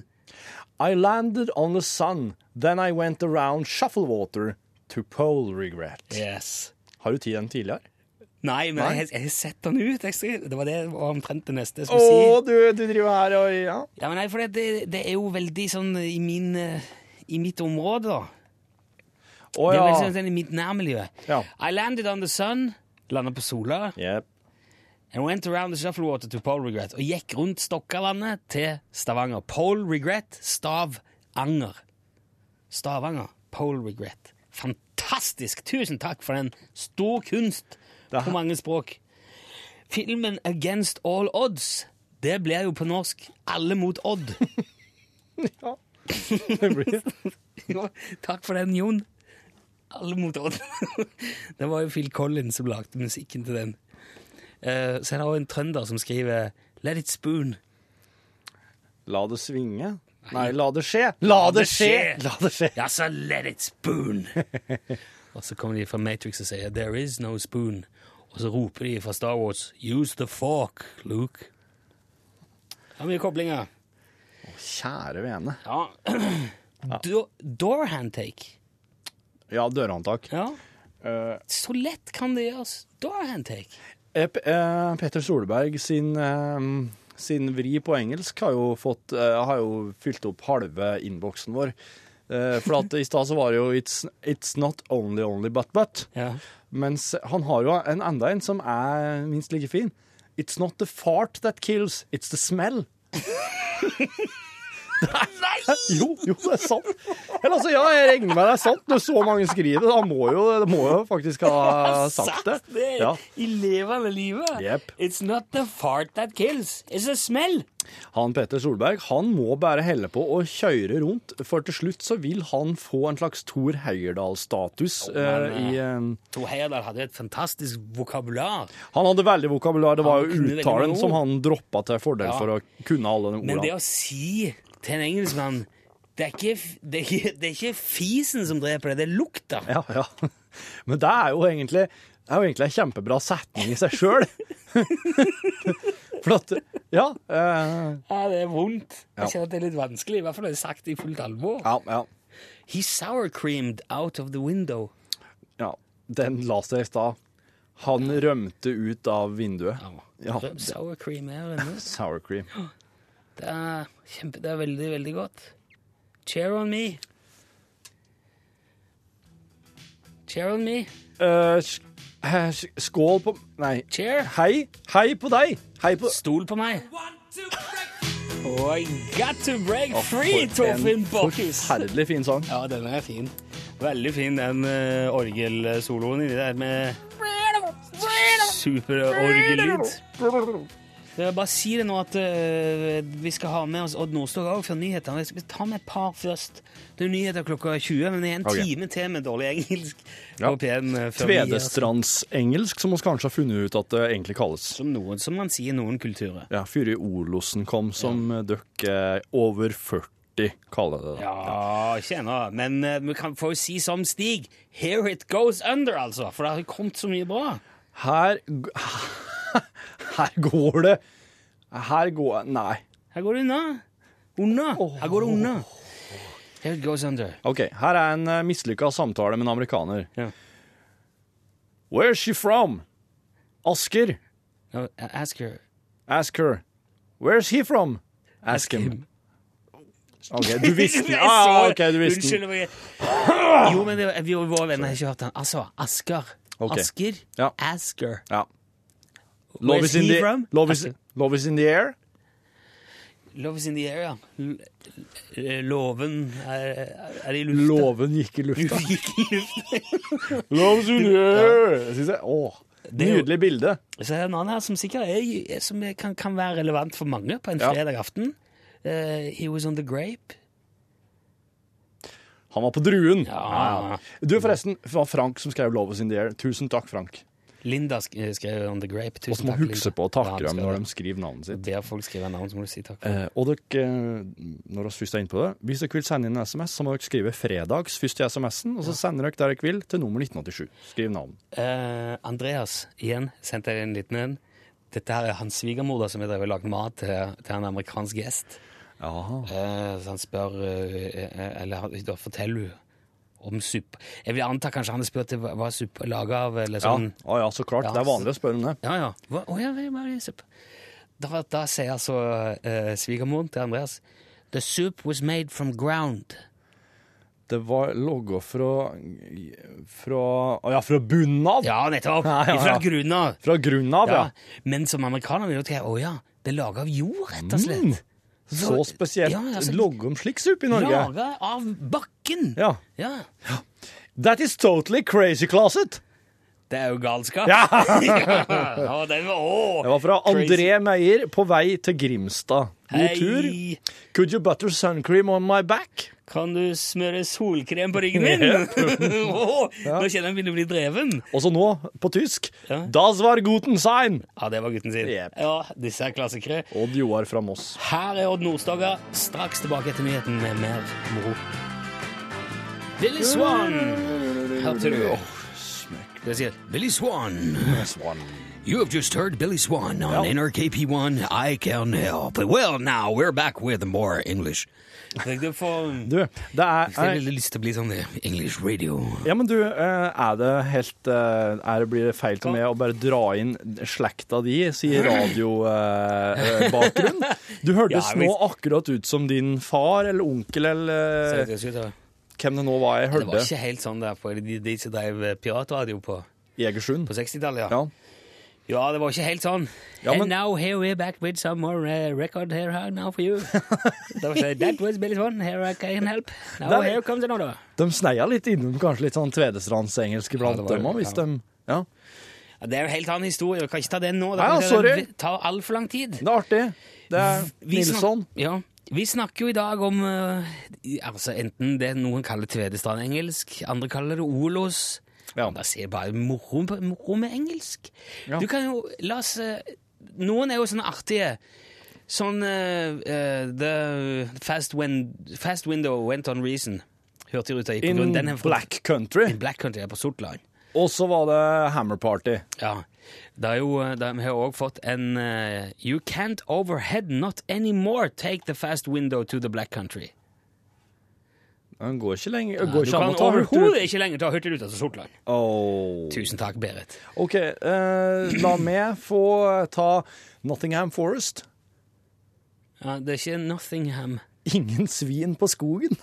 I landed on the sun, then I went around shuffle water to pole regret.
Yes.
Har du tid den tidligere?
Nei, men
Nei?
Jeg, jeg har sett den ut. Jeg, skal- det var det var omtrent det neste jeg
Å,
skulle si.
du, du driver her og ja.
Ja, men nei, for det, det, det er jo veldig sånn i min eh, I mitt område, da.
Å,
Det er
ja.
veldig sånn i mitt nærmiljø.
Ja.
I landed on the sun. Landa på sola. And went around the shuffle water to Pole Regret. Og gikk rundt Stokkalandet til Stavanger. Pole Regret, Stavanger. Stavanger, Pole Regret. Fantastisk! Tusen takk for den. Stor kunst på mange språk. Filmen Against All Odds, det blir jo på norsk Alle mot Odd. *laughs* ja. takk for den, Jon. Alle mot Odd. *laughs* det var jo Phil Collins som lagde musikken til den. Eh, så er det også en trønder som skriver Let it spoon.
La det svinge. Nei, la det skje. La det skje! La det skje.
Ja, så let it *laughs* spoon. og så kommer de fra Matrix og sier There is no spoon. Og så roper de fra Star Wars Use the fork, Luke. Det er mye koblinger.
Kjære vene.
Ja. Do door handtake.
Ja, dørhåndtak.
Ja. Så lett kan det gjøres. Door handtake.
Eh, P- eh, Petter Solberg sin, eh, sin vri på engelsk har jo, fått, eh, har jo fylt opp halve innboksen vår. Eh, for at i stad så var det jo it's, 'It's not only only but but'. Mens han har jo en enda en som er minst like fin. 'It's not the fart that kills, it's the smell'. Nei! *laughs* Jo, jo, det er sant. Eller altså, ja, jeg regner med det er sant. Når så mange skriver det, da må jo, det må jo faktisk *laughs* ha sagt det. Ja.
I levende livet.
Jep.
It's not the fart that kills, it's a smell.
Han Petter Solberg han må bare helle på og kjøre rundt, for til slutt så vil han få en slags Thor Heyerdahl-status.
men,
eh, i, eh,
Tor Heyerdahl hadde et fantastisk vokabular.
han hadde veldig vokabular, det var
Han
jo
kunne veldig
uttalen
mange
som
ord.
han droppa til fordel
Ja.
for å kunne alle de
Men det
ordene.
å si til en engelskmann det er, ikke, f- det, er ikke, det er ikke fisen som dreper deg, det er lukta.
Ja, ja. *laughs* Men det er jo egentlig det er jo egentlig en kjempebra setning i seg sjøl. *laughs* For at Ja. eh,
Ja, det er vondt.
Ja.
Jeg kjenner at det er litt vanskelig, i hvert fall når det er sagt i fullt alvor.
ja, ja.
He sour creamed out of the window.
ja. Den la seg i stad. Han rømte ut av vinduet. Ja.
Røm sour cream er inne.
Sour cream.
Det er, kjempe, det er veldig, veldig godt. Cheer on me. Cheer on me.
Eh, sk- eh, sk- skål på Nei. Hei. Hei på deg. Hei på
Stol på meg. Oh, I got to break
Å,
free,
for en
Torfinn Borchhus.
Forferdelig fin sang.
Ja, den er fin. Veldig fin, den eh, orgelsoloen inni der med superorgellyd. Jeg vil bare si det nå at eh, vi skal ha med oss Odd Nordstoga også før nyhetene. Vi skal ta med et par først. Det er nyheter klokka 20, men det er en
Ok.
time til med dårlig engelsk
Ja.
på P1 før vi gir oss.
Tvedestrands-engelsk, som vi kanskje har funnet ut at det egentlig kalles.
Som, noen, som man sier i noen kulturer.
Ja, Fyri Olosen kom som ja. dere over 40 artig, kaller jeg det. da.
Ja, ikke ennå. Men eh, vi kan få si som Stig. Here it goes under, altså. For det har jo kommet så mye bra.
Her g- *laughs* Her går det Her går Nei.
Her går det unna. Unna. Her går det unna. Here it goes under.
OK, her er en eh, mislykka samtale med en amerikaner. Where's she from? Asker.
ask her.
Ask her. Where's he from? Ask, him. OK, du visste
*laughs*
den.
Jeg
Ah,
så-
ok, du visste den.
Unnskyld. jeg bare- Jo, men det, vi og våre venner har ikke hørt den. Altså, Asker.
Ok.
Asker.
Ja.
Asker.
Ja.
Where's
Love is, in
he
the,
from?
love, is, love is in the air.
Love is in the air, ja. L- eh, Låven er, er i lufta. *laughs*
Låven gikk i lufta. love is in the air.
Ja.
Synes jeg, åh,
er jo-
nydelig bilde.
Så er det en annen her som sikkert er, som er- kan, kan være relevant for mange på en
Ja.
fredag aften. Eh, he was on the grape.
Han var på druen. Ja. Du, forresten, det var Frank som skrev 'Love is in the air'. Tusen takk, Frank.
Linda sk- eh, skrev on the grape.
Og så
Tusen
må
takk,
du huske
Linda.
på å takke
Ja,
dem
skal
når
det.
de skriver navnet sitt.
Ber folk skrive navn, så må du si takk.
Eh, og dere, når dere først er inne på det, hvis dere vil sende inn en SMS, så må dere skrive 'fredags' først i SMS-en, og så sender dere der dere vil, til nummer 1987. Skriv navn.
Eh, Andreas, igjen sendte jeg en liten en. Dette her er hans svigermor da, som har drevet og lagd mat til, til en amerikansk gjest. Eh, så han spør eh, eh, Eller han- da forteller hun om suppe. Jeg vil anta kanskje han har spurt til hva hva suppe er laget av, eller sånn.
Ja, Å ja, så klart.
Ja,
det er vanlig å spørre om det.
Ja, ja. Hva, å ja, hva er det suppe? Da, da sier altså eh, svigermoren til Andreas The soup was made from ground.
Det var logga fra Fra Å ja, fra bunnen av!
Ja, nettopp!
Ja, ja, ja.
Fra grunnen av.
Fra grunnen av, ja.
Men som amerikaner vil jo tenke å ja, det er laga av jord, rett og slett.
Mm. Så spesielt.
Ja, altså,
logge om slik suppe i Norge.
Laga av bakken!
Ja.
ja.
That is totally crazy closet!
Det er jo galskap.
Ja!
*laughs* ja den var, å,
Det var fra
crazy.
André Meyer på vei til Grimstad. God
Hei.
tur. Could you butter sun cream on my back?
Kan du smøre solkrem på ryggen min? *laughs* Å, Nå kjenner jeg jeg begynner å bli dreven.
Og så nå, på tysk, Das war guten sein!
Ja, det var gutten sin. Ja, disse er klassikere.
Odd Joar fra Moss.
Her er Odd Nordstoga, straks tilbake etter nyheten med mer moro. Billy Swan! Hørte du? Det sier Billy Swan.
You have just heard Billy Swan on NRK P1. I can help. Well, now we're back with more English.
Tenkte å få
Du, det
Hvis jeg
er
ville lyst til å bli sånn eh, English radio.
Ja, men du, eh, er det helt eh, er det, Blir det feil til meg å bare dra inn slekta di, sier radiobakgrunn? Du hørtes
Ja,
nå
hvis-
akkurat ut som din far eller onkel eller eh, hvem det nå var jeg
Det var
hørte.
ikke helt sånn der på de, de som drev piratradio på
Egersund.
På 60-tallet, ja.
Ja.
Ja, det var ikke helt sånn.
Ja, men-
And now here we're back with some more eh, record here huh, now for
*laughs*
you. Det var ikke, That was Billy Swan, here I can help. Now
Der-
here comes another.
De sneia litt innom kanskje litt sånn Tvedestrands-engelsk iblant,
det var
dem
det,
òg, hvis
ja.
de Ja.
Ja, Det er jo helt annen historie. Vi kan ikke ta den nå.
Ja,
det
sorry.
Det tar altfor lang tid.
Det er artig. Det er
Vi snak-
Nilsson.
Ja. Vi snakker jo i dag om eh, i- altså enten det noen kaller Tvedestrand-engelsk, andre kaller det Olos. Ja. Da sier jeg bare moro, moro med engelsk. Du kan jo La oss eh, Noen er jo sånne artige. Sånn eh, eh, The fast, win, fast Window Went On Reason. Hurtigruta gikk på
In
grunn. Den er fra-
Black Country.
In Black Country er på Sortland.
Og så var det Hammer Party.
Ja. Det er jo, de har også fått en eh, You can't overhead not anymore take the fast window to the black country.
Den går ikke lenger.
Ja,
går
du
ikke an
kan
å ta
overhodet ikke lenger ta Hurtigruta til Sortland.
Oh.
Tusen takk, Berit.
OK, eh, la meg få ta Nottingham Forest.
Ja, det er ikke Nottingham.
Ingen svin på
*laughs*
skogen.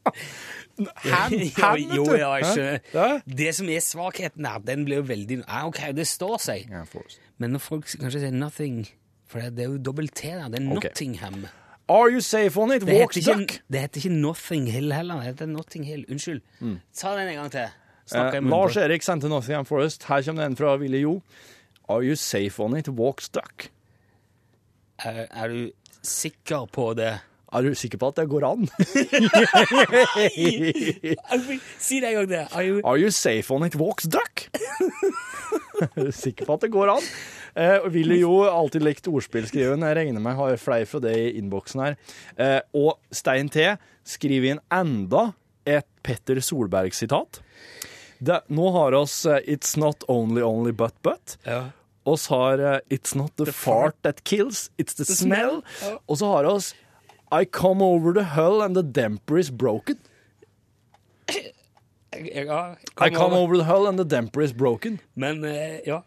Ham, ham, vet
*laughs* jo,
du.
ja, jeg
Hæ?
skjønner. Det som er svakheten her, den blir jo veldig ja, OK, det står seg. Men når folk kanskje sier nothing For det er jo dobbelt T der. Det er
Ok.
Nottingham.
Are you safe on it?
Det
Walk
heter,
duck.
ikke, det heter ikke Nothing Hill heller. Det heter Notting Hill. Unnskyld. Ta den en gang til. Snakker jeg
Mm. Eh,
munnen på.
Lars Erik sendte Nottingham Forest. Her kommer den fra Ville Jo. Are you safe on it? Walk duck.
Er, Eh, er du sikker på det?
Er du sikker på at det går an?
*laughs* Si det en gang til. Are you-
*laughs* Are you safe on it? Walks duck. er du sikker på at det går an? Eh, og ville jo alltid likt ordspill, skriver hun. Jeg regner med jeg har flere fra det i innboksen her. Eh, og Stein T skriver inn enda et Petter Solberg-sitat. Det- Nå har oss eh, It's Not Only Only But But. Oss har eh, It's Not The, fart, That Kills, It's The,
The
Smell.
smell, ja.
Og så har oss I Come Over The Hull And The Damper Is Broken.
Ja,
I Come Over The Hull And The Damper Is Broken.
Men eh, ja.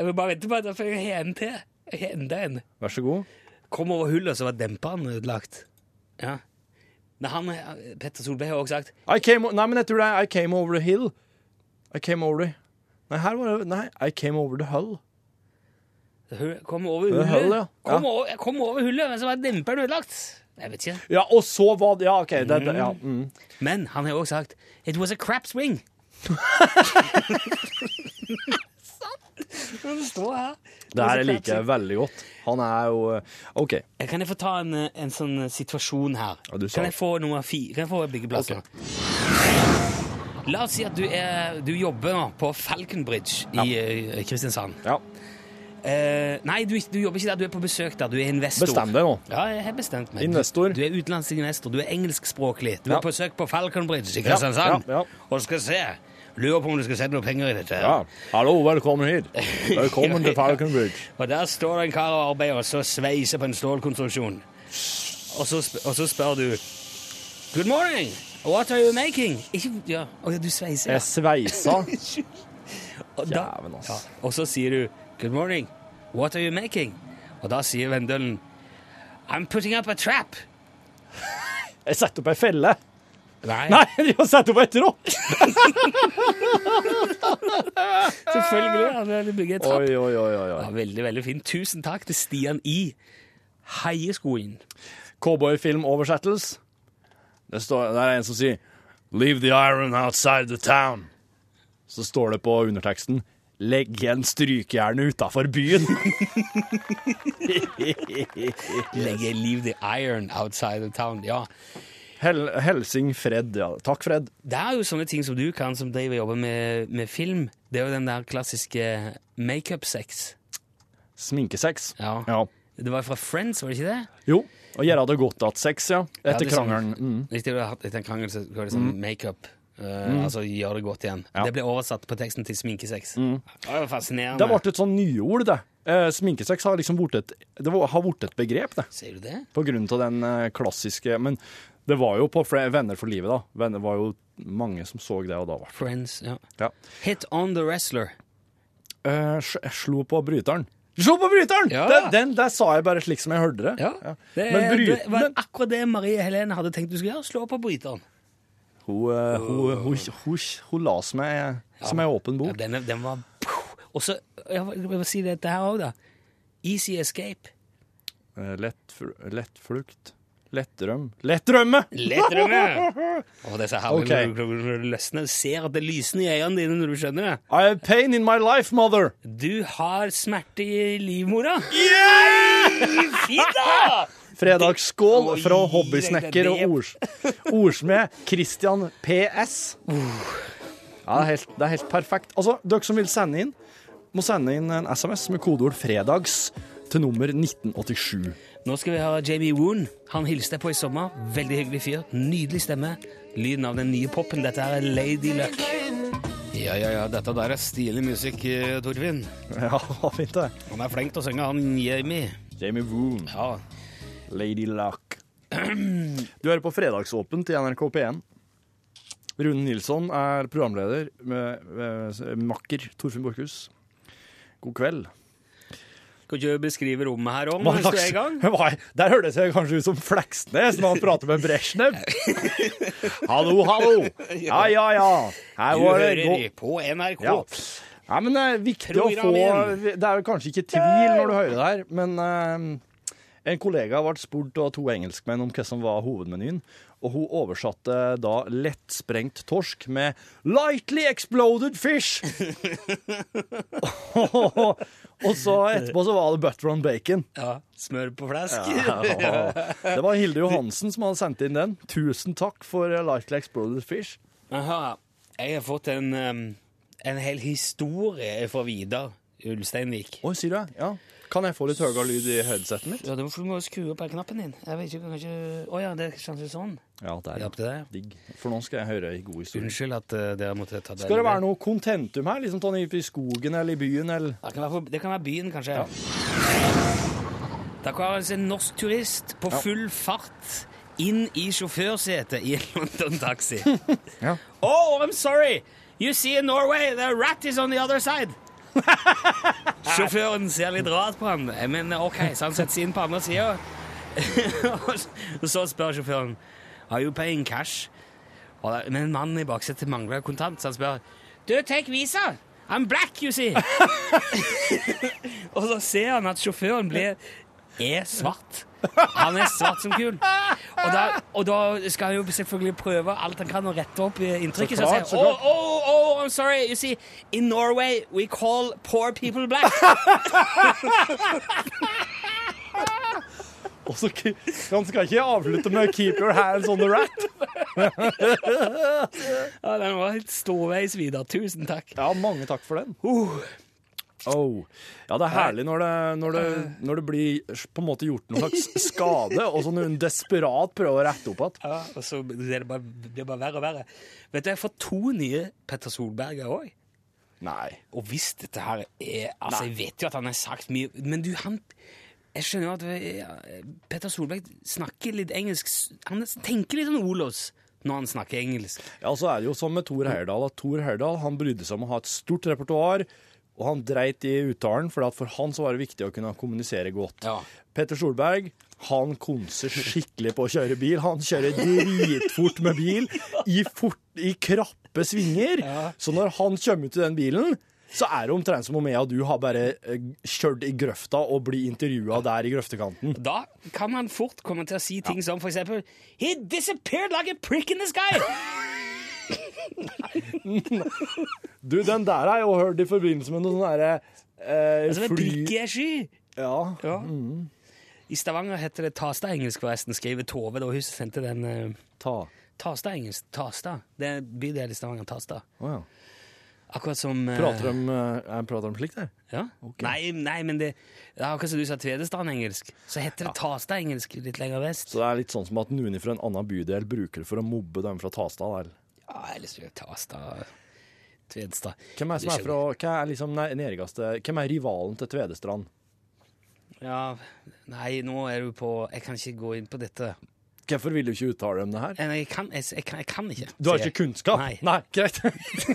Jeg vil bare vente på at jeg får en til. Jeg har Enda en.
Vær så god.
Kom over hullet, så var demperen ødelagt. Ja. Men han, eh, Petter Solberg har også sagt
I came, o- nei, men jeg tror det er I came over the hill. I came over the Nei, her var det Nei, I came over the hull.
«Hu- Kom over
Det er
hullet.
hullet, ja.
Kom,
Ja.
over, kom over hullet, men så var demperen ødelagt. Jeg vet ikke.
Ja, og så var det Ja, OK. Det, det, ja. Mm.
Men han har også sagt It was a crap
*laughs*
swing. *laughs* Sant? Stå her.
Det her liker jeg veldig godt. Han er jo eh, OK.
Kan jeg få ta en, eh, en sånn eh, situasjon her?
du sa
kan
det.
jeg få nummer fire? Kan jeg få byggeplasser? La oss si at du, er, du jobber nå på Falconbridge i eh, Kristiansand. Eh, nei, du, du jobber ikke der. Du er på besøk der. Du er investor.
Bestem deg nå.
Ja, jeg har bestemt meg.
Investor.
Du, du er utenlandsk investor. Du er engelskspråklig. Du
Ja.
er på besøk på Falconbridge i
Ja,
Kristiansand
ja, ja.
og skal se. Lurer på om du skal sette noe penger i dette.
Ja. Hallo, velkommen hit. Velkommen *laughs* til Falconbridge.
Og der står det en kar og arbeider og så sveiser på en stålkonstruksjon. Og så, sp og så spør du Good morning, what are you making? Ikke, ja. Å ja, du sveiser. ja.
Jeg sveisa.
Og da-
Jæven, ass.
Ja. Og så sier du Good morning, what are you making? Og da sier Vendølen I'm putting up a trap.
Jeg setter opp ei felle.
Nei.
Nei, *laughs* de har satt opp ei tråkk!
Selvfølgelig. Han vil bygge et trapp.
Oi, oi, oi, oi.
Ja,
oi.
veldig, veldig fint. Tusen takk til Stian I. Heieskoen.
Cowboyfilmoversettelse. Det står, der er en som sier 'Leave the iron outside the town'. Så står det på underteksten 'Legg igjen strykejernet utafor byen'. *laughs*
Legge leave the iron outside of town. Ja.
Hel Helsing Fred, ja. Takk, Fred.
Det er jo sånne ting som du kan, som driver og jobber med, med film. Det er jo den der klassiske makeup-sex.
Sminkesex.
Ja. Det var fra Friends, var det ikke det?
Jo. Og gjøre det godt at sex, ja.
Ja,
Etter
det er sånn-
krangelen. Mm.
Riktig, du har hatt etter en krangel, så var det sånn makeup. Uh,
Mm.
Altså gjør det godt igjen. Det ble oversatt på teksten til sminkesex.
Mm.
Det var fascinerende.
Det ble et sånn nyord, det. Eh, sminkesex har liksom blitt et, det var- har blitt et begrep, det.
Sier du det?
På grunn av den eh, klassiske Men det var jo på fle- Venner for livet, da. Venner var jo mange som så det, og da var det
Friends, ja.
Ja.
Hit on the wrestler.
Eh, sj- jeg slo på bryteren. Slo på bryteren! Den, den der sa jeg bare slik som jeg hørte det. Ja.
Det,
Men
er-
bryt,
det var akkurat det Marie Helene hadde tenkt du skulle gjøre. Slå på bryteren.
hun, eh, hun, hun, hun, hun la som ei som ei åpen bok.
Den, den var Og så Jeg vil si dette her òg, da. Easy escape.
Eh, lett, fl lettflukt. Lettrøm. Lettrømme!
*laughs* Lettrømme! Å, det er så herlig
Ok.
når du- når du løsner. Du ser at det lysner i øynene dine når du skjønner det.
I have pain in my life, mother!
Du har smerte i livmora.
Yeah!
Fint, da!
Fredagsskål fra
det-
hobbysnekker og ords, ordsmed Christian PS. Ja, det er helt, det er helt perfekt. Altså, dere som vil sende inn, må sende inn en SMS med kodeord 'fredags' til nummer 1987.
Nå skal vi ha Jamie Woon. Han hilste jeg på i sommer. Veldig hyggelig fyr. Nydelig stemme. Lyden av den nye poppen. Dette her er Lady Luck. Ja, ja, ja. Dette der er stilig musikk, eh, Torfinn.
*laughs* Ja, fint det.
Han er flink til å synge, han Jamie.
Jamie Woon.
Ja.
Lady Luck. *clears throat* Du hører på Fredagsåpent i NRK P1. Rune Nilsson er programleder med, med makker Torfinn Borchhus. God kveld.
Kan ikke du beskrive rommet her òg,
Hva
mens du er i gang?
slags- Hva, der hørtes jeg kanskje ut som Fleksnes når han prater
*laughs*
med Bresjnev. hallo, hallo! Ja, ja, ja. Her
Du
var det
hører
god-
på NRK.
Ja. Nei, men det er viktig å få
Programmen.
Det er jo kanskje ikke tvil når du hører det her, men eh, en kollega ble spurt av to engelskmenn om hva som var hovedmenyen, og hun oversatte da lettsprengt torsk med 'lightly
*laughs*
exploded fish'. *laughs* og så etterpå så var det butter on bacon.
Ja, Smør på flesk.
*laughs*
*laughs*
Ja. Det var Hilde Johansen som hadde sendt inn den. Tusen takk for eh, Lightly Exploded Fish.
Aha. Jeg har fått en, um, en hel historie fra Vidar Ulsteinvik.
Oi, sier du det? Ja. Kan jeg få litt høyere lyd i headsetet mitt?
Ja, det må du skru opp her knappen din. Jeg vet ikke, kanskje... Å ja, det er kanskje sånn.
Ja, det
Hjelp til det.
Digg. For nå skal jeg høre en god historie.
Unnskyld at eh, dere måtte ta det.
Skal det være noe kontentum her? Liksom sånn i i skogen eller i byen eller
Det kan være, på- det kan være byen, kanskje. Det var altså en norsk turist på full fart inn i sjåførsetet i en London-taxi. Oh, I'm sorry! You see in Norway, the rat is on the other side. Sjåføren ser litt rart på han, men ok, så han setter seg inn på andre sida. *laughs* Og så spør sjåføren Are you paying cash? Og da- Men mannen i baksetet mangler kontant, så han spør Du, take visa! I'm black, you see! *laughs* og så ser han at sjåføren blir er svart. Han er svart som kul. Og da, og da skal han jo selvfølgelig prøve alt han kan å rette opp eh, inntrykket.
Så
Så,
klart,
han
så
sier
klart.
oh, oh, oh, I'm sorry, you see, in Norway we call poor people black. *laughs*
Og så k- Han skal ikke avslutte med 'keep your hands on the rat'.
ja, den var helt ståveis, Vidar. Tusen takk. Uh.
Ja, mange takk for den. Oh. Ja, det er herlig når det, når det, når det blir på en måte gjort noen slags skade, og så noen desperat prøver å rette opp igjen.
Ja, og så blir det bare, blir det bare verre og verre. Vet du, jeg får to nye Petter Solberger òg.
Nei.
Og hvis dette her er Altså, jeg vet jo at han har sagt mye, men du, han Jeg skjønner jo at eh, Petter Solberg snakker litt engelsk. Han tenker litt sånn Olos når han snakker engelsk.
Ja, så er det jo sånn med Thor Heyerdahl at Thor Heyerdahl han brydde seg om å ha et stort repertoar, og han dreit i uttalen, for at for han så var det viktig å kunne kommunisere godt. Petter Solberg han konser skikkelig på å kjøre bil. Han kjører dritfort med bil i, fort, i krappe svinger. Så når han kommer ut i den bilen, så er det omtrent som om jeg og du har bare eh, kjørt i grøfta og blir intervjua der i grøftekanten.
Da kan han fort komme til å si ting som for eksempel He disappeared like a prick in the sky!
Du, den der har jeg jo hørt i forbindelse med noe sånn derre eh,
Altså, med
fly-
prikk i en sky.
Ja.
I Stavanger heter det Tasta-engelsk, forresten, skriver Tove da hun sendte den. eh, Tasta-engelsk. Tasta. Det er en bydel i Stavanger. Tasta.
Å, ja.
Akkurat som eh,
Prater de, eh, jeg prater om slikt, jeg?
Ja? Nei, nei, men det det er Akkurat som du sa Tvedestrand-engelsk, så heter det Tasta-engelsk litt lenger vest.
Så det er litt sånn som at noen fra en annen bydel bruker det for å mobbe dem fra Tastad? Eller?
Ja, ellers blir det Tasta Tvedestad.
Hvem er, som er, fra, hva er, liksom, nei, nærmeste, hvem er rivalen til Tvedestrand?
Ja, nei, nå er du på Jeg kan ikke gå inn på dette. Eh,
Hvorfor vil du ikke uttale om det her?
Nei, Jeg kan, jeg, jeg, kan, jeg kan ikke.
Du har
sier jeg.
ikke kunnskap?
Nei. *laughs*
greit.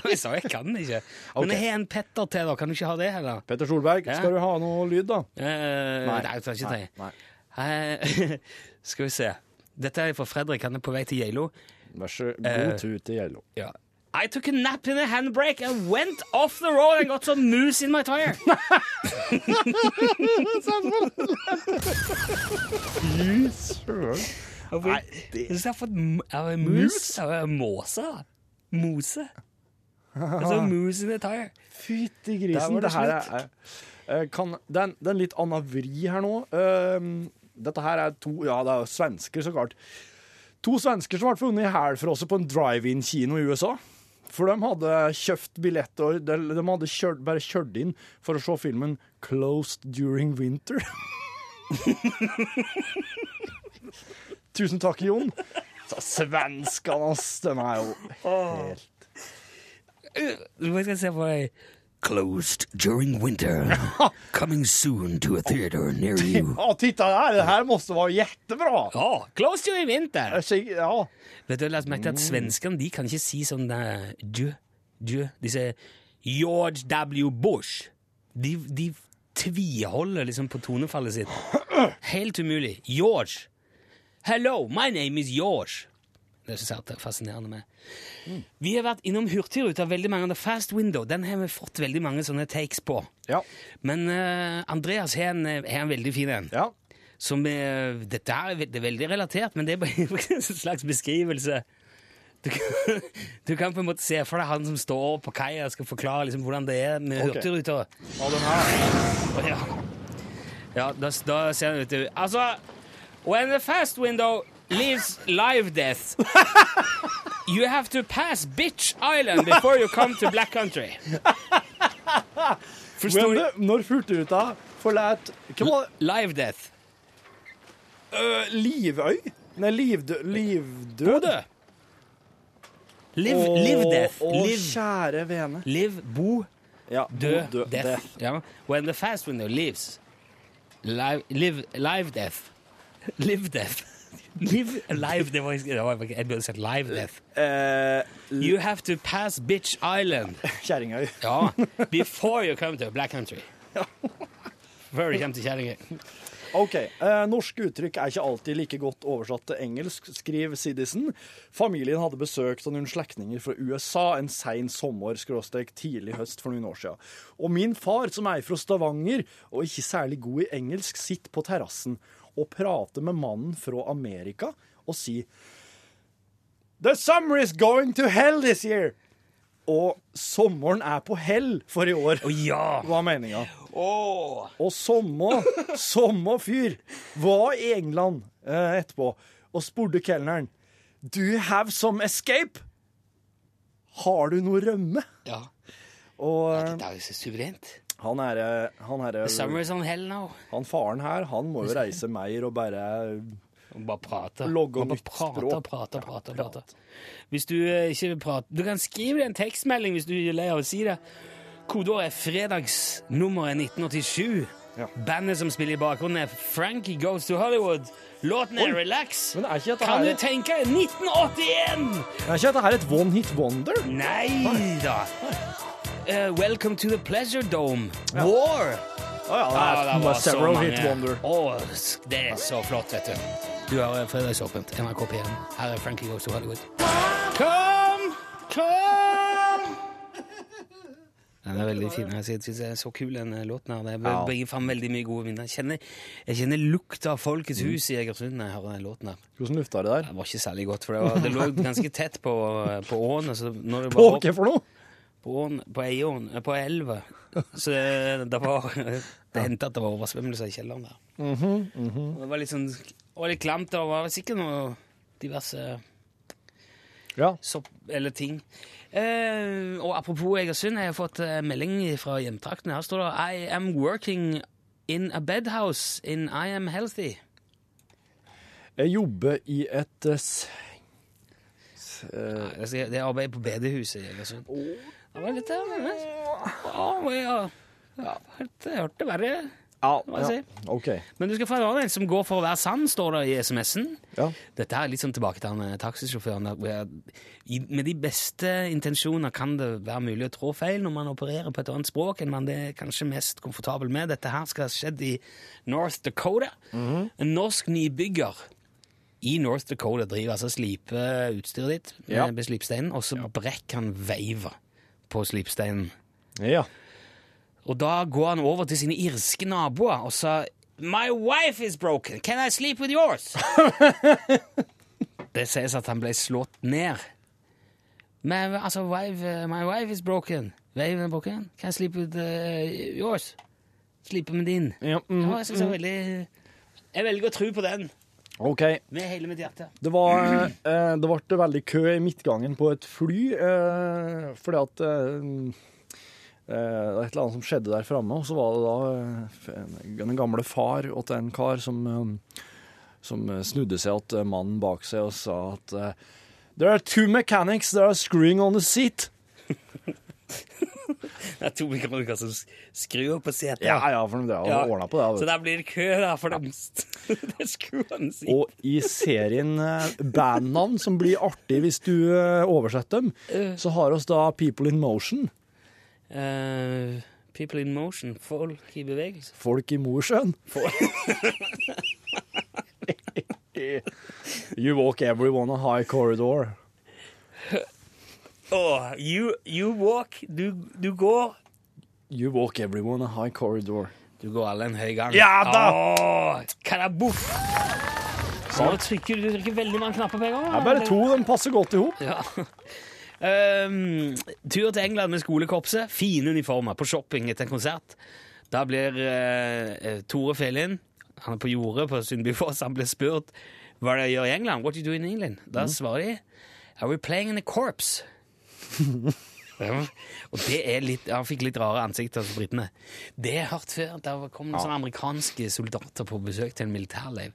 *laughs*
jeg sa jeg kan ikke. Men
Ok.
jeg har en Petter til, da. Kan du ikke ha det heller?
Petter Solberg,
Ja.
skal du ha noe lyd, da?
Eh,
Nei.
nei, jeg skal ikke
Nei,
det. Eh, *laughs* skal vi se. Dette er fra Fredrik, han er på vei til Geilo.
Vær så
Eh,
god tur til Gjello.
Ja. I took a nap in a handbrake and went off the road and got some moose in my tire.
Fy søren.
Nei, det... Jeg har fått m- er det mus. Er det Måse? da? Mose? Altså moose in a tire.
Fytti
Der var
grisen.
det
Det her
slutt.
er, er- eh, kan, det, er en, det er en litt annen vri her nå. Ehm, dette her er to Ja, det er jo svensker, så klart. To svensker som ble funnet i hæl for oss på en drive-in-kino i USA. For de hadde kjøpt billett og de, de hadde kjørt, bare kjørt inn for å se filmen 'Closed During Winter'. *laughs* Tusen takk, Jon. Så Svenskene, ass. De er jo helt
Uh,
Hva skal jeg se på deg? Closed during
*laughs*
winter. Coming soon to a theater near you.
Ja, titta der! Det her måste vara jättebra!
Ja, close to i vinter!
Ja.
Vet du, jeg har lagt merke til at svenskene de kan ikke si sånn eh, djø, djø. De sier George W. Bush. De, de tviholder liksom på tonefallet sitt. Helt umulig. George. Hello, my name is George. Det synes jeg at det er fascinerende med. Vi har vært innom Hurtigruta veldig mange ganger. Fast Window den har vi fått veldig mange sånne takes på. Men eh, Andreas har en, har en veldig fin en. Som eh, Dette er ve- det er veldig relatert, men det er bare *laughs* en slags beskrivelse. Du kan, *laughs* du kan på en måte se for deg han som står på kaia og skal forklare liksom hvordan det er med
Ok.
Hurtigruta. Å, Ja, ja da, da ser han ut til Altså When the fast window leaves live death You have to pass Bitch Island before you come to Black Country.
Men det, når Hurtigruta forlot Hva var det?
Live death.
Øh, livøy? Nei, livdød. livdød.
Live, live
Å,
death.
Å,
Live.
kjære vene.
Live, bo, dø,
bo, dø,
death.
death.
Ja. When the fast window leaves, live, live, live death. *laughs* Live death. *laughs* Live alive, det var, det var jeg burde sagt live death.
Eh,
you have to pass Bitch Island.
Kjerringøy.
Ja, before you come to Black
*laughs*
Country. Før du kommer til Kjerringøy.
OK. Eh, norske uttrykk er ikke alltid like godt oversatt til engelsk, skriver Siddisen. Familien hadde besøk av noen slektninger fra USA en sein sommer, skråstrek tidlig høst for noen år siden. Og min far, som er fra Stavanger og ikke særlig god i engelsk, sitter på terrassen og prater med mannen fra Amerika og sier The summer is going to hell this year! Og sommeren er på hell for i år, var meninga. Og samme, samme fyr var i England eh, etterpå og spurte kelneren Do you have some escape? Har du noe rømme?
Ja.
Og eh,
Det er jo så suverent.
han er, eh, han er eh,
The summer is on hell now.
Han faren her, han må jo reise mer og bare eh,
Bare prate.
Logge
Man bare
om nytt
prater,
språk.
prater, prater, prater. Hvis du eh, ikke prater Du kan skrive deg en tekstmelding hvis du er lei av å si det. Kodeåret er fredagsnummeret 1987. Bandet som spiller i bakgrunnen, er Frankie Goes to Hollywood. Låten er
Oi.
Relax.
Men er ikke dette
Kan
her
du tenke deg 1981?!
Er ikke dette her et one hit wonder?
Nei da. Eh, welcome to the Pleasure Dome.
Ja.
War!
ja, det er-
Ah,
det er several hit wonder.
Å, sk- det er så flott, vet du. Du har eh, Fredagsåpent, NRK P1. Her er Frankie Goes to Hollywood. Kom! Kom! Den er veldig fin. Jeg syns det er så kul, den eh, låten her. Det
Ja.
br- bringer fram veldig mye gode minner. Jeg kjenner, jeg kjenner lukta av Folkets hus i Egersund når jeg hører den låten her.
Hvordan lufta det der?
Det var ikke særlig godt, for det, *laughs* var, det lå ganske tett på, på åen. Altså når det
På
var opp-
hva for noe?
På åen, på eiåen, eh, på elva. Så det, det var Det hendte at det var oversvømmelser i kjelleren der.
Mhm, mhm.
Og Det var litt sånn og litt klamt, og det var sikkert noe diverse sopp eller ting. Eh, og apropos Egersund, jeg har fått eh, melding fra hjemtraktene. Her står det I am working in a bedhouse in I am healthy.
Jeg jobber i et eh, s- s- eh,
Nei, altså, Det er arbeid på bedehuset i Egersund. Det var litt oh, ja. ja. Det hørte verre.
Ja,
må jeg si.
OK.
Men du skal få en annen en som går for å være sann, står det i SMS-en. Dette er litt sånn tilbake til han eh, taxisjåføren. der, hvor jeg- i- Med de beste intensjoner kan det være mulig å trå feil når man opererer på et annet språk enn man det er kanskje mest komfortabel med. Dette her skal ha skjedd i North Dakota.
Mhm.
En norsk nybygger i North Dakota driver altså og sliper utstyret ditt med
Ja.
med slipsteinen, og så brekker han veiva på slipsteinen.
Ja.
Og da går han over til sine irske naboer og sa My wife is broken. Can I sleep with *laughs* yours? det sies at han ble slått ned. Men altså, wife, eh, my wife is broken. Waven er broken. Can I sleep with eh, yours? Slipe med din.
mm.
Ja, jeg synes det er veldig... Jeg velger å tro på den.
OK.
Med hele mitt hjerte.
Det var eh, Det ble veldig kø i midtgangen på et fly, eh, fordi at eh, eh, det var et eller annet som skjedde der framme, og så var det da eh, en- den gamle far til en kar som, eh, som snudde seg til mannen bak seg og sa at eh, There are two mechanics that are screwing on the seat.
Det er to mikrofoner som s- skrur på setet.
Ja, ja, for de har
Ja.
ordnet på det. vet
Så
du.
der blir det kø, da, for de, *laughs* de skrur han sitt.
Og i serien eh, bandnavn, som blir artig hvis du eh, oversetter dem, så har oss da People in Motion.
Eh, people in motion, folk i bevegelse.
Folk i Mosjøen. you walk everyone a high corridor.
Åh, you, you walk, du, du går.
You walk everyone a high corridor.
Du går alle en høy gang.
Ja da!
Åh, karabuff! Så nå trykker du trykker veldig mange knapper på en gang.
Det
da,
er bare
eller?
to, de passer godt i hop.
Ja. *laughs* Ehm, tur til England med skolekorpset. Fine uniformer på shopping etter en konsert. Da blir eh, eh, Tore Felin, han er på jordet på Sundbyfoss, han blir spurt hva er det gjør i Mm. England. What do you do in England? Da svarer de Are we playing in a corpse? Og det er litt, han fikk litt rare ansikter fra britene. Det har jeg hørt før. Der kom noen
Ja.
sånne amerikanske soldater på besøk til en militærleir.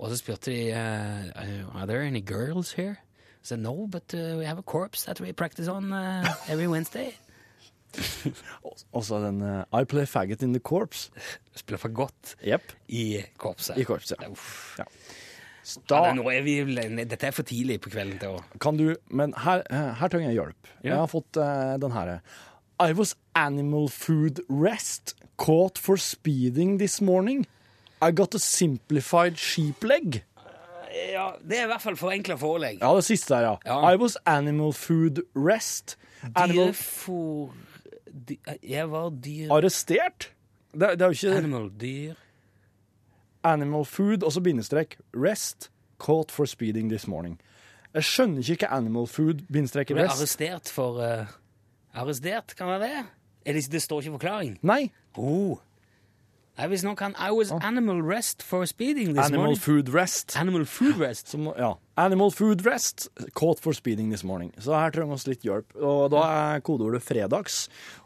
Og så spurte de uh, Are there any girls here? I said, no, but uh, we have a corpse that we practice on uh, every Wednesday.
Og så den eh, I play faggot in the corps.
Spiller for godt i korpset.
I korpset.
Ja,
Ja.
det- nå er vi, vel- dette er for tidlig på kvelden til å
Kan du Men her, eh, her trenger jeg hjelp. Jeg har fått eh, den her. I was animal food rest caught for speeding this morning. I got a simplified sheep leg.
Ja, det er i hvert fall forenkla forelegg.
Ja, det siste der, ja. I was animal food rest. Animal
Dyrfor... Dy, jeg var dyr...
Arrestert? Det, det er jo ikke
Animal dyr.
Animal food, og så bindestrek rest, caught for speeding this morning. Jeg skjønner ikke hva animal food, bindestrek
Jeg ble
rest.
arrestert for eh, Arrestert, kan være det? Er det, det står ikke forklaring?
Nei.
Oh. Nei, hvis noen kan I was animal rest for speeding this
Animal
morning.
food rest.
Animal food
*laughs*
rest.
Som, ja. Animal food rest, caught for speeding this morning. Så her trenger vi litt hjelp. Og da er kodeordet fredags,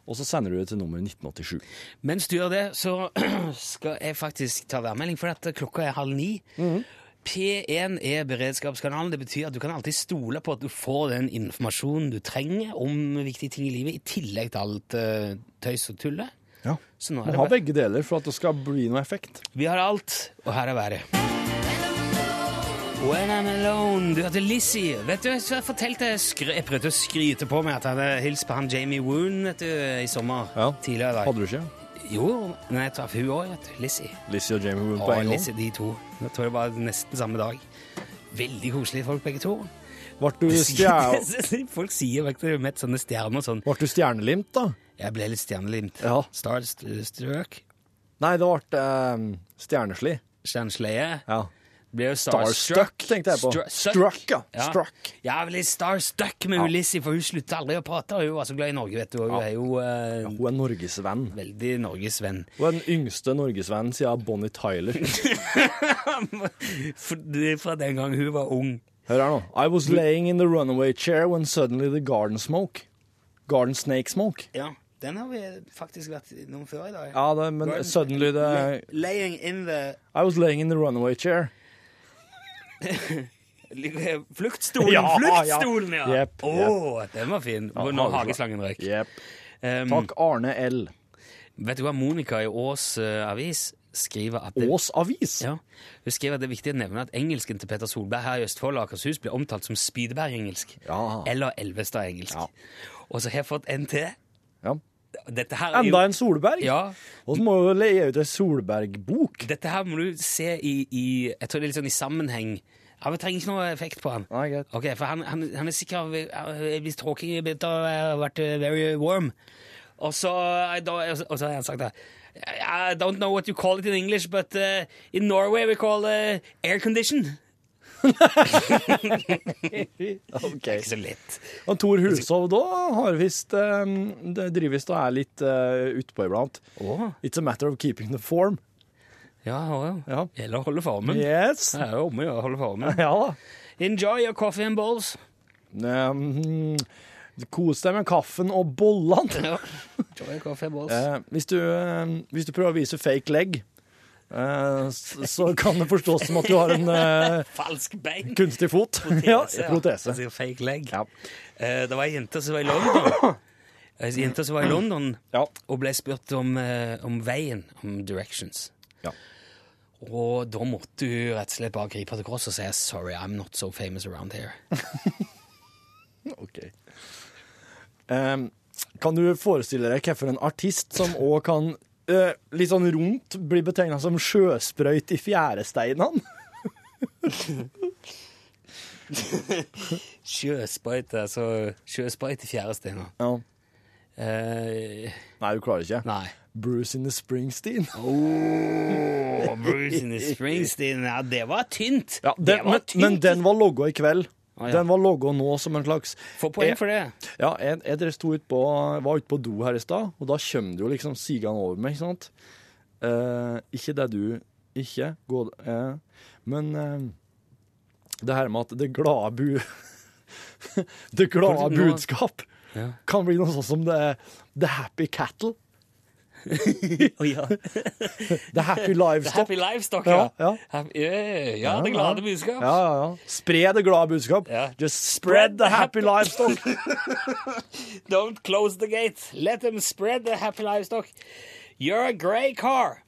og så sender du det til nummer 1987.
Mens du gjør det, så *clears throat* skal jeg faktisk ta værmelding, for at klokka er halv ni.
Mhm.
P1 er beredskapskanalen. Det betyr at du kan alltid stole på at du får den informasjonen du trenger om viktige ting i livet, i tillegg til alt eh, tøys og tullet.
Ja.
Så nå
Må
er det
ha
bare-
begge deler for at det skal bli noe effekt.
Vi har alt, og her er været. When I'm alone, du hørte Lizzie. Vet du, så jeg fortalte jeg skry- Jeg prøvde å skryte på meg at jeg hadde hilst på han Jamie Woon vet du, i sommer. Tidligere i dag.
Hadde du ikke?
Jo, men jeg traff hun òg, vet du. Lizzie.
Lizzie og Jamie Wood
Å,
på en gang.
Lizzie, de to. Jeg tror det var nesten samme dag. Veldig koselige folk, begge to.
Ble du
*laughs*
stjerne-
Folk sier faktisk jeg har møtt sånne stjerner og sånn.
Ble du stjernelimt, da?
Jeg ble litt stjernelimt.
Ja.
Starstrøk.
Nei, det ble eh, stjernesli.
Stjernesleie.
Ja.
Ble jo
Starstruck, tenkte jeg på.
Stru-
Struck, ja. Struck.
Ja, jeg ble litt starstruck med
Ja.
Ulysses, for hun sluttet aldri å prate. og Hun var så glad i Norge, vet du. og Hun
Ja.
er jo eh,
Hun er Norges venn.
veldig Norges venn. *laughs*
Hun er den yngste norgesvennen siden Bonnie Tyler.
For, det er fra den gang hun var ung.
Hør her nå. I was laying in the runaway chair when suddenly the garden smoke. Garden snake smoke.
Ja, den har vi faktisk vært innom før i dag.
Ja, eh, det, men
Garden-
suddenly the
Laying in the
I was laying in the runaway chair.
Fluktstolen!
*laughs* Ja, ja.
fluktstolen, ja! Å,
Jepp,
den var fin.
Ja,
Hvor nå
hageslangen.
hageslangen røyk. Um,
Takk, Arne L.
Vet du hva Monica i Ås eh, Avis skriver at
Ås Avis?
Ja, hun skriver at det er viktig å nevne at engelsken til Peter Solberg her i Østfold og Akershus blir omtalt som Spydeberg-engelsk. Eller Elvestad-engelsk. Og så har jeg fått en til. Dette her er jo-
Enda en Solberg?
Ja.
Og så må vi leie ut ei Solberg-bok.
Dette her må du se i, i Jeg tror det er litt sånn i sammenheng. Ja, Vi trenger ikke noe effekt på han. Ok, For han, han, han er sikkert Hvis talking a bit og eh, vært eh, very warm. Og så, eh, da, og så har han sagt det. I don't know what you call it in English, but eh, in Norway we call it air condition.
Det
er ikke så lett.
Og Tor Hulshov da har visst eh, det drives da er litt uh, utpå iblant. It's a matter of keeping the form.
Ja, ja.
ja.
Eller holde formen.
Yes.
Det er jo om å gjøre å holde formen.
*laughs* Ja da.
*laughs* Enjoy your coffee and balls.
Um, kos deg med kaffen og bollene.
Enjoy your coffee and balls.
Eh, hvis, du, eh, hvis du prøver å vise fake leg, eh, s- så kan det forstås som at du har en eh,
Falsk bein.
kunstig fot.
*laughs*
Ja, protese.
Jeg sier fake leg. Eh, det var ei jente som var i *coughs* London. Ei jente som var i London og ble spurt om, eh, om veien, om directions. Og da måtte hun rett og slett bare gripe til korset og si 'sorry, I'm not so famous around *laughs* here'.
Ok. Ehm, kan du forestille deg hvorfor en artist som òg kan eh, litt sånn rundt bli betegna som sjøsprøyt i fjæresteinene?
Sjøsprøyt, altså sjøsprøyt i Eh, fjæresteiner.
Ja.
Nei,
du klarer ikke?
Nei.
Bruce in the Springsteen.
Oh, Bruce in the
*laughs*
Springsteen, ja, det var tynt!
Ja, den, men, men den var logga i kveld.
ja.
Den var logga nå som en slags
Få poeng
Jeg-
for
*laughs*
det.
Ja, jeg, jeg drev- sto ut på, var ute på do her i stad, og da kommer det jo liksom sigende over meg, ikke sant? Eh, ikke det du ikke går eh, Men eh, *laughs* det her med at det glade bu... det glade
Nå-
budskap kan bli noe sånn som The, the Happy Cattle.
*laughs*
the Happy Livestock.
Happy livestock, ja.
ja.
Happy- Ja, ja, ja, det glade budskap.
Ja, ja, ja. Spre det glade budskap. Just spread the
*laughs*
happy livestock.
Don't close the gate. Let them spread the happy livestock. You're a grey car.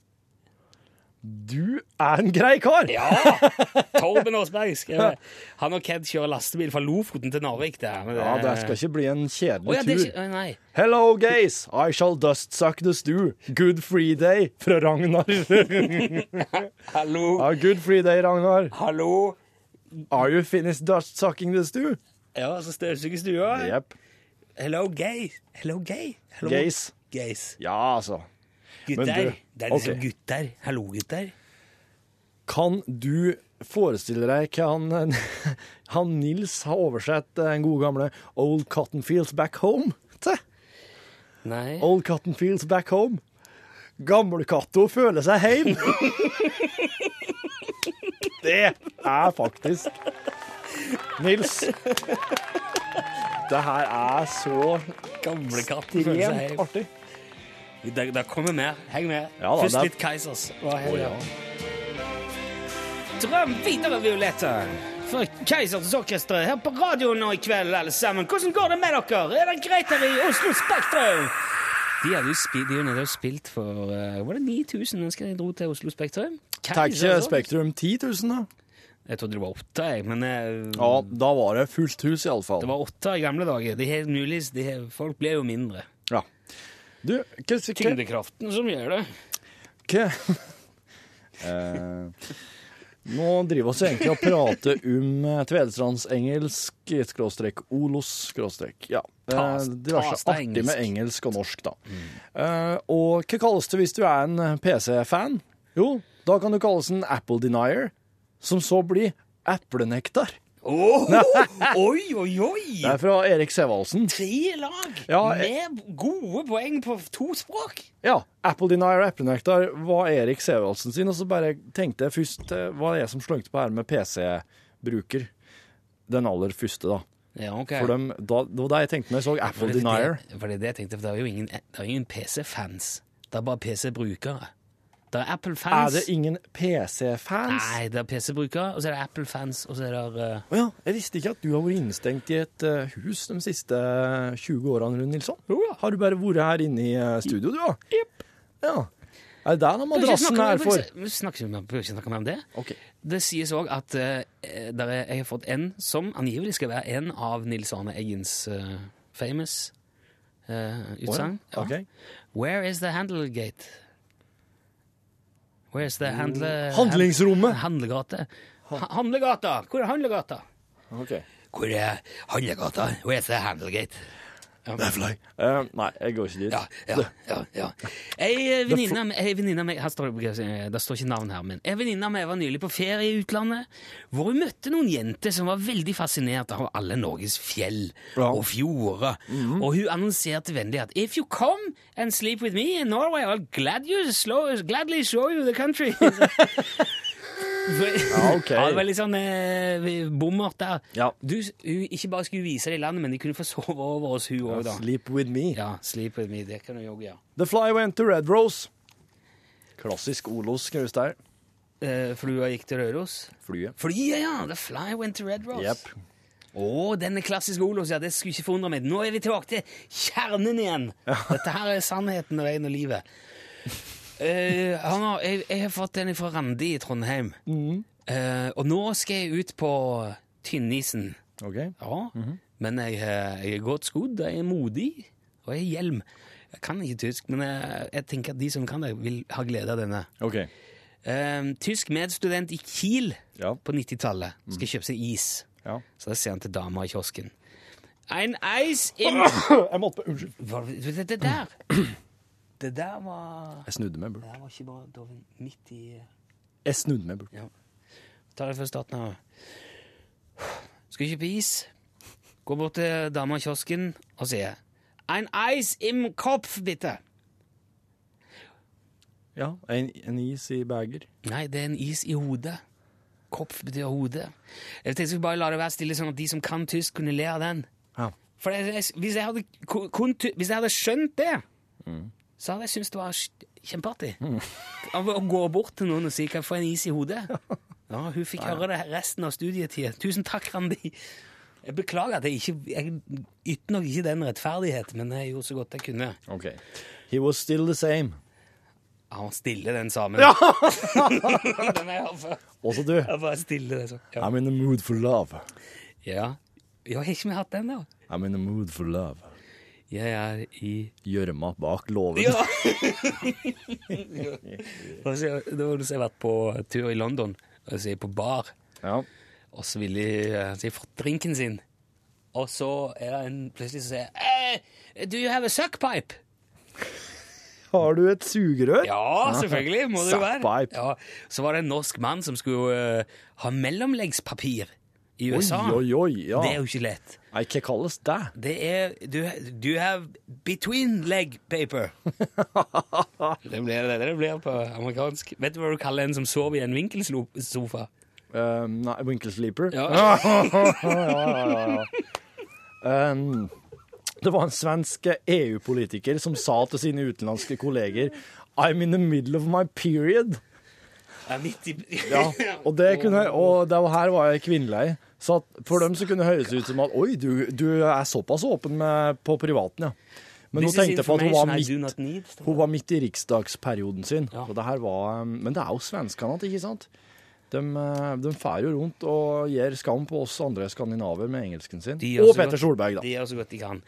Du er en grei kar! *laughs*
Torben Aasberg skrev det. Han og Ked kjører lastebil fra Lofoten til Narvik. Det, men det,
Ja, det skal ikke bli en
Å,
kjedelig
ja, det er
tur.
ikke- å, nei.
Hello, gays! I shall dust suck the stew. Good free day fra Ragnar.
Hallo.
Ja, good free day, Ragnar.
Hallo.
Are you finished dust sucking the stew?
Ja, så støvsuger stua.
Jepp.
Hello, gay. Hello, gay. Hello.
Gays.
Gays.
Ja, altså. Men
Gutter.
du-
det er liksom
ok.
gutter. Hallo, gutter.
Kan du forestille deg hva han, *laughs* han Nils har oversett den gode gamle Old Cotton Fields Back Home til?
Nei.
Old Cotton Fields Back Home. Gamlekatto føler seg heim. det er faktisk Nils. Det her er så
Gamlekatten føler seg
ekstremt
heim.
artig.
Det, det kommer mer. Heng med.
Ja da,
Først
det er-
litt Keisers. Hva er
Å,
det?
ja.
Drøm videre, Violette. For Keisers Orkester her på radioen nå i kveld, alle sammen. Hvordan går det med dere? Er det greit her i Oslo Spektrum? De hadde jo spilt, de hadde jo spilt for eh, Var det 9000 mennesker de dro til Oslo Spektrum?
Tenk
Keisers
ikke
Orkester.
Spektrum 10 000, da.
Jeg trodde det var åtte, jeg, men eh,
Ja, da var det fullt hus, iallfall.
det var åtte i gamle dager. Det er helt mulig, det er, folk blir jo mindre.
Ja. Du, hva
Tyngdekraften som gjør det.
Hva *laughs* eh, Nå driver vi egentlig og prater om eh, tvedestrandengelsk skråstrek olos skråstrek. Ja. Eh,
Tas-
Det var
tas
så
det
artig
engelsk. Mm.
med engelsk og norsk, da. Eh, og hva kalles det hvis du er en PC-fan? Jo, da kan du kalles en apple denier, som så blir eplenektar.
oi, oi, oi!
Det er fra Erik Sevaldsen.
Tre lag
Ja,
med gode poeng på to språk.
Ja, Apple Denier og Apple Nectar var Erik Sevaldsen sin, og så bare tenkte jeg først eh, hva er det som slengte på her med PC-bruker? Den aller første, da.
Ja, ok.
For dem, da, det var da jeg tenkte når jeg så Apple
For det,
Denier.
det, for det er det jeg tenkte, for det er jo ingen, det er jo ingen PC-fans. Det er bare PC-brukere. Det er
Er
Apple-fans.
det ingen PC-fans?
Nei, det er PC-brukere, og så er det Apple-fans, og så er det eh,
Å ja, jeg visste ikke at du har vært innestengt i et eh, hus de siste 20 årene, Rune Nilsson. Har du bare vært her inne i eh, studio, du, da? Ja. Er det
Bør
der den
ikke
madrassen
snakke om-
er for?
bør ikke- Vi snakker ikke om- bør ikke snakke mer om det. Det sies òg at eh, der er, jeg har fått en som angivelig skal være en av Nils Arne Eggens eh, famous uh, utsagn.
Å ja, ok.
Where is the handle gate? Where is the handle...
Handlingsrommet.
Handlegate. Ha handlegata! Hvor er handlegata? Hvor er handlegata? Where is the handle gate? Ja.
Eh, nei, jeg går ikke dit.
ja, ja, ja. Ei eh, venninne av meg- ei venninne av meg Her står det, eh, det står ikke navn her, men ei venninne av meg var nylig på ferie i utlandet, hvor hun møtte noen jenter som var veldig fascinert av alle Norges fjell og fjorder.
Mhm.
Og hun annonserte vennlig at If you come and sleep with me in Norway, I'll glad you slow, gladly show you the country. *laughs*
Ja, ok.
det var litt sånn eh, bommert der. Du, hun ikke bare skulle vise det i landet, men de kunne få sove over hos hun òg, da.
Sleep with me.
Ja, sleep with me, det kan du jogge, ja.
The Fly Went to Red Rose. Klassisk Olos, Knaus der.
Eh, flua gikk til Røros.
Flyet.
Flyet, ja! The Fly Went to Red Rose.
Jepp.
Å, denne klassiske Olos, ja, det skulle ikke forundre meg. Nå er vi tilbake til kjernen igjen! *laughs* Dette her er sannheten og veien og livet. Eh, han har, jeg, jeg har fått en fra Randi i Trondheim. Eh, og nå skal jeg ut på tynnisen.
Ok.
Ja, men jeg, eh, jeg er godt skodd, jeg er modig, og jeg har hjelm. Jeg kan ikke tysk, men jeg, jeg tenker at de som kan det, vil ha glede av denne.
Ok.
Ehm, tysk medstudent i Kiel på 90-tallet skal kjøpe seg is. Så da ser han til dama i kiosken. Ein Eis im
Jeg måtte Unnskyld.
Hva, det, det der *clears throat* Det der var
Jeg snudde meg bort.
Det der var ikke bra. Det var midt i
Jeg snudde meg bort.
Ta det fra starten av. Skal vi kjøpe is? Gå bort til dama i kiosken og sier Ein Eis im Kopf, bitte!
Ja, en, en is i beger.
Nei, det er en is i hodet. Kopf betyr hode. Jeg tenkte jeg skulle bare la det være stille, sånn at de som kan tysk, kunne le av den.
Ja.
For jeg, jeg, hvis, jeg hadde, ku- kun, tu- hvis jeg hadde skjønt det, så hadde jeg syntes det var sj- kjempeartig. *laughs* Av Å gå bort til noen og si 'kan jeg få en is i hodet'? Ja, hun fikk
Ja, ja.
høre det resten av studietida. Tusen takk, Randi. Jeg beklager at jeg ikke Jeg yter nok ikke den rettferdighet, men jeg gjorde så godt jeg kunne.
Ok.
He was still the same.
Han var stille, den samen.
Ja!
*laughs* den har jeg hørt før.
Også du.
Jeg bare stille, den samen. Ja.
I'm in the mood for love.
ja. Ja, har ikke vi hatt den, da?
I'm in the mood for love.
Jeg er i
gjørma bak låven.
*laughs* Ja! Da sier jeg- da var det så jeg har vært på tur i London, og så er jeg på bar. Og så ville jeg, eh, så jeg fått drinken sin. Og så er det en plutselig som sier eh, Do you have a suckpipe?
Har du et sugerør?
*laughs* Ja, selvfølgelig må det jo være.
Sackpipe.
Ja, så var det en norsk mann som skulle eh, ha mellomleggspapir i USA.
Oi, oi, oi, ja.
Det er jo ikke lett.
Nei, hva kalles det?
Det er Do, do you have between leg
*laughs*
paper? det blir det det blir på amerikansk. Vet du hva du kaller en som sover i en vinkelsofa?
Um, nei, Winkelsleeper?
Ja.
ja, ja, ja, ja. Um, det var en svensk EU-politiker som sa til sine utenlandske kolleger I'm in the middle of my period.
Ja, midt i
Ja, og det kunne, og det var, her var jeg kvinnelig. Så at for dem så kunne det høres ut som at oi, du, du er såpass åpen med, på privaten, ja. Men
This
hun
is
tenkte på at hun var
information I do
midt,
not need, står det.
hun var midt i riksdagsperioden sin. Og det her var, um, men det er jo svenskene, at, ikke sant? De, eh, de fer jo rundt og gir skam på oss andre skandinaver med engelsken sin.
De gjør så
Og Petter
godt-
Solberg, da.
De gjør så godt de kan.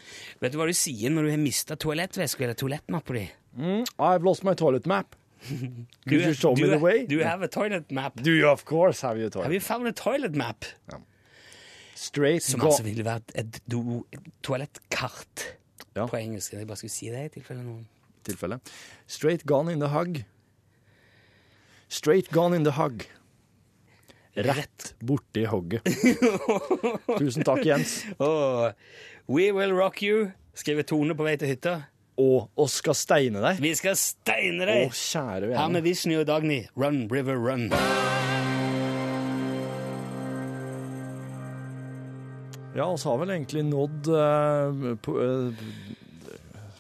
Vet du hva du sier når du har mista toalettveska eller toalettmappa di?
Mm, I've lost my toilet map. Could you show me
do,
the way?
Do you have a toilet map?
Do you of course have your toilet?
Have you found a toilet map?
Straight
Som
go-
altså ville vært et, do, et toalettkart på engelsk. Jeg bare skulle si det i tilfelle noen
tilfelle. Straight gone in the hug. Straight gone in the hug. Rett borti hogget. *laughs* Tusen takk, Jens.
Åh, We will rock you, skriver Tone på vei til hytta.
Og oss skal steine deg.
Vi skal steine
Å,
deg!
kjære
Her med
vene.
Vishnu og Dagny. Run, River, run.
Ja, oss har vel egentlig nådd eh, på, eh,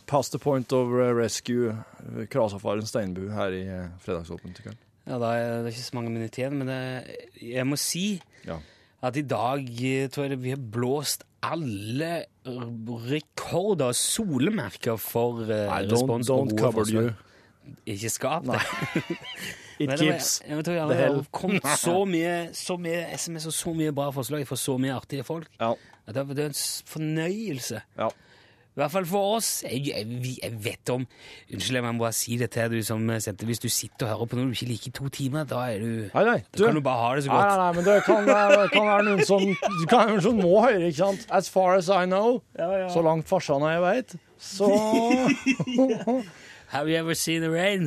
past the point of rescue, eh, Krasafaren Steinbu, her i eh, Fredagsåpent i kveld.
Ja, da er det ikke så mange minutter igjen, men det, jeg må si
Ja.
at i dag eh, tror jeg det- vi har blåst alle r- rekorder og solemerker for eh,
Nei, don't-
respons på
don't
gode
cover
forslag. Ikke skap det.
*laughs* It
Men det var-
keeps
Jeg, jeg tror jeg
the
allerede
hell.
har kommet
*laughs*
så mye, så mye SMS og så mye bra forslag fra så mye artige folk. At Det, det er en s- fornøyelse. I hvert fall for oss. Jeg, jeg, vi- jeg vet om Unnskyld, jeg må bare si det til deg du som sendte. Hvis du sitter og hører på noe du ikke liker i to timer, da er du Da kan du bare ha det så godt.
Nei, nei, nei men det kan, det kan være noen som, det kan være noen som må høre, ikke sant? As far as I know, så langt farsan og jeg vet, så...
Have you ever seen the rain?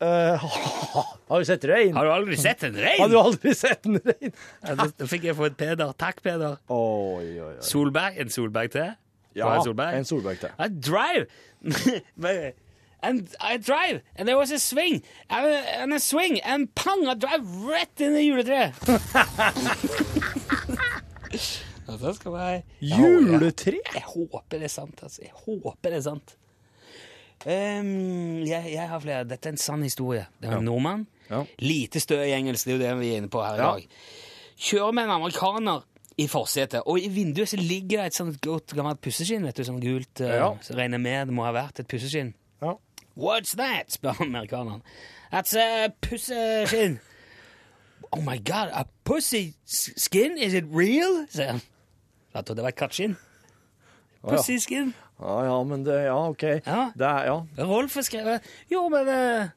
Eh, *laughs* har du sett regn?
Har du
*laughs*
aldri sett en regn?
Har du aldri sett en regn?
Ja, da, da fikk jeg få et Peder. Takk, Peder.
Oi, oi, oi.
Solberg. En Solberg til?
Ja,
Var det Solberg?
en Solberg til.
I drive! *laughs* Bare- And I drive, and there was a swing, and a, and a swing, and pang, I drive rett inn i juletreet! *laughs* Ja, det skal være
Juletre?
Jeg håper det er sant, altså. Jeg håper det er sant. Ehm, jeg, jeg har flere. Dette er en sann historie. Det er en nordmann. Lite stø i engelsk, det er jo det vi er inne på her i
Ja.
dag. Kjører med en amerikaner i forsetet, og i vinduet så ligger det et sånt godt gammelt pusseskinn, vet du, sånn gult, eh,
Ja.
så regner jeg med det må ha vært et pusseskinn. What's that? spør amerikaneren. That's a pusseskinn. *laughs* oh my god, a pussy s- skin? Is it real? sier han. Jeg trodde det var et kattskinn.
Å, ja.
Pussy skin.
Ja, ja, men det, ja, ok. Det er, ja.
Rolf har skrevet Jo, men eh,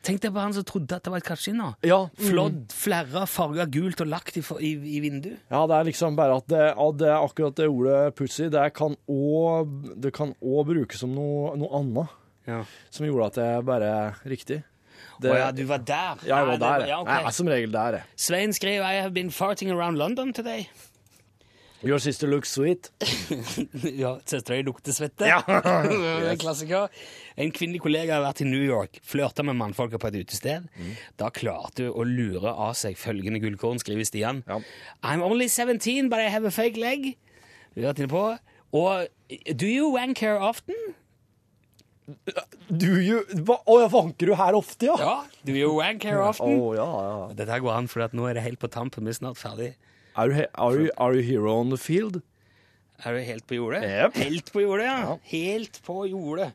Tenk deg på han som trodde at det var et kattskinn. da.
mm.
Flådd, flerra, farga gult og lagt i, for- i, i vinduet.
Ja, det er liksom bare at det, at det er akkurat det ordet pussy, det kan også, det kan også brukes som noe, noe annet. Som gjorde at det bare riktig. Det-
Å ja, du var der.
Jeg
Nei,
var
det
der, jeg.
ja, ok.
Nei, altså- jeg er som regel der, jeg.
Svein skriver I have been farting around London today. *laughs*
Your sister looks sweet.
ja, søstera di lukter svette. *laughs* en klassiker. En kvinnelig kollega har vært i New York, flørta med mannfolka på et utested.
Mm.
Da klarte hun å lure av seg følgende gullkorn, skriver Stian. I'm only 17, but I have a fake leg. Vi har vært inne på. Og do you wank her often?
Du jo hva- Å, ja, vanker du her ofte, ja?
Ja, Do you wank here often?
Å, ja, ja.
Dette her går an, for at nå er det helt på tampen. Vi er snart ferdig.
Are you, he- are you, are you hero on the field?
Er du helt på jordet?
Jep.
Helt på jordet, ja. Helt på jordet.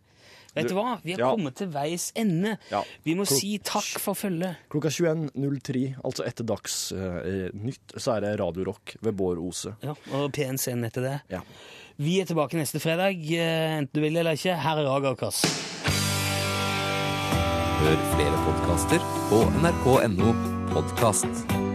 Vet du,
Du-
hva? Vi har
Ja.
kommet til veis ende.
Ja.
Vi må
Klok-
si takk for følget.
Klokka 21.03, altså etter Dagsnytt, så er det Radiorock ved Bård Ose.
Ja, og pen scene etter det. E Vi er tilbake neste fredag, eh, enten du vil eller ikke. Her er Agerkars.
Hør flere podkaster på nrk.no podkast.